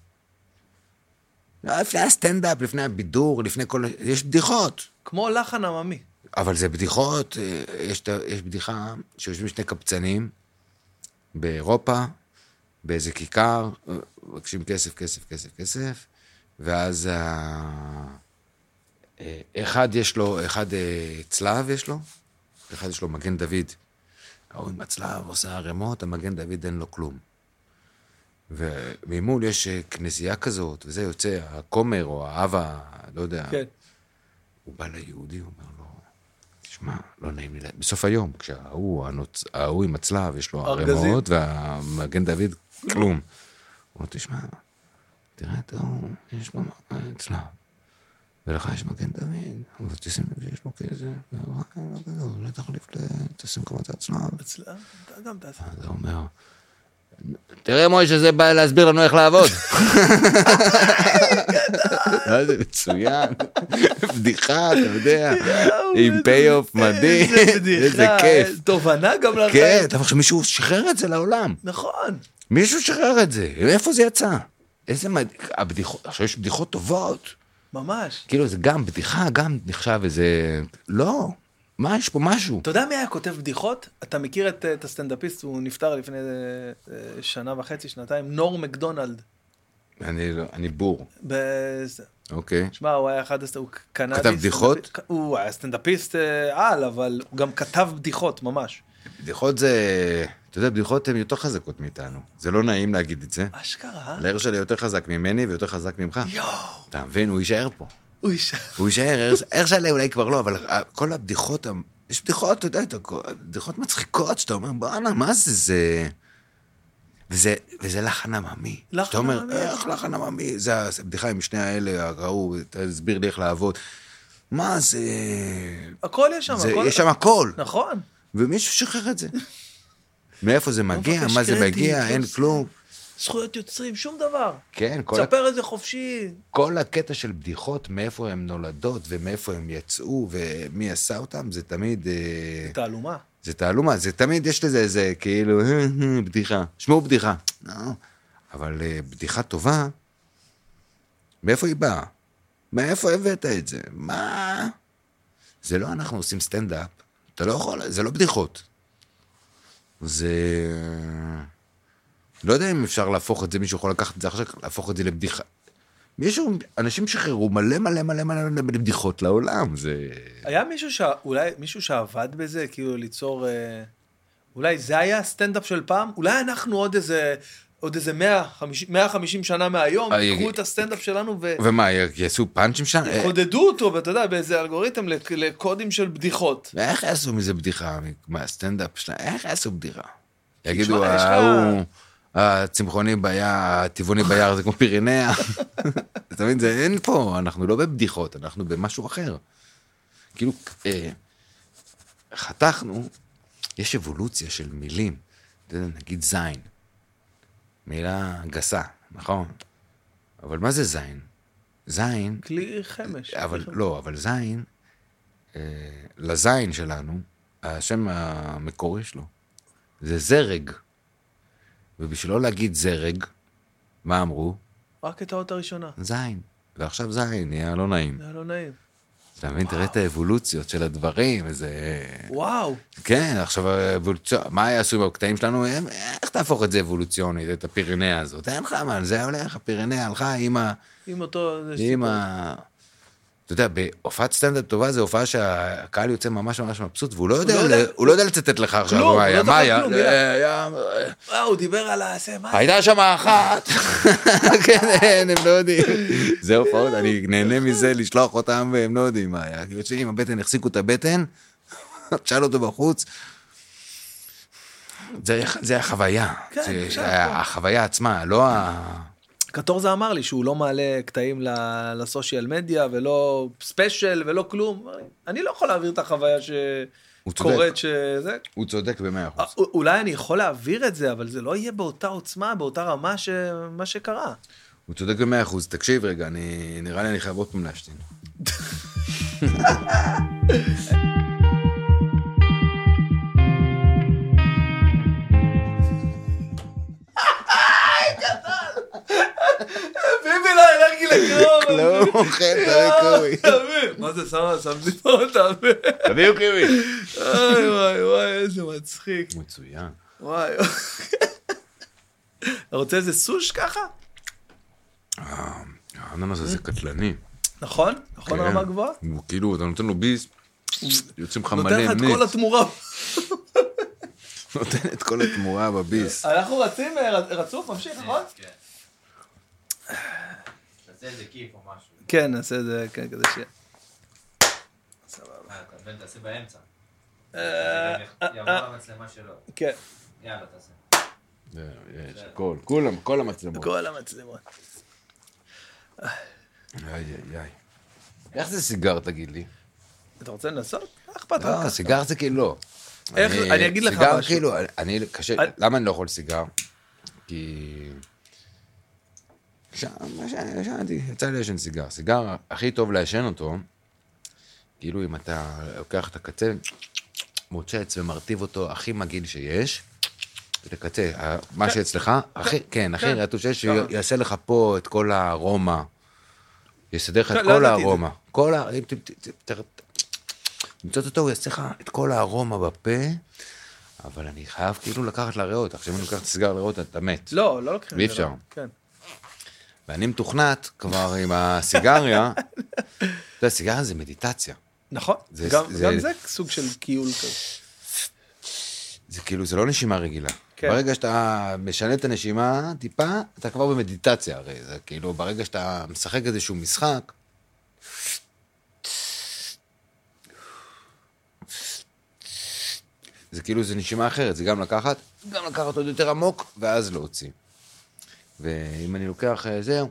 לפני הסטנדאפ, לפני הבידור, לפני כל... יש בדיחות. כמו לחן עממי. אבל זה בדיחות, אה, יש, את ה- יש בדיחה שיושבים שני קבצנים באירופה, באיזה כיכר, אה, מבקשים כסף, כסף, כסף, כסף, ואז ה... אה, אחד יש לו, אחד אה, צלב יש לו, אחד יש לו מגן דוד. ההוא עם הצלב עושה ערימות, המגן דוד אין לו כלום. וממול יש אה, כנסייה כזאת, וזה יוצא, הכומר או האב, ה- לא יודע, כן. הוא בא ליהודי, הוא אומר לו, תשמע, לא נעים לי, לה-" בסוף היום, כשההוא, הנוצ... ההוא עם הצלב, יש לו ארגזים. ערימות, והמגן דוד, כלום. הוא אומר, תשמע, תראה את ההוא, יש לו מ- צלב. ולך יש מגן דוד, אבל תשים לב שיש לו כזה, אולי לא תחליף, ל- תשים כבר את הצלב. אצלה, אתה גם תעשה. אז הוא אומר, תראה מוישה, זה בא להסביר לנו איך לעבוד. מה זה מצוין, בדיחה, אתה יודע, עם פי-אוף מדהים, איזה בדיחה, <laughs> אה, איזה כיף. תובנה גם כן, לחיים. אתה חושב שמישהו שחרר את זה לעולם, נכון. מישהו שחרר את זה, מאיפה זה יצא? איזה מדהים, הבדיחות, עכשיו יש בדיחות טובות, ממש. כאילו זה גם בדיחה, גם נחשב איזה, לא, מה, יש פה משהו. אתה יודע מי היה כותב בדיחות? אתה מכיר את, את הסטנדאפיסט, הוא נפטר לפני אה, אה, שנה וחצי, שנתיים, נור מקדונלד. אני לא- אני בור. ב- אוקיי. שמע, הוא היה אחד, הסט- הוא קנדי. כתב בדיחות? סטנדאפיסט- הוא היה סטנדאפיסט אה, על, אבל הוא גם כתב בדיחות, ממש. בדיחות זה... אתה יודע, בדיחות הן יותר חזקות מאיתנו. זה לא נעים להגיד את זה. אשכרה. להר שלי יותר חזק ממני ויותר חזק ממך. יואו, אתה מבין? הוא יישאר פה. הוא אישה. הוא יישאר, איך שעלה אולי כבר לא, אבל ה- כל הבדיחות, ה- יש בדיחות, אתה יודע, אתה- בדיחות מצחיקות, שאתה אומר, בואנה, מה זה, זה... וזה, וזה לחן עממי. לחן שאתה אומר, עממי. איך לחן עממי? זה הבדיחה עם שני האלה, ההוא, תסביר לי איך לעבוד. מה זה... <laughs> הכל יש שם, זה הכל... יש שם הכל, לא, נכון. ומישהו <laughs> שחרר את זה. מאיפה זה מגיע, לא מבקש מה זה קרדיט, מגיע, אין לא זה. כלום. זכויות יוצרים, שום דבר. כן, כל ה- תספר את זה חופשי. כל הקטע של בדיחות, מאיפה הן נולדות ומאיפה הן יצאו ומי עשה אותן, זה תמיד... אה, תעלומה. זה תעלומה, זה תמיד יש לזה איזה כאילו בדיחה. שמעו בדיחה. לא. אבל אה, בדיחה טובה, מאיפה היא באה? מאיפה הבאת את זה? מה? זה לא אנחנו עושים סטנדאפ, אתה לא יכול, זה לא בדיחות. זה... לא יודע אם אפשר להפוך את זה, מישהו יכול לקחת את זה עכשיו, להפוך את זה לבדיחה. מישהו, אנשים שחררו מלא מלא מלא מלא מלא בדיחות לעולם, זה... היה מישהו ש... אולי מישהו שעבד בזה, כאילו ליצור... אה, אולי זה היה הסטנדאפ של פעם? אולי אנחנו עוד איזה... עוד איזה 150, 150 שנה מהיום, אה, יקחו יגיד- את הסטנדאפ שלנו ו... ומה, יעשו פאנצ'ים שם? אה, עודדו אותו, ואתה יודע, באיזה אלגוריתם לק- לקודים של בדיחות. ואיך יעשו מזה בדיחה, מהסטנדאפ שלהם, איך יעשו בדיחה? יגידו, תשמע, יש לך- ההוא, הצמחוני ביער, הטבעוני ביער זה כמו פירניה. <laughs> אתה מבין, זה אין פה, אנחנו לא בבדיחות, אנחנו במשהו אחר. כאילו, אה, חתכנו, יש אבולוציה של מילים. אתה יודע, נגיד זין, מילה גסה, נכון? אבל מה זה זין? זין כלי חמש. אבל לא, אבל זין, אה, לזין שלנו, השם המקורי שלו, זה זרג. ובשביל לא להגיד זרג, מה אמרו? רק את האות הראשונה. זין. ועכשיו זין, נהיה לא נעים. זה היה לא נעים. אתה מבין, תראה את האבולוציות של הדברים, איזה... וואו. כן, עכשיו האבולוציה, מה יעשו עם הקטעים שלנו? הם- איך תהפוך את זה אבולוציונית, את הפירניה הזאת? אין לך מה, זה הולך, הפירניה הלכה עם ה... אם אותו... זה עם ה... אתה יודע, בהופעת סטנדאפ טובה זו הופעה שהקהל יוצא ממש ממש מבסוט, והוא לא יודע, הוא לא יודע- הוא לא יודע לצטט לך עכשיו כלום, הוא לא מה היה, זוכר מה היה, כלום, מילה. אה, היה- אה, סיפור. אה, הוא דיבר על ה... זה, מה זה? הייתה שם <laughs> אחת, כן, אין, הם לא יודעים. זה הופעות, אני נהנה מזה לשלוח אותם והם לא יודעים מה היה. יוצאים עם הבטן, החזיקו את הבטן, <laughs> תשאל אותו בחוץ. זה זה החוויה, כן, זה- עכשיו, החוויה עצמה, לא ה... קטורזה אמר לי שהוא לא מעלה קטעים ל- לסושיאל מדיה ולא ספיישל ולא כלום. אמר לי, אני לא יכול להעביר את החוויה הוא שקורית שזה. הוא צודק במאה א- אחוז. א- אולי אני יכול להעביר את זה, אבל זה לא יהיה באותה עוצמה, באותה רמה שמה שקרה. הוא צודק במאה אחוז. תקשיב רגע, אני... נראה לי אני חייב עוד פעם להשתין. ביבי לא הלכתי לקרוא. <laughs> לא, אוכל, לא קווי. מה זה, שמה, שמתי פה אותה. תביאו קווי. וואי וואי וואי, איזה מצחיק. מצוין. וואי. אתה רוצה איזה סוש ככה? האננס הזה קטלני. נכון? נכון כן. רמה גבוהה? הוא כאילו, אתה נותן לו ביס, יוצאים לך מלא נותן לך את כל נץ. התמורה. <laughs> נותן את כל התמורה בביס. אנחנו רצים, אה, ר- רצוף, ממשיך, נכון? כן. תעשה איזה כיף או משהו. כן, נעשה את זה, כן, כזה שיהיה. אה, אתה מבין? תעשה באמצע. אה, יעבור למצלמה שלו. כן, יאללה, תעשה. יש, הכל, כולם, כל המצלמות. כל המצלמות. איי, איי, איי. איך זה סיגר, תגיד לי? אתה רוצה לנסות? מה אכפת לך? לא, סיגר זה כאילו לא. איך- אני אגיד לך סיגר משהו. כאילו, אני קשה, אני- למה אני לא יכול סיגר? כי... ש- מה שישנתי, יצא לי לעשן סיגר. סיגר, הכי טוב לעשן אותו, כאילו אם אתה לוקח את הקצה, מוצץ ומרטיב אותו הכי מגעיל שיש, את הקצה, ה- מה שאצלך, הכי, כן, הכי כן. רטוב שיש, ככה. שיעשה לך פה את כל הארומה. יסדר לך כן, את לא כל ידעתי את זה. הארומה. כל ה... אם ת- ת- ת- ת- למצוא אותו, הוא יעשה לך את כל הארומה בפה, אבל אני חייב כאילו לקחת לריאות. עכשיו אם אני לוקח את הסיגר לריאות, אתה מת. לא, לא לוקחים את ואי זה, לא. אפשר. כן. ואני מתוכנת כבר עם <laughs> הסיגריה. אתה יודע, סיגריה זה מדיטציה. נכון, זה- גם זה- גם זה סוג של כיול כזה. זה כאילו, זה לא נשימה רגילה. כן. כן. ברגע שאתה משנה את הנשימה טיפה, אתה כבר במדיטציה הרי. זה כאילו, ברגע שאתה משחק איזשהו משחק... זה כאילו, זה נשימה אחרת, זה גם לקחת, גם לקחת עוד יותר עמוק, ואז להוציא. ואם אני לוקח אה, זהו,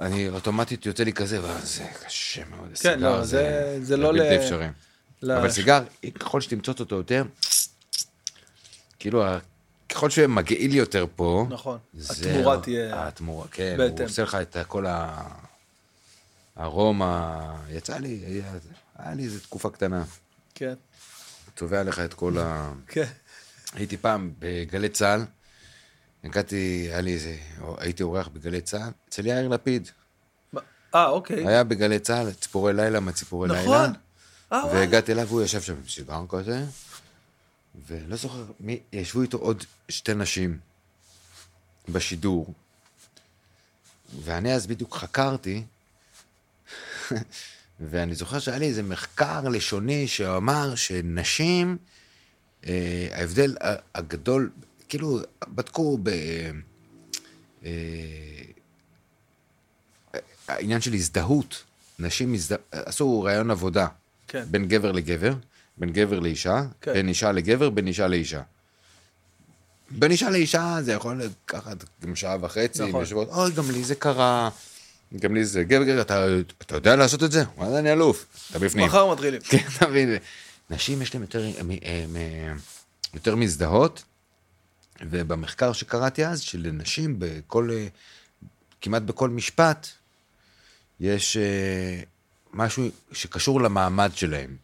אני אוטומטית יוצא לי כזה, ואז זה קשה מאוד, כן, לא, הסיגר זה- זה לא בלתי ל- אפשרי. ל- אבל סיגר, ככל שתמצוץ אותו יותר, כאילו, ה- ככל שהוא יהיה מגעיל יותר פה, נכון. זהו. התמורה תהיה- התמורה, כן, בהתאם. הוא עושה לך את כל ה... ארומה, יצא לי, היה היה לי איזו תקופה קטנה, כן, צובע לך את כל ה... כן. הייתי פעם בגלי צה"ל, הגעתי, היה לי איזה, הייתי אורח בגלי צה"ל, אצל יאיר לפיד, אה, אוקיי. היה בגלי צה"ל, ציפורי לילה מהציפורי לילה. נכון. אה, וואי. והגעתי אליו, והוא ישב שם עם סיגר כזה, ולא זוכר מי, ישבו איתו עוד שתי נשים בשידור, ואני אז בדיוק חקרתי, <laughs> ואני זוכר שהיה לי איזה מחקר לשוני שאמר שנשים, אה, ההבדל ה- הגדול, כאילו, בדקו ב... אה, העניין של הזדהות, נשים הזדה... עשו ראיון עבודה. כן. בין גבר לגבר, בין גבר לאישה, כן. כן. בין אישה לגבר, בין אישה לאישה. בין אישה לאישה זה יכול לקחת גם שעה וחצי, נכון. נכון. יושבות, אוי, גם לי זה קרה, גם לי זה גבר, גבר, אתה, אתה יודע לעשות את זה? וואלה, אני אלוף, אתה בפנים. מחר מתחילים. <laughs> כן, אתה מבין? נשים יש להן יותר, הם- הם- הם- יותר מזדהות, ובמחקר שקראתי אז, שלנשים בכל, אה, כמעט בכל משפט, יש אה, משהו שקשור למעמד שלהם.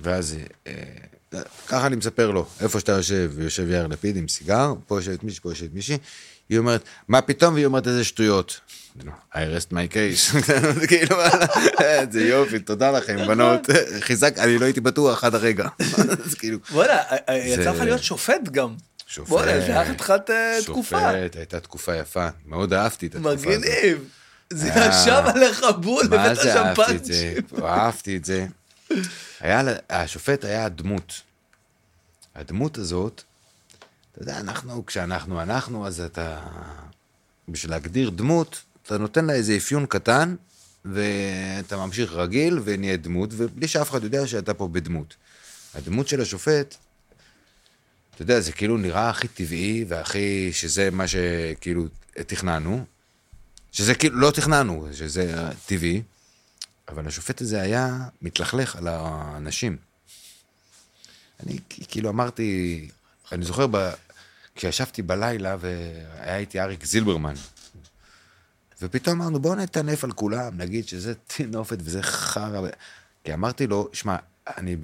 ואז, אה, אה, ככה אני מספר לו, איפה שאתה יושב, יושב יאיר לפיד עם סיגר, פה יושבת מישהי, פה יושבת מישהי, היא אומרת, מה פתאום? והיא אומרת, איזה שטויות. אני אומר, I rest my case. <laughs> כאילו, זה יופי, תודה לכם, בנות. <laughs> חיזק, אני לא הייתי בטוח עד הרגע. <laughs> אז כאילו, וואלה, אה, אה, יצא זה- לך להיות שופט גם. שופט. וואלה, זה היה חתיכת אה, תקופה. שופט, הייתה תקופה יפה, מאוד אהבתי את התקופה הזאת. מגניב. זה אה, ישב עליך בול, מה הבאת זה שם אהבתי את זה? פאנצ'ים. אהבתי את זה. היה, לה- השופט היה הדמות. הדמות הזאת, אתה יודע, אנחנו, כשאנחנו אנחנו, אז אתה... בשביל להגדיר דמות, אתה נותן לה איזה אפיון קטן, ואתה ממשיך רגיל ונהיה דמות, ובלי שאף אחד יודע שאתה פה בדמות. הדמות של השופט, אתה יודע, זה כאילו נראה הכי טבעי, והכי, שזה מה שכאילו תכננו, שזה כאילו, לא תכננו, שזה טבעי, אבל השופט הזה היה מתלכלך על האנשים. אני כ- כאילו אמרתי, אני זוכר, ב, כשישבתי בלילה והיה איתי אריק זילברמן, ופתאום אמרנו, בואו נטנף על כולם, נגיד שזה טינופת וזה חרא. ו- כי אמרתי לו, שמע, אני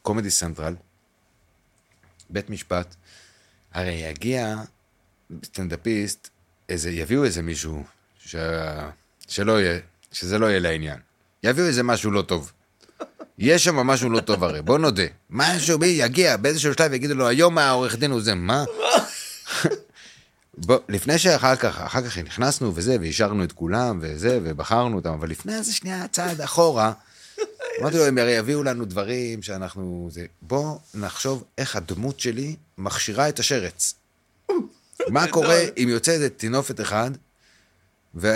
בקומדי סנטרל, בית משפט, הרי יגיע סטנדאפיסט, איזה, יביאו איזה מישהו, ש... שלא יהיה, שזה לא יהיה לעניין. יביאו איזה משהו לא טוב. יש שם משהו לא טוב הרי, בוא נודה. משהו, מי יגיע, באיזשהו שלב יגידו לו, היום העורך דין הוא זה, מה? בוא, לפני שאחר כך, אחר כך נכנסנו וזה, ואישרנו את כולם וזה, ובחרנו אותם, אבל לפני איזה שנייה, צעד אחורה, אמרתי לו, הם הרי יביאו לנו דברים שאנחנו... זה, בוא נחשוב איך הדמות שלי מכשירה את השרץ. מה קורה אם יוצא איזה טינופת אחד, ו...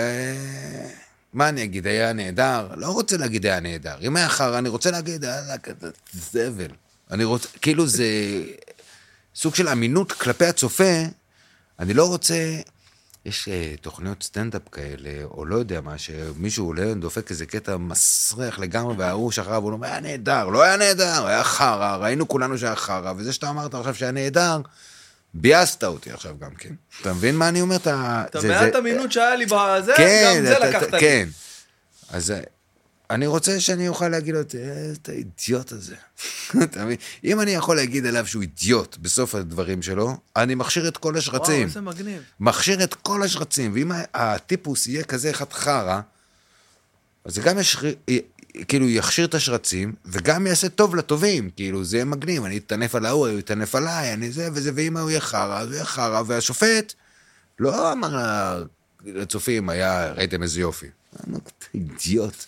מה אני אגיד, היה נהדר? לא רוצה להגיד היה נהדר. אם היה חרא, אני רוצה להגיד, יאללה, כזה זבל. אני רוצה, כאילו זה סוג של אמינות כלפי הצופה, אני לא רוצה... יש אה, תוכניות סטנדאפ כאלה, או לא יודע מה, שמישהו עולה, דופק איזה קטע מסריח לגמרי, וההוא שאחריו, הוא אומר, היה נהדר, לא היה נהדר, היה חרא, ראינו כולנו שהיה חרא, וזה שאתה אמרת עכשיו שהיה נהדר, ביאסת אותי עכשיו גם כן. אתה מבין מה אני אומר? אתה אתה זה- מעט זה- אמינות שהיה לי בזה, כן, גם זה אתה- לקחת אתה- לי. כן. אז אה, אני רוצה שאני אוכל להגיד לו, "אה, את האידיוט הזה. <laughs> אתה מבין? אם אני יכול להגיד עליו שהוא אידיוט בסוף הדברים שלו, אני מכשיר את כל וואו, השרצים. איזה מגניב. מכשיר את כל השרצים, ואם ה- הטיפוס יהיה כזה אחד חרא, אז זה גם ישחיר, כאילו יכשיר את השרצים, וגם יעשה טוב לטובים, כאילו זה יהיה מגניב, אני אטנף על ההוא, הוא יטנף עליי, אני זה וזה, ואם ההוא יהיה חרא, אז הוא יהיה חרא, והשופט לא אמר לצופים, היה, ראיתם איזה יופי. אמרנו, "אתה <laughs> אידיוט.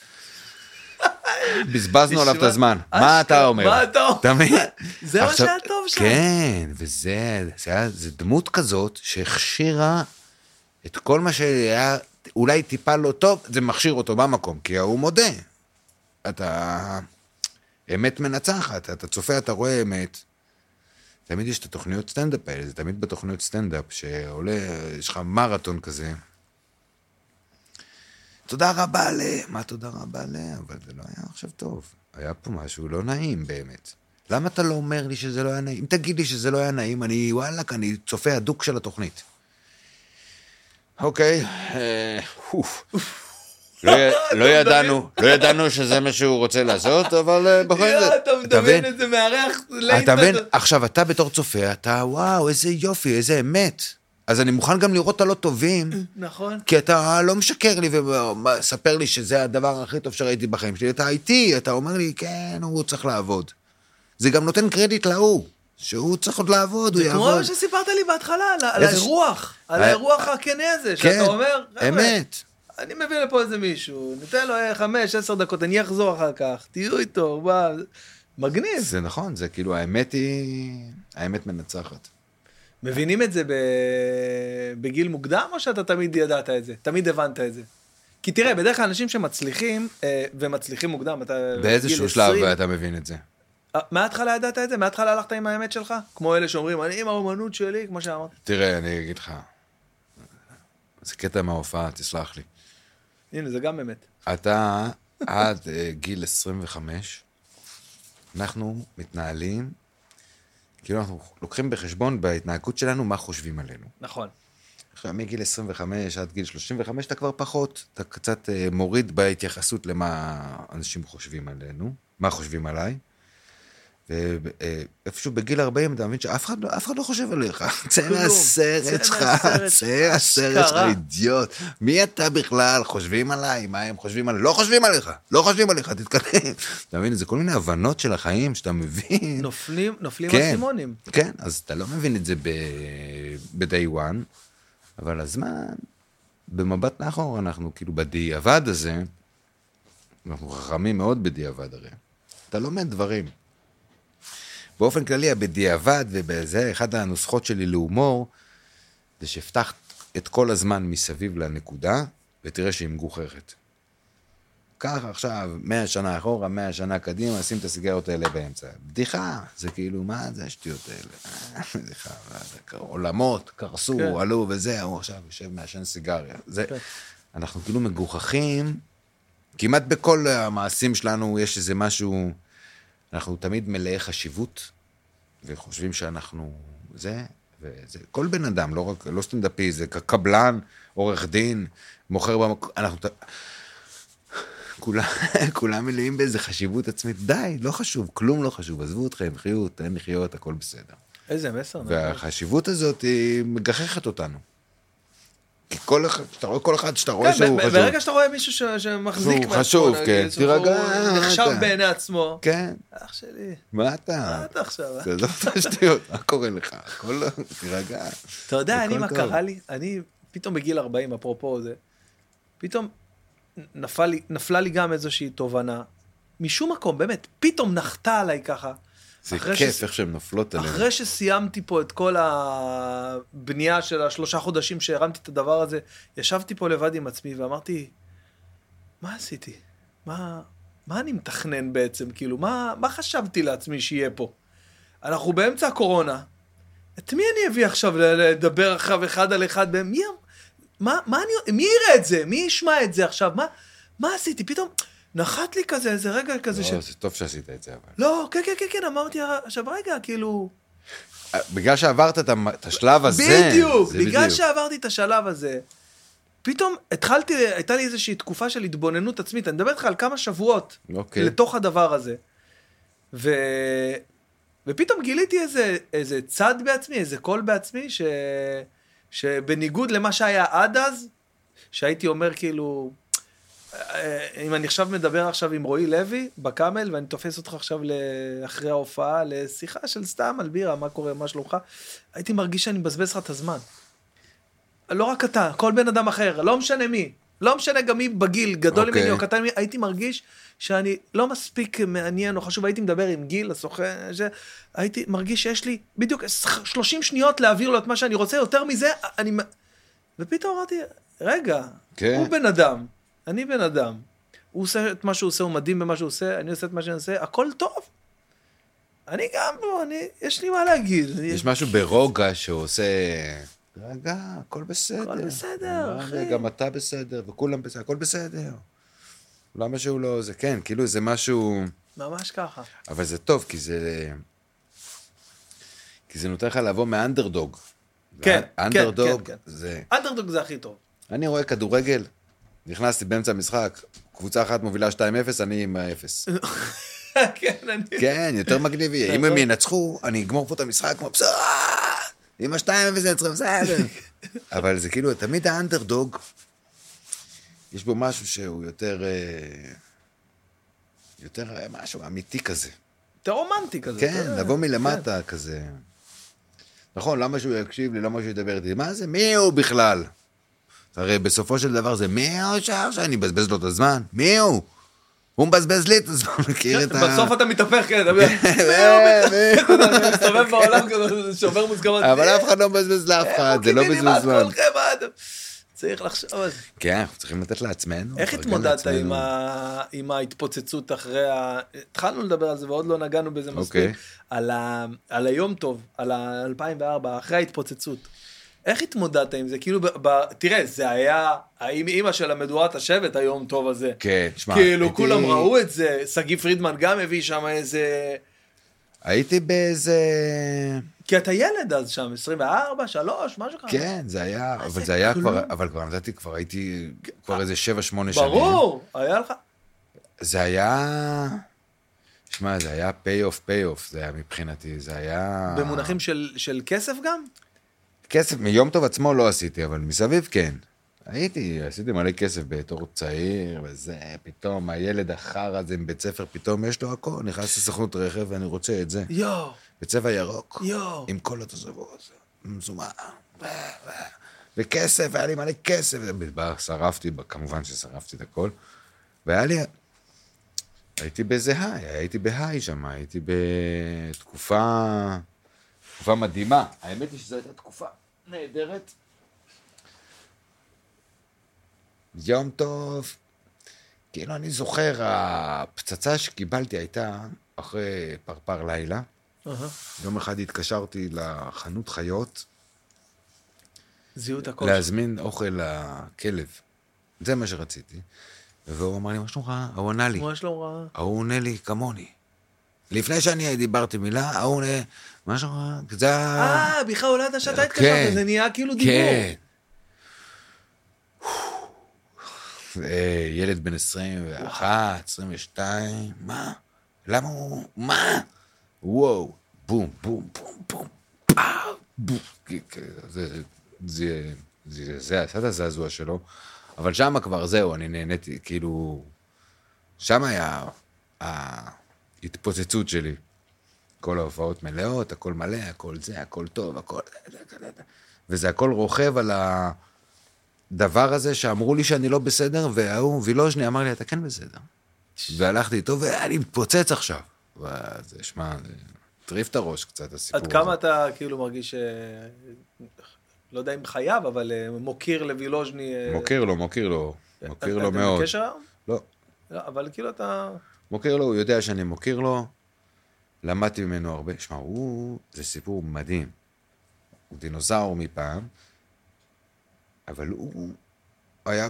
בזבזנו עליו את נשמע- הזמן. אשכרה, מה אתה אומר? מה אתה אומר? אתה מבין? <laughs> זה מה עכשיו- שהיה טוב שם. כן, וזה, זה היה, זה דמות כזאת שהכשירה את כל מה שהיה אולי טיפה לא טוב, זה מכשיר אותו במקום, כי ההוא מודה. אתה... אמת מנצחת, אתה צופה, אתה רואה אמת. תמיד יש את התוכניות סטנדאפ האלה, זה תמיד בתוכניות סטנדאפ, שעולה, יש לך מרתון כזה. תודה רבה ל... מה תודה רבה ל... אבל זה לא היה עכשיו טוב. היה פה משהו לא נעים באמת. למה אתה לא אומר לי שזה לא היה נעים? אם תגיד לי שזה לא היה נעים, אני וואלכ, אני צופה הדוק של התוכנית. אוקיי, אה, אוף. לא י- לא ידענו, לא ידענו שזה מה שהוא רוצה לעשות, אבל אה, בכל יואו, זאת, אתה מדמיין את זה מארח לייט. אתה מבין? כזה. עכשיו, אתה בתור צופה, אתה וואו, איזה יופי, איזה אמת. אז אני מוכן גם לראות את הלא <clears throat> טובים, נכון. כי אתה לא משקר לי ומספר לי שזה הדבר הכי טוב שראיתי בחיים שלי. אתה איתי, אתה אומר לי, כן, הוא צריך לעבוד. זה גם נותן קרדיט להוא, שהוא צריך עוד לעבוד, הוא כמו יעבוד. מה שסיפרת לי בהתחלה, על- על איזה ש- האירוח, על אה, האירוח הכנה הזה, כן, שאתה אומר, "חבר'ה, אמת. אני מביא לפה איזה מישהו, ניתן לו אה, חמש, עשר דקות, אני אחזור אחר כך, תהיו איתו, מה- מגניב. זה נכון, זה כאילו, האמת היא... האמת מנצחת. מבינים את זה ב... בגיל מוקדם, או שאתה תמיד ידעת את זה? תמיד הבנת את זה? כי תראה, בדרך כלל אנשים שמצליחים, אה, ומצליחים מוקדם, אתה... באיזשהו בגיל שלב 20, אתה מבין את זה. אה, מההתחלה ידעת את זה? מההתחלה הלכת עם האמת שלך? כמו אלה שאומרים, אני עם האומנות שלי, כמו שאמרת, תראה, אני אגיד לך, זה קטע מההופעה, תסלח לי. הנה, זה גם אמת. אתה עד אה, גיל 25, אנחנו מתנהלים, כאילו אנחנו לוקחים בחשבון בהתנהגות שלנו מה חושבים עלינו. נכון. עכשיו, מגיל 25 עד גיל 35 אתה כבר פחות, אתה קצת אה, מוריד בהתייחסות למה אנשים חושבים עלינו, מה חושבים עליי. ואיפשהו בגיל 40 אתה מבין שאף אחד, לא- אף אחד לא חושב עליך. <laughs> צא כלום. צא מהסרט שלך, מהסרט. צא מהסרט שלך, אשכרה. אידיוט. מי אתה בכלל? חושבים עליי? מה הם חושבים עליי? לא חושבים עליך, לא חושבים עליך, תתקדם. אתה מבין? זה כל מיני הבנות של החיים שאתה מבין. נופלים, נופלים כן, אסימונים. כן, אז אתה לא מבין את זה ב- ב-day one, אבל הזמן, במבט לאחור, אנחנו כאילו בדיעבד הזה, אנחנו חכמים מאוד בדיעבד הרי. אתה לומד דברים. באופן כללי, בדיעבד, ובזה, אחת הנוסחות שלי להומור, זה שהבטחת את כל הזמן מסביב לנקודה, ותראה שהיא מגוחכת. קח עכשיו 100 שנה אחורה, 100 שנה קדימה, שים את הסיגריות האלה באמצע. בדיחה, זה כאילו, מה זה השטויות האלה? אה, בדיחה, מה זה, קר- עולמות קרסו, כן. עלו וזה, הוא עכשיו יושב מעשן סיגריה. זה, אנחנו כאילו מגוחכים, כמעט בכל המעשים שלנו יש איזה משהו, אנחנו תמיד מלאי חשיבות, וחושבים שאנחנו זה, וזה, כל בן אדם, לא רק, לא סטנדאפי, זה ק- קבלן, עורך דין, מוכר במקום, אנחנו... ת- כולם, <laughs> כולם מלאים באיזה חשיבות עצמית, די, לא חשוב, כלום לא חשוב, עזבו אתכם, חיו, תן לחיות, הכל בסדר. איזה מסר. נכון. והחשיבות הזאת היא מגחכת אותנו. כי כל אחד, שאתה רואה כל אחד שאתה רואה כן, שהוא ב- ב- חשוב. ברגע שאתה רואה מישהו ש- שמחזיק שהוא חשוב, נגיד, כן, שהוא תירגע, נחשב אתה. בעיני עצמו. כן, אח שלי, מה אתה? מה אתה עכשיו? אה? <laughs> תעזוב את השטויות, מה קורה לך? הכל, לא, תירגע. אתה יודע, אני, הכל מה טוב. קרה לי? אני פתאום בגיל 40, אפרופו זה, פתאום נפל לי, נפלה לי גם איזושהי תובנה, משום מקום, באמת, פתאום נחתה עליי ככה. זה אחרי כיף שס- איך שהן נופלות עלינו. אחרי שסיימתי פה את כל הבנייה של השלושה חודשים שהרמתי את הדבר הזה, ישבתי פה לבד עם עצמי ואמרתי, מה עשיתי? מה, מה אני מתכנן בעצם? כאילו, מה, מה חשבתי לעצמי שיהיה פה? אנחנו באמצע הקורונה, את מי אני אביא עכשיו ל- לדבר עכשיו אחד על אחד? ב- מי, אמ- מה, מה אני, מי יראה את זה? מי ישמע את זה עכשיו? מה, מה עשיתי? פתאום נחת לי כזה, איזה רגע כזה ש... לא, זה טוב שעשית את זה, אבל. לא, כן, כן, כן, כן, אמרתי, עכשיו רגע, כאילו, אה, בגלל שעברת את המ- את השלב הזה. בדיוק, זה בגלל בדיוק. שעברתי את השלב הזה, פתאום התחלתי, הייתה לי איזושהי תקופה של התבוננות עצמית, אני מדבר איתך על כמה שבועות אוקיי. לתוך הדבר הזה. ו... ופתאום גיליתי איזה, איזה צד בעצמי, איזה קול בעצמי, ש... שבניגוד למה שהיה עד אז, שהייתי אומר כאילו, אה, אם אני עכשיו מדבר עכשיו עם רועי לוי בקאמל, ואני תופס אותך עכשיו ל- אחרי ההופעה לשיחה של סתם על בירה, מה קורה, מה שלומך, הייתי מרגיש שאני מבזבז לך את הזמן. לא רק אתה, כל בן אדם אחר, לא משנה מי. לא משנה גם מי בגיל, גדול אוקיי. ממני או קטן ממני, הייתי מרגיש שאני לא מספיק מעניין או חשוב, הייתי מדבר עם גיל, הסוכן, זה, הייתי מרגיש שיש לי בדיוק 30 שניות להעביר לו את מה שאני רוצה, יותר מזה, אני... מ- ופתאום אמרתי, רגע, כן. הוא בן אדם, אני בן אדם, הוא עושה את מה שהוא עושה, הוא מדהים במה שהוא עושה, אני עושה את מה שאני עושה, הכל טוב. אני גם, לא, אני, יש לי מה להגיד. יש משהו ברוגע שהוא עושה... רגע, הכל בסדר. הכל בסדר, אמר, אחי." גם אתה בסדר, וכולם בסדר, הכל בסדר. למה שהוא לא... זה כן, כאילו זה משהו... ממש ככה. אבל זה טוב, כי זה... כי זה נותן לך לבוא מאנדרדוג. כן, כן, אנדרדוג כן, כן. זה... אנדרדוג זה הכי טוב. <laughs> אני רואה כדורגל, נכנסתי באמצע המשחק, קבוצה אחת מובילה 2-0, אני עם ה-0. כן, אני... כן, יותר מגניב יהיה. נכון. אם הם ינצחו, אני אגמור פה את המשחק כמו בסדר. עם השתיים וזה נצחו, בסדר. אבל זה כאילו, תמיד האנדרדוג, יש בו משהו שהוא יותר... אה, יותר אה, משהו אמיתי כזה. אתה רומנטי כזה. אה. כן, אתה- לבוא מלמטה כזה. נכון, למה שהוא יקשיב לי, למה שהוא ידבר איתי? מה זה, מי הוא בכלל? הרי בסופו של דבר זה מי הוא שער שאני מבזבז לו את הזמן? מי הוא? הוא מבזבז לי את הזמן, מכיר את ה... אה, בסוף אתה מתהפך, כן, אתה <laughs> אתה מסתובב בעולם כזה, שובר "אה, אוקיי, מוסכמות. אבל אף אחד לא מבזבז לאף אחד, זה לא בזבז זמן. צריך לחשוב על זה. כן, אנחנו צריכים לתת לעצמנו. איך לפרגן התמודדת לעצמנו. עם ה- עם ההתפוצצות אחרי ה... התחלנו לדבר על זה ועוד לא נגענו בזה מספיק. אוקיי. על ה- על היום טוב, על ה-2004, אחרי ההתפוצצות. איך התמודדת עם זה? כאילו, ב- ב- תראה, זה היה האם אימא של המדורת השבט, היום טוב הזה. כן, שמע, כאילו, הייתי- כולם ראו את זה, שגיא פרידמן גם הביא שם איזה... הייתי באיזה... כי אתה ילד אז שם, 24, 3, משהו ככה. כן, זה היה, אבל זה זה היה כלום? כבר, אבל כבר נתתי, כבר הייתי, כבר איזה 7-8 שנים. אה. ברור, היה לך... זה היה... שמע, זה היה פי אוף, פי אוף, זה היה מבחינתי, זה היה... במונחים של, של כסף גם? כסף, מיום טוב עצמו לא עשיתי, אבל מסביב כן. הייתי, עשיתי מלא כסף בתור צעיר, וזה, פתאום הילד החרא הזה עם בית ספר, פתאום יש לו הכל, נכנס לסוכנות רכב ואני רוצה את זה. יואו, בצבע ירוק, יואו. עם כל התוספות, מזומן, וכסף, היה לי מלא כסף, ובא, שרפתי, כמובן ששרפתי את הכל, והיה לי, הייתי באיזה היי, הייתי בהיי שם, הייתי בתקופה, תקופה מדהימה, האמת היא שזו הייתה תקופה נהדרת. יום טוב, כאילו אני זוכר, הפצצה שקיבלתי הייתה אחרי פרפר לילה. אהה. יום אחד התקשרתי לחנות חיות זיהו את הכל. להזמין אוכל לכלב. זה מה שרציתי. והוא אמר לי, מה שלומך? ההוא ענה לי. מה שלום רע? ההוא עונה לי כמוני. לפני שאני דיברתי מילה, ההוא עונה, מה שלומך? זה ה... אה, בכלל אולי אתה שאתה כן. התקשרת, זה נהיה כאילו דיבור. כן. אה, ילד בן 21, 22, מה? למה הוא... מה? וואו, בום, בום, בום, בום, פאו, בום. כן, זה- זה- זה- זה זה עשה את הזעזוע שלו, אבל שם כבר זהו, אני נהניתי, כאילו... שם היה ההתפוצצות שלי. כל ההופעות מלאות, הכל מלא, הכל זה, הכל טוב, הכל... וזה הכל רוכב על הדבר הזה שאמרו לי שאני לא בסדר, וההוא וילוז'ני אמר לי, אתה כן בסדר. והלכתי איתו, ואני מתפוצץ עכשיו. וזה, שמע, זה הטריף את הראש קצת, הסיפור עד כמה אתה כאילו מרגיש, אה, לא יודע אם חייב, אבל אה, מוקיר לווילוז'ני. אה, מוקיר לו, מוקיר לו, מוקיר לו אתם מאוד. בקשר היום? לא, לא, אבל כאילו אתה... מוקיר לו, הוא יודע שאני מוקיר לו, למדתי ממנו הרבה. שמע, הוא, זה סיפור מדהים. הוא דינוזאור מפעם, אבל הוא היה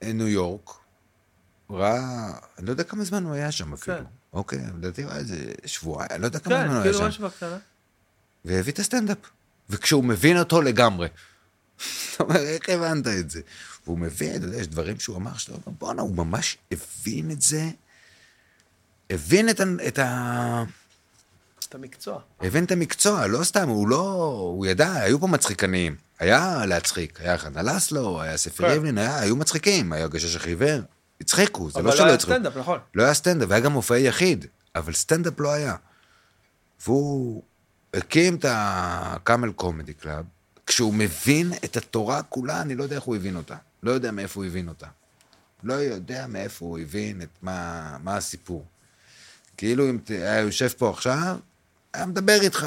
בניו יורק, ראה, אני לא יודע כמה זמן הוא היה שם אפילו. כן. אוקיי, לדעתי הוא היה איזה שבועיים, אני לא יודע כמה כן, זמן הוא היה כאילו שם. משהו בקטנה. והביא את הסטנדאפ. וכשהוא מבין אותו לגמרי. אתה אומר, איך הבנת את זה? והוא מבין, אתה יודע, יש דברים שהוא אמר, שאתה אומר, בואנה, הוא ממש הבין את זה. הבין את, ה- את, ה... את המקצוע. הבין את המקצוע, לא סתם, הוא לא... הוא ידע, היו פה מצחיקנים. היה להצחיק, היה חנה לסלו, היה ספיר כן. ריבלין, היה, היו מצחיקים, היה גשש החיוור. הצחיקו, זה אבל לא לא שלא היה הצחיקו. סטנדאפ, נכון. לא היה סטנדאפ, היה גם מופעי יחיד, אבל סטנדאפ לא היה. והוא הקים את הקאמל קומדי קלאב, כשהוא מבין את התורה כולה, אני לא יודע איך הוא הבין אותה. לא יודע מאיפה הוא הבין אותה. לא יודע מאיפה הוא הבין את מה, מה הסיפור. כאילו אם ת- היה יושב פה עכשיו, היה מדבר איתך,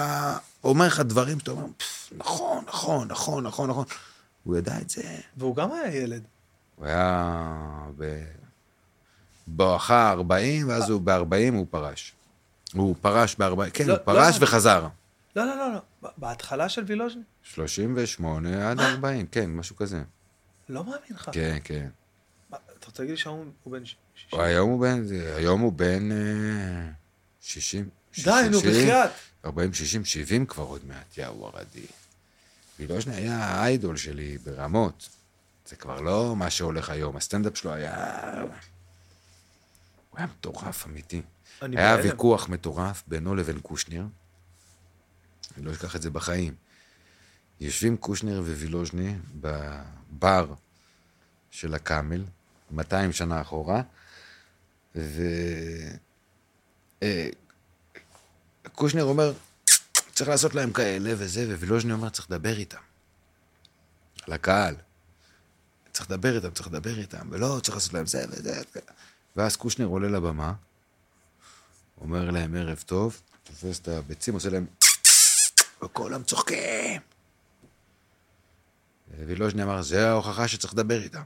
אומר לך דברים שאתה אומר, "פפ, נכון, נכון, נכון, נכון, נכון. הוא ידע את זה. והוא גם היה ילד. הוא היה ב... בואכה 40, ואז הוא ב-40 הוא פרש. הוא פרש ב-40, כן, לא- הוא פרש לא- וחזר. לא, לא, לא, לא. ב- בהתחלה של וילוז'ני. 38 עד 40, כן, משהו כזה. לא מאמין לך. כן, כן. מה, אתה רוצה להגיד לי שההוא הוא בן ש- ש- ש- היום הוא בן, זה- היום הוא בן אה, 60. די, נו, 60, בחייאת. 40, 60, 70 כבר עוד מעט, יא וורדי. וילוז'ני לא היה האיידול שלי ברמות. זה כבר לא מה שהולך היום, הסטנדאפ שלו היה... הוא היה מטורף, אמיתי. אני היה בהלם. ויכוח מטורף בינו לבין קושניר. אני לא אשכח את זה בחיים. יושבים קושניר ווילוז'ני בבר של הקאמל, 200 שנה אחורה, ו... אה, קושניר אומר, צריך לעשות להם כאלה וזה, ווילוז'ני אומר, צריך לדבר איתם. על הקהל. צריך לדבר איתם, צריך לדבר איתם, ולא, צריך לעשות להם זה וזה. ואז קושניר עולה לבמה, אומר להם ערב טוב, תופס את הביצים, עושה להם... וכולם צוחקים. וילוז'ני אמר, זה ההוכחה שצריך לדבר איתם.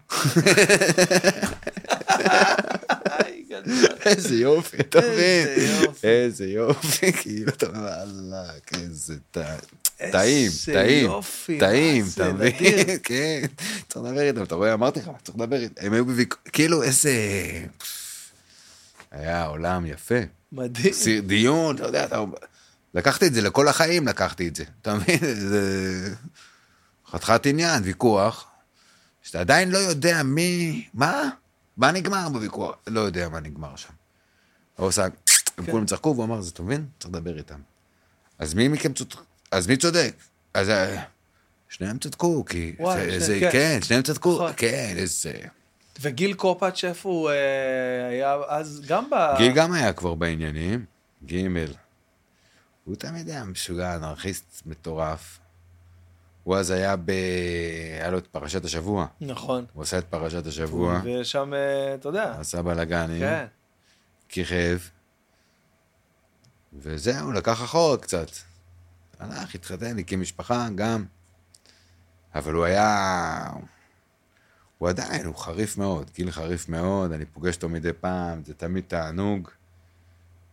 <laughs> איזה יופי, אתה מבין? איזה יופי. איזה יופי, <laughs> כאילו, אתה אומר, וואלכ, איזה טע- איזה טעים, טעים, יופי, טעים, מה זה, אתה מבין? <laughs> נדיר. כן, צריך לדבר איתם, אתה רואה, אמרתי לך, צריך לדבר איתם. הם היו בוויכוח, כאילו, איזה... היה עולם יפה. מדהים. סיר- דיון, אתה יודע, אתה... לקחתי את זה, לכל החיים לקחתי את זה, אתה מבין? זה... חתיכת עניין, ויכוח, שאתה עדיין לא יודע מי... מה? מה נגמר בוויכוח? לא יודע מה נגמר שם. הוא עושה... הם כן. כולם צחקו, והוא אמר, זה אתה מבין? צריך לדבר איתם. אז מי מכם צודק? אז מי צודק? אז... אה, שניהם צדקו, כי... וואי, שניהם, זה- זה- כן. כן, שניהם צדקו, נכון. כן, איזה... וגיל קופאץ' איפה הוא אה, היה אז גם ב... גיל גם היה כבר בעניינים, גימל. הוא תמיד היה משוגע, אנרכיסט מטורף. הוא אז היה ב... היה לו את פרשת השבוע. נכון. הוא עשה את פרשת השבוע, ושם, אה, אתה יודע. עשה בלאגנים, כן. כיכב, וזהו, לקח אחורה קצת. הלך, התחתן, הקים משפחה גם. אבל הוא היה... הוא עדיין, הוא חריף מאוד, גיל חריף מאוד, אני פוגש אותו מדי פעם, זה תמיד תענוג.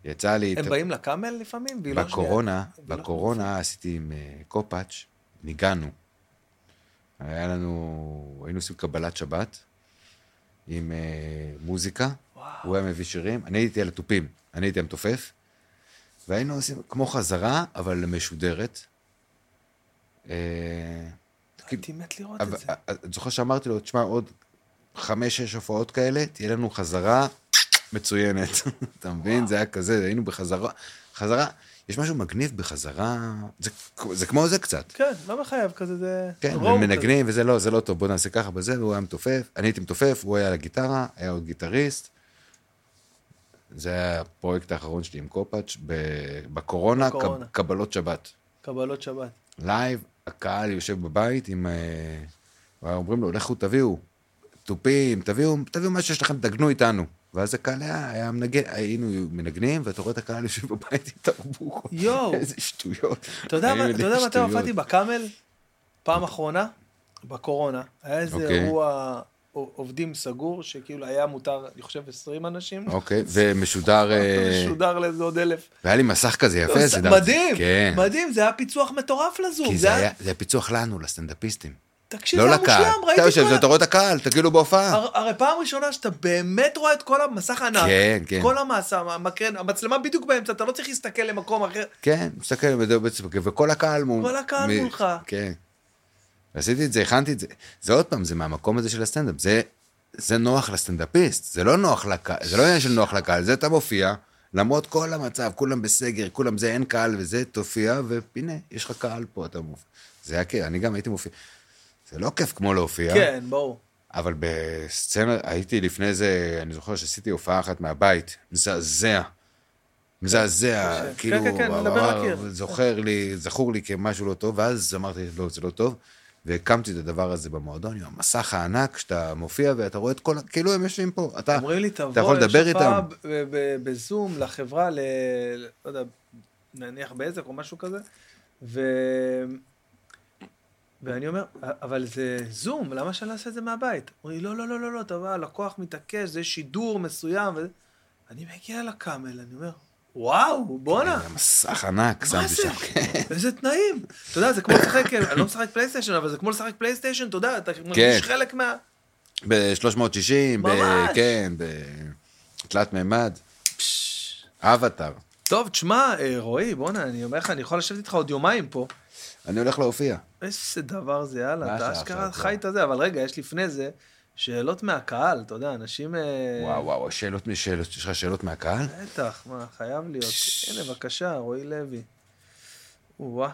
יצא לי... הם את- באים לקאמל לפעמים? והיא לא בקורונה, שנייה. בקורונה עשיתי עם אה, קופאץ', ניגענו. היה לנו, היינו עושים קבלת שבת עם אה, מוזיקה, הוא היה מביא שירים, אני הייתי על התופים, אני הייתי המתופף, והיינו עושים כמו חזרה, אבל משודרת. אה, הייתי מת לראות אבל- את זה. אה, את זוכר שאמרתי לו, תשמע, עוד חמש-שש הופעות כאלה, תהיה לנו חזרה מצוינת. <laughs> אתה מבין? זה היה כזה, היינו בחזרה, חזרה, יש משהו מגניב בחזרה, זה- זה כמו זה קצת. כן, לא מחייב כזה, זה... כן, רואו ומנגנים, וזה לא, זה לא טוב, בוא נעשה ככה בזה, והוא היה מתופף, אני הייתי מתופף, הוא היה על הגיטרה, היה עוד גיטריסט. זה היה הפרויקט האחרון שלי עם קופאץ', ב- בקורונה, קב- בקורונה. קבלות שבת. כזה. קבלות שבת. לייב, הקהל יושב בבית עם... אה, אומרים לו, לכו תביאו תופים, תביאו, תביאו מה שיש לכם, תגנו איתנו. ואז הקהל היה, היה מנגן, היינו מנגנים, ואתה רואה את הקהל יושב בבית עם תרבוכו. יואו. איזה שטויות. אתה יודע היו מה- לי אתה יודע מתי שטויות. הופעתי בקאמל? פעם אחרונה? בקורונה. היה איזה אוקיי. אירוע עו- עובדים סגור, שכאילו היה מותר, אני חושב, 20 אנשים. אוקיי, <laughs> ומשודר... אה, שודר לאיזה עוד אלף. והיה לי מסך כזה יפה, סידרתי. לא, מדהים, כן. מדהים, זה היה פיצוח מטורף לזום. כי זה היה, זה היה פיצוח לנו, לסטנדאפיסטים. תקשיב, לא זה היה לקהל. מושלם, ראיתי אתה יושב, כל... אתה רואה את הקהל, אתה כאילו בהופעה. הר- הרי פעם ראשונה שאתה באמת רואה את כל המסך הענק. כן, כן. כל המסע, המקרן, המצלמה בדיוק באמצע, אתה לא צריך להסתכל למקום אחר. כן, מסתכל, מדבר, כן, וכל הקהל מול... כל הקהל מולך. כן. עשיתי את זה, הכנתי את זה. זה עוד פעם, זה מהמקום הזה של הסטנדאפ. זה, זה נוח לסטנדאפיסט, זה לא נוח לקהל, זה לא עניין של נוח לקהל, זה אתה מופיע, למרות כל המצב, כולם בסגר, כולם זה, אין קהל וזה, תופיע, והנה, יש לך קהל פה, אתה מופיע. זה היה כיף, אני גם הייתי מופיע. זה לא כיף כמו להופיע. כן, ברור. אבל בסצנה, הייתי לפני זה, אני זוכר שעשיתי הופעה אחת מהבית, מזעזע. מזעזע, קשה. כאילו, כן, כן, כן, אבל לדבר על הקיר. זוכר לי, זכור לי כמשהו לא טוב, ואז אמרתי, לא, זה לא טוב, והקמתי את הדבר הזה במועדון, עם המסך הענק, שאתה מופיע ואתה רואה את כל, ה- כאילו הם יושבים פה, אתה, אומרים לי, תבוא, אתה יכול לדבר יש הופעה איתם. ב- ב- בזום לחברה, ל... לא יודע, נניח בזק או משהו כזה, ו... ואני אומר, אבל זה זום, למה שאני לא אעשה את זה מהבית? אומרים לי, לא, לא, לא, לא, לא, אתה בא, הלקוח מתעקש, זה שידור מסוים, וזה... אני מגיע לקאמל, אני אומר, וואו, בואנה. מסך ענק, מה שמתי זה? שם. כן. <laughs> איזה תנאים. אתה יודע, זה כמו לשחק, אני לא משחק פלייסטיישן, אבל זה כמו לשחק פלייסטיישן, אתה יודע, אתה כן. מרגיש חלק מה... ב-360, ממש. כן, בתלת מימד, אבטאר. טוב, תשמע, אה, רועי, בואנה, אני אומר לך, אני יכול לשבת איתך עוד יומיים פה. אני הולך להופיע. איזה דבר זה, יאללה, אתה מה השעה עכשיו אשכרה כבר? חי את הזה, אבל רגע, יש לפני זה שאלות מהקהל, אתה יודע, אנשים... אה, וואו, וואו, שאלות משאלות, יש לך שאלות מהקהל? בטח, מה, חייב להיות. הנה, בבקשה, רועי לוי. או-אה.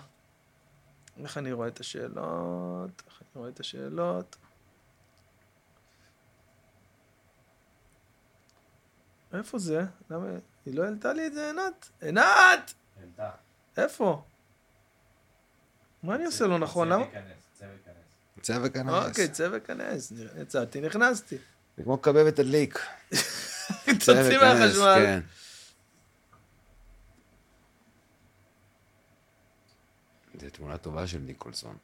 איך אני רואה את השאלות? איך אני רואה את השאלות? איפה זה? למה... היא לא העלתה לי את זה, עינת? עינת! העלתה. איפה? מה אני עושה לא נכון? צא למה? להיכנס, צא להיכנס. צא וכנס. אוקיי, צא וכנס. יצאתי, נכנסתי. זה כמו קבב ותדליק. צא תוציא וכנס, מהחשמל. כן. זו תמונה טובה של ניקולסון.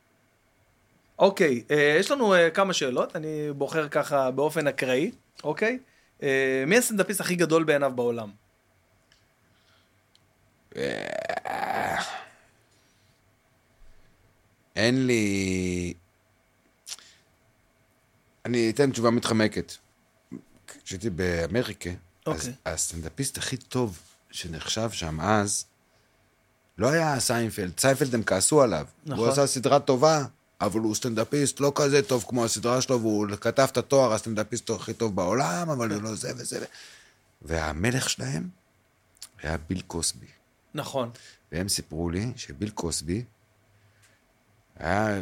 אוקיי, אה, יש לנו אה, כמה שאלות, אני בוחר ככה באופן אקראי, אוקיי? אה, מי הסטנדאפיסט הכי גדול בעיניו בעולם? אין לי... אני אתן תשובה מתחמקת. כשהייתי באמריקה, אז אוקיי. הסטנדאפיסט הכי טוב שנחשב שם אז, לא היה סיינפלד. סיינפלד הם כעסו עליו. נכון. הוא עשה סדרה טובה, אבל הוא סטנדאפיסט לא כזה טוב כמו הסדרה שלו, והוא כתב את התואר הסטנדאפיסט הכי טוב בעולם, אבל הוא לא זה וזה. והמלך שלהם היה ביל קוסבי. נכון. והם סיפרו לי שביל קוסבי היה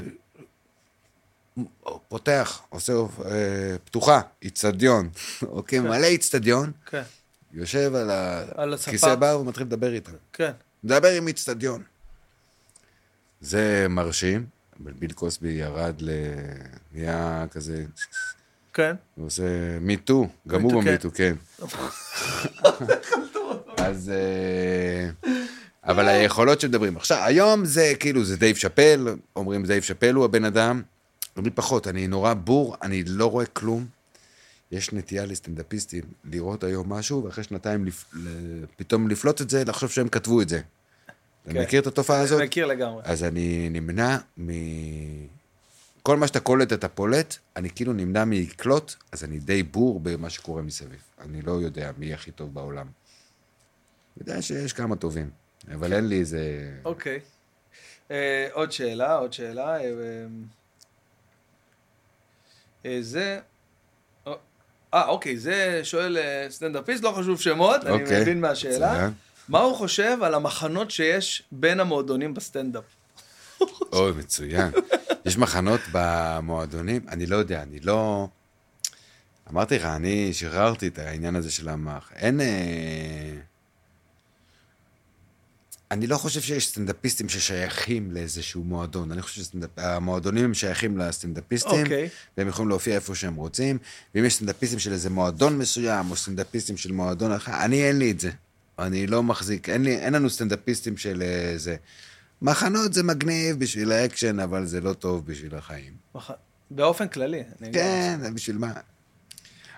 פותח, עושה אה, פתוחה, איצטדיון, <laughs> אוקיי, מלא איצטדיון, כן, יושב על, ה... על הספה. כיסא בר ומתחיל לדבר איתם. כן. מדבר עם איצטדיון. זה מרשים, אבל ביל קוסבי ירד ל... נהיה כזה, כן. הוא עושה מיטו, גם הוא Me Too, במיטו, כן. אז... אה, אבל היכולות שמדברים. עכשיו, היום זה כאילו, זה דייב שאפל, אומרים דייב שאפל הוא הבן אדם, אני פחות, אני נורא בור, אני לא רואה כלום. יש נטייה לסטנדאפיסטים לראות היום משהו, ואחרי שנתיים לפ... ל- פתאום לפלוט את זה, לחשוב שהם כתבו את זה. אתה כן. מכיר את התופעה הזאת? אני מכיר לגמרי. אז אני נמנע מ... כל מה שאתה קולט אתה פולט, אני כאילו נמנע מלקלוט, אז אני די בור במה שקורה מסביב. אני לא יודע מי הכי טוב בעולם. אני יודע שיש כמה טובים, אבל אין לי איזה... אוקיי. אה, עוד שאלה, עוד שאלה. אה, אה, אה, זה... אה, אה, אוקיי, זה שואל אה, סטנדאפיסט, לא חשוב שמות, אני אוקיי. מבין מהשאלה. בסדר. מה הוא חושב על המחנות שיש בין המועדונים בסטנדאפ? אוי, מצוין. יש מחנות במועדונים? אני לא יודע, אני לא... אמרתי לך, אני שחררתי את העניין הזה של המח. אין... אה, אני לא חושב שיש סטנדאפיסטים ששייכים לאיזשהו מועדון. אני חושב שהמועדונים הם שייכים לסטנדאפיסטים, אוקיי. והם יכולים להופיע איפה שהם רוצים, ואם יש סטנדאפיסטים של איזה מועדון מסוים, או סטנדאפיסטים של מועדון אחר, אני אין לי את זה. אני לא מחזיק, אין, לי, אין לנו סטנדאפיסטים של אה, זה. מחנות זה מגניב בשביל האקשן, אבל זה לא טוב בשביל החיים. מח- באופן כללי. אני- כן, זה בשביל מה?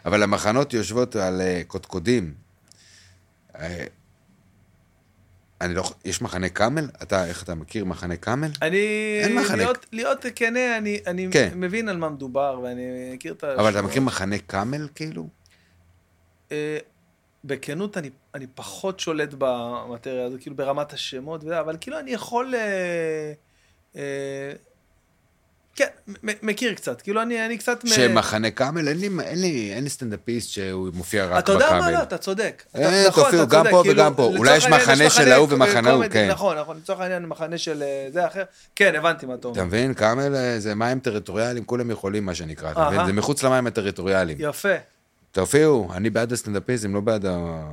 אבל המחנות יושבות על אה, קודקודים. אה, אני לא... ח- יש מחנה קאמל? אתה, איך אתה מכיר מחנה קאמל? אני... אין מחנק. להיות- להיות כנה, אני- אני כן. מבין על מה מדובר, ואני מכיר את ה... אבל אתה מכיר מחנה קאמל, כאילו? אה, בכנות, אני, אני פחות שולט במטריה הזו, כאילו ברמת השמות, וזה, אבל כאילו אני יכול... אה, אה, כן, מ- מכיר קצת, כאילו אני, אני קצת... מ- שמחנה קאמל, אין לי, אין לי, אין לי סטנדאפיסט שהוא מופיע רק אתה יודע מה? בקאמל. לא, אתה צודק. אתה- אה, נכון, תופיעו אתה גם צודק, פה כאילו, וגם פה. לצורך אולי יש העניין, מחנה של מחנה ההוא ק- ומחנה ההוא, קומדי, כן. נכון, נכון, לצורך העניין מחנה של אה, זה אחר. כן, הבנתי מה אתה אתה אומר. מבין? קאמל אה, זה מים טריטוריאליים, כולם יכולים, מה שנקרא. אתה אהה. מבין? זה מחוץ למים הטריטוריאליים. יפה. תופיעו, אני בעד הסטנדאפיזם, לא בעד ה-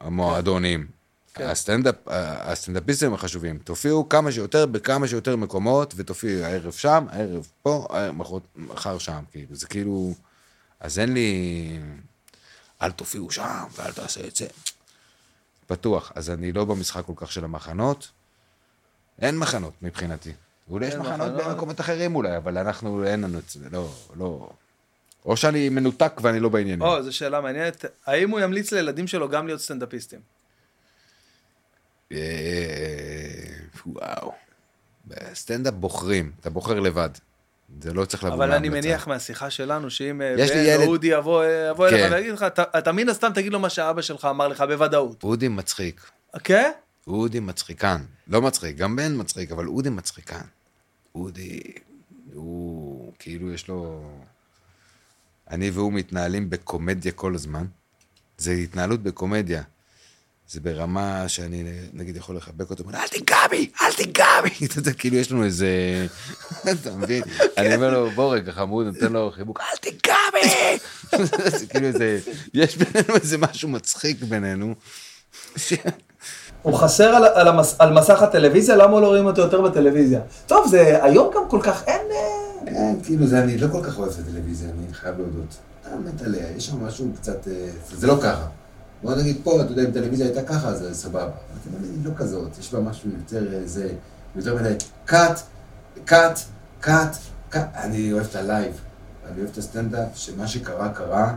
המועדונים. כן. הסטנדאפ, הסטנדאפיסטים החשובים, תופיעו כמה שיותר בכמה שיותר מקומות, ותופיעו הערב שם, הערב פה, הערב- מחר- מחר שם, כאילו, זה כאילו... אז אין לי... אל תופיעו שם, ואל תעשה את זה. פתוח. אז אני לא במשחק כל כך של המחנות. אין מחנות מבחינתי. אולי יש אין מחנות מחנות. במקומות אחרים אולי, אבל אנחנו, אין לנו את זה, לא, לא. או שאני מנותק ואני לא בעניינים. או, זו שאלה מעניינת. האם הוא ימליץ לילדים שלו גם להיות סטנדאפיסטים? אה, וואו. בסטנדאפ בוחרים, אתה בוחר לבד. זה לא צריך לבוא אבל אני מההמלצה. מניח מהשיחה שלנו, שאם אה, יש לי בן ילד- או אודי יבוא אה, יבוא אליך כן. ויגיד לך, "אתה- אתה מן הסתם תגיד לו מה שאבא שלך אמר לך בוודאות. אודי מצחיק. כן? אודי מצחיקן. לא מצחיק, גם בן מצחיק, אבל אודי מצחיקן. אודי, הוא כאילו יש לו... אני והוא מתנהלים בקומדיה כל הזמן. זה התנהלות בקומדיה. זה ברמה שאני נגיד יכול לחבק אותו, אומר, אל תיגע בי, אל תיגע בי. <laughs> אתה יודע, כאילו יש לנו איזה... אתה מבין? אני אומר לו, בוא רגע, חמוד, נותן לו חיבוק, אל תיגע בי! זה כאילו איזה... יש בינינו איזה משהו מצחיק בינינו. <laughs> הוא חסר על, על, המס, על מסך הטלוויזיה, למה לא רואים אותו יותר בטלוויזיה? טוב, זה היום גם כל כך אין... אה, כן, כאילו זה, אני לא כל כך אוהב את הטלוויזיה, אני חייב להודות. אתה מת עליה, יש שם משהו קצת... אה, זה לא ככה. בוא נגיד פה, אתה יודע, אם טלוויזיה הייתה ככה, זה סבבה. אבל הטלוויזיה היא לא כזאת, יש בה משהו יותר אה, זה, יותר מדי קאט, קאט, קאט, קאט. אני אוהב את הלייב, אני אוהב את הסטנדאפ, שמה שקרה, קרה.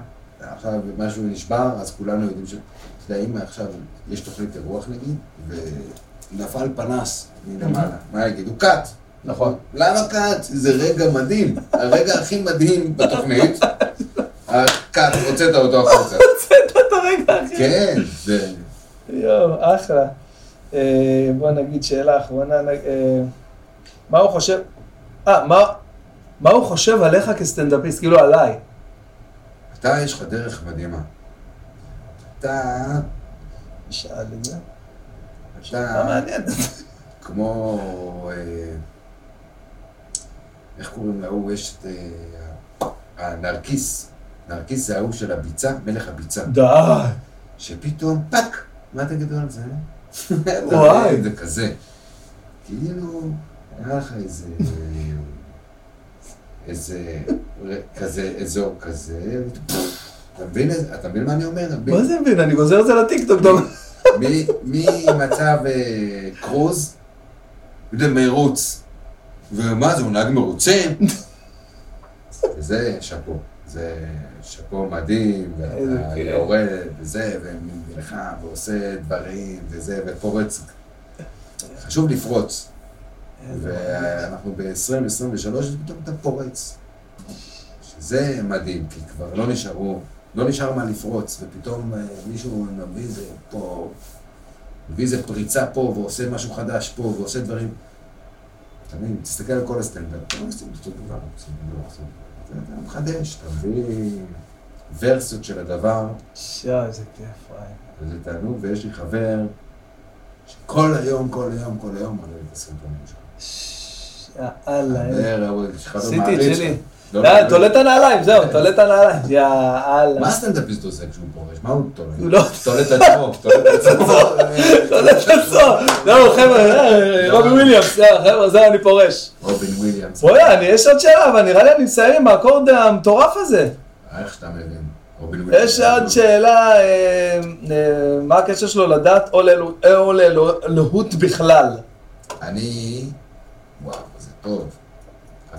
עכשיו משהו נשבר, אז כולנו יודעים ש... אתה יודע, אם עכשיו יש תוכנית אירוח נגיד, ונפל פנס מלמעלה, מה יגידו? קאט. נכון. למה קאט? זה רגע מדהים, הרגע הכי מדהים בתוכנית. הקאט, הוצאת אותו החוצה. הוצאת את הרגע, אחי. כן, זה... יואו, אחלה. אה, בוא נגיד שאלה אחרונה. נ- אה, מה הוא חושב... אה, מה, מה הוא חושב עליך כסטנדאפיסט? כאילו עליי. אתה, יש לך דרך מדהימה. אתה, שאל את זה. מה אתה לא מעניין? כמו... אה, איך קוראים להוא? יש את... אה, הנרקיס. נרקיס זה ההוא של הביצה, מלך הביצה. די. שפתאום פאק, מה תגידו על זה? וואי. זה כזה. כאילו, היה לך איזה... איזה... כזה אזור כזה, אתה מבין איזה- אתה מבין מה אני אומר? מה זה מבין? אני גוזר את זה לטיקטוק. דום. מ- ממצב אה, קרוז למרוץ. ומה זה, הוא נהג מרוצה? וזה שאפו. זה שאפו מדהים, איזה ואתה כיף. יורד, וזה, ונלחם, ועושה דברים, וזה, ופורץ. חשוב לפרוץ. ואנחנו ב-2023, ופתאום אתה פורץ. שזה מדהים, כי כבר לא נשארו, לא נשאר מה לפרוץ, ופתאום אה, מישהו מביא איזה פה, מביא איזה פריצה פה, ועושה משהו חדש פה, ועושה דברים. אתה מבין, תסתכל על כל הסטנדאפ, אתה לא עושה אותו דבר, עושים אותו דבר, אתה- אתה מחדש, אתה מביא ורסיות של הדבר, שואו, איזה כיף, וואי. וזה תענוג, ויש לי חבר שכל היום, כל היום, כל היום מראה לי את הסרטונים שלך. יאללה. איזה חבר, אבל יש חבר עשיתי את מעריץ שלי. שלך. לא אה, לא, אה. מעריץ. תולה את הנעליים, זהו, תולה את הנעליים. יאללה. מה הסטנדאפיסט עושה כשהוא פורש? מה הוא תולה? הוא לא- תולה את עצמו, תולה את <laughs> עצמו. תולה את הסוף. זהו, חבר'ה, אה, רובי וויליאמס, זהו, חבר'ה, זהו, אני פורש. רובין וויליאמס. בוא'נה, אני- יש עוד שאלה, אבל נראה לי אני מסיים עם האקורד המטורף הזה. איך שאתה מבין. רובין וויליאמס. יש עוד שאלה, אה, אה, מה הקשר שלו לדת או לאלו- או לאלוהות בכלל? אני... וואו, זה טוב.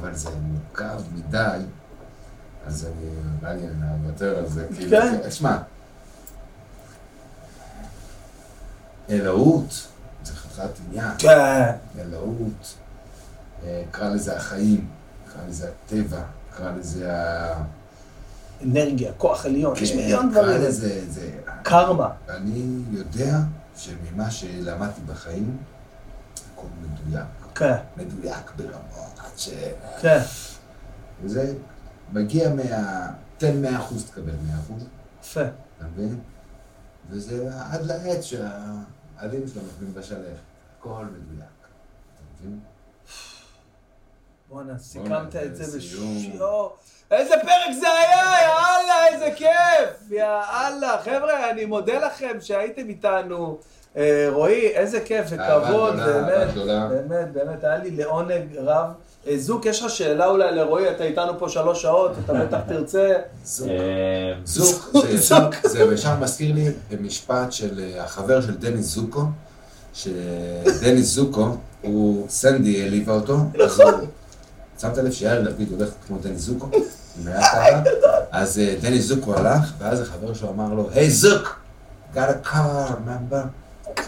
אבל זה מורכב מדי, אז אני... נראה לי אני אוותר על זה. כאילו, כן. תשמע. אלוהות, זה חתיכת עניין. כן. אלוהות, אה, קרא לזה החיים, קרא לזה הטבע, קרא לזה ה... אה, אנרגיה, כוח עליון, יש מיליון קרא דברים. לזה, זה... קרמה. אני יודע שממה שלמדתי בחיים, הכל מדויק, כן, מדויק ברמות, עד ש... כן. וזה מגיע מה... תן 100 אחוז, תקבל 100 אחוז, יפה. אתה מבין? וזה עד לעץ שהעלים שלו נופלים בשלב, הכל מדויק, אתה מבין? בואנה, סיכמת את זה לסיום. בשיאו. איזה פרק זה היה, יאללה, איזה כיף! יאללה, חבר'ה, אני מודה לכם שהייתם איתנו. אה, רועי, איזה כיף אהבה וכבוד, גדולה, אהבה באמת, גדולה. באמת, באמת, היה לי לעונג רב. אה, זוק, יש לך שאלה אולי לרועי, אתה איתנו פה שלוש שעות, אתה בטח <laughs> תרצה. זוק. אה, <laughs> זוק, זה ישר- זה ישר מזכיר לי משפט של אה, החבר של דניס זוקו, שדניס זוקו, הוא, סנדי העליבה אותו. נכון. שמת לב שיאיר לפיד הולך כמו דניס <laughs> זוקו, עם היד ככה, אז אה, דניס זוקו הלך, ואז החבר שלו אמר לו, היי זוק, got a car, remember?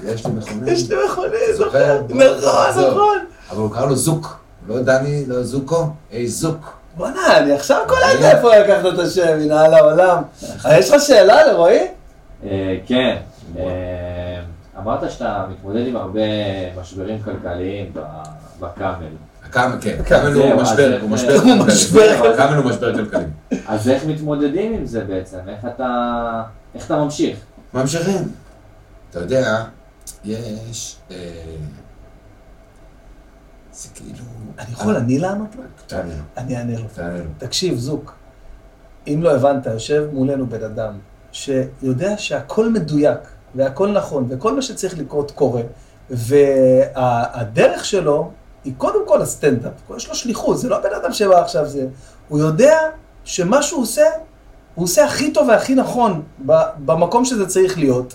יש לי מכונן. יש לי מכונן, זוכר? נכון, נכון. אבל הוא קרא לו זוק, לא דני, לא זוקו, היי זוק. בואנה, אני עכשיו קולט איפה לקחת את השם, מנהל העולם. אה, יש לך שאלה לרועי? אה, כן, אה, אמרת שאתה מתמודד עם הרבה משברים כלכליים ב- בקאמל. הקאמל, כן, הקאמל הוא זהו, משבר, אז- הוא משבר הוא כלכלי. הקאמל הוא משבר כלכלי. אז איך מתמודדים עם זה בעצם? איך אתה... איך אתה ממשיך? ממשיכים. אתה יודע, יש... אה, זה כאילו... אני יכול, אני לענות לו? תענה לו, אני אענה לו. תענה לו. תקשיב, זוק, אם לא הבנת, יושב מולנו בן אדם שיודע שהכל מדויק והכל נכון וכל מה שצריך לקרות קורה, והדרך שלו היא קודם כל הסטנדאפ, יש לו שליחות, זה לא בן אדם שבא עכשיו, זה... הוא יודע שמה שהוא עושה, הוא עושה הכי טוב והכי נכון ב- במקום שזה צריך להיות.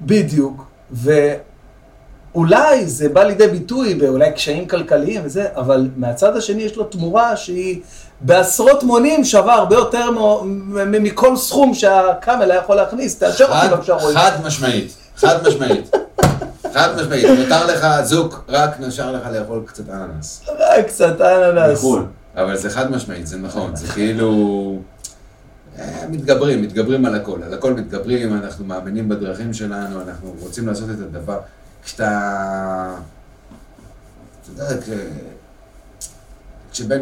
בדיוק, ואולי זה בא לידי ביטוי באולי קשיים כלכליים וזה, אבל מהצד השני יש לו תמורה שהיא בעשרות מונים שווה הרבה יותר מ- מ- מכל סכום שהקאמל היה יכול להכניס, תאשר אותי חד- בבקשה רועי. חד משמעית, חד משמעית. חד משמעית, נותר לך זוק, רק נשאר לך לאכול קצת אננס. רק אה, קצת אננס. בחו"ל. אבל זה חד משמעית, זה נכון, זה כאילו... אה, מתגברים, מתגברים על הכל, על הכל מתגברים, אנחנו מאמינים בדרכים שלנו, אנחנו רוצים לעשות את הדבר. כשאתה... אתה יודע, כש... כשבן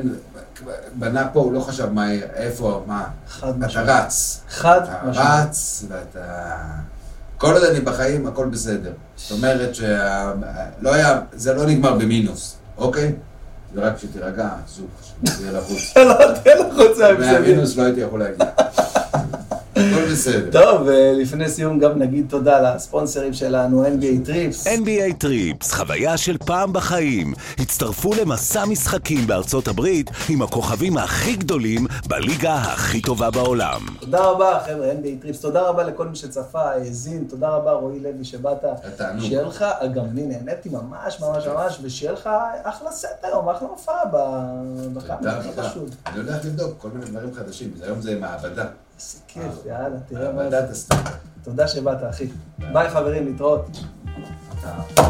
בנה פה, הוא לא חשב מה, יהיה, איפה, מה. חד אתה משמעית. רץ, חד אתה משמעית. רץ, ואתה... כל עוד אני בחיים, הכל בסדר. זאת אומרת שה... לא היה... זה לא נגמר במינוס, אוקיי? ורק שתירגע, זוג, שתהיה <laughs> לחוץ. אתה לא תן לחוץ מהמסביב. מהמינוס לא הייתי יכול להגיע. הכל בסדר. טוב, ולפני סיום גם נגיד תודה לספונסרים שלנו, NBA טריפס. NBA טריפס, חוויה של פעם בחיים. הצטרפו למסע משחקים בארצות הברית עם הכוכבים הכי גדולים בליגה הכי טובה בעולם. תודה רבה, חבר'ה, NBA טריפס. תודה רבה לכל מי שצפה, האזין. תודה רבה, רועי לוי, שבאת. תענוג. שיהיה לך, גם אני נהניתי ממש ממש ממש, ושיהיה לך אחלה סט היום, אחלה הופעה ב- תודה בקאמל, הכי רבה. חשוב. אני הולך לבדוק כל מיני דברים חדשים, היום זה מעבדה. איזה כיף, יאללה, תראה מה זה. מעבדת הסטנדרט. תודה שבאת, אחי. ביי, חברים, להתראות.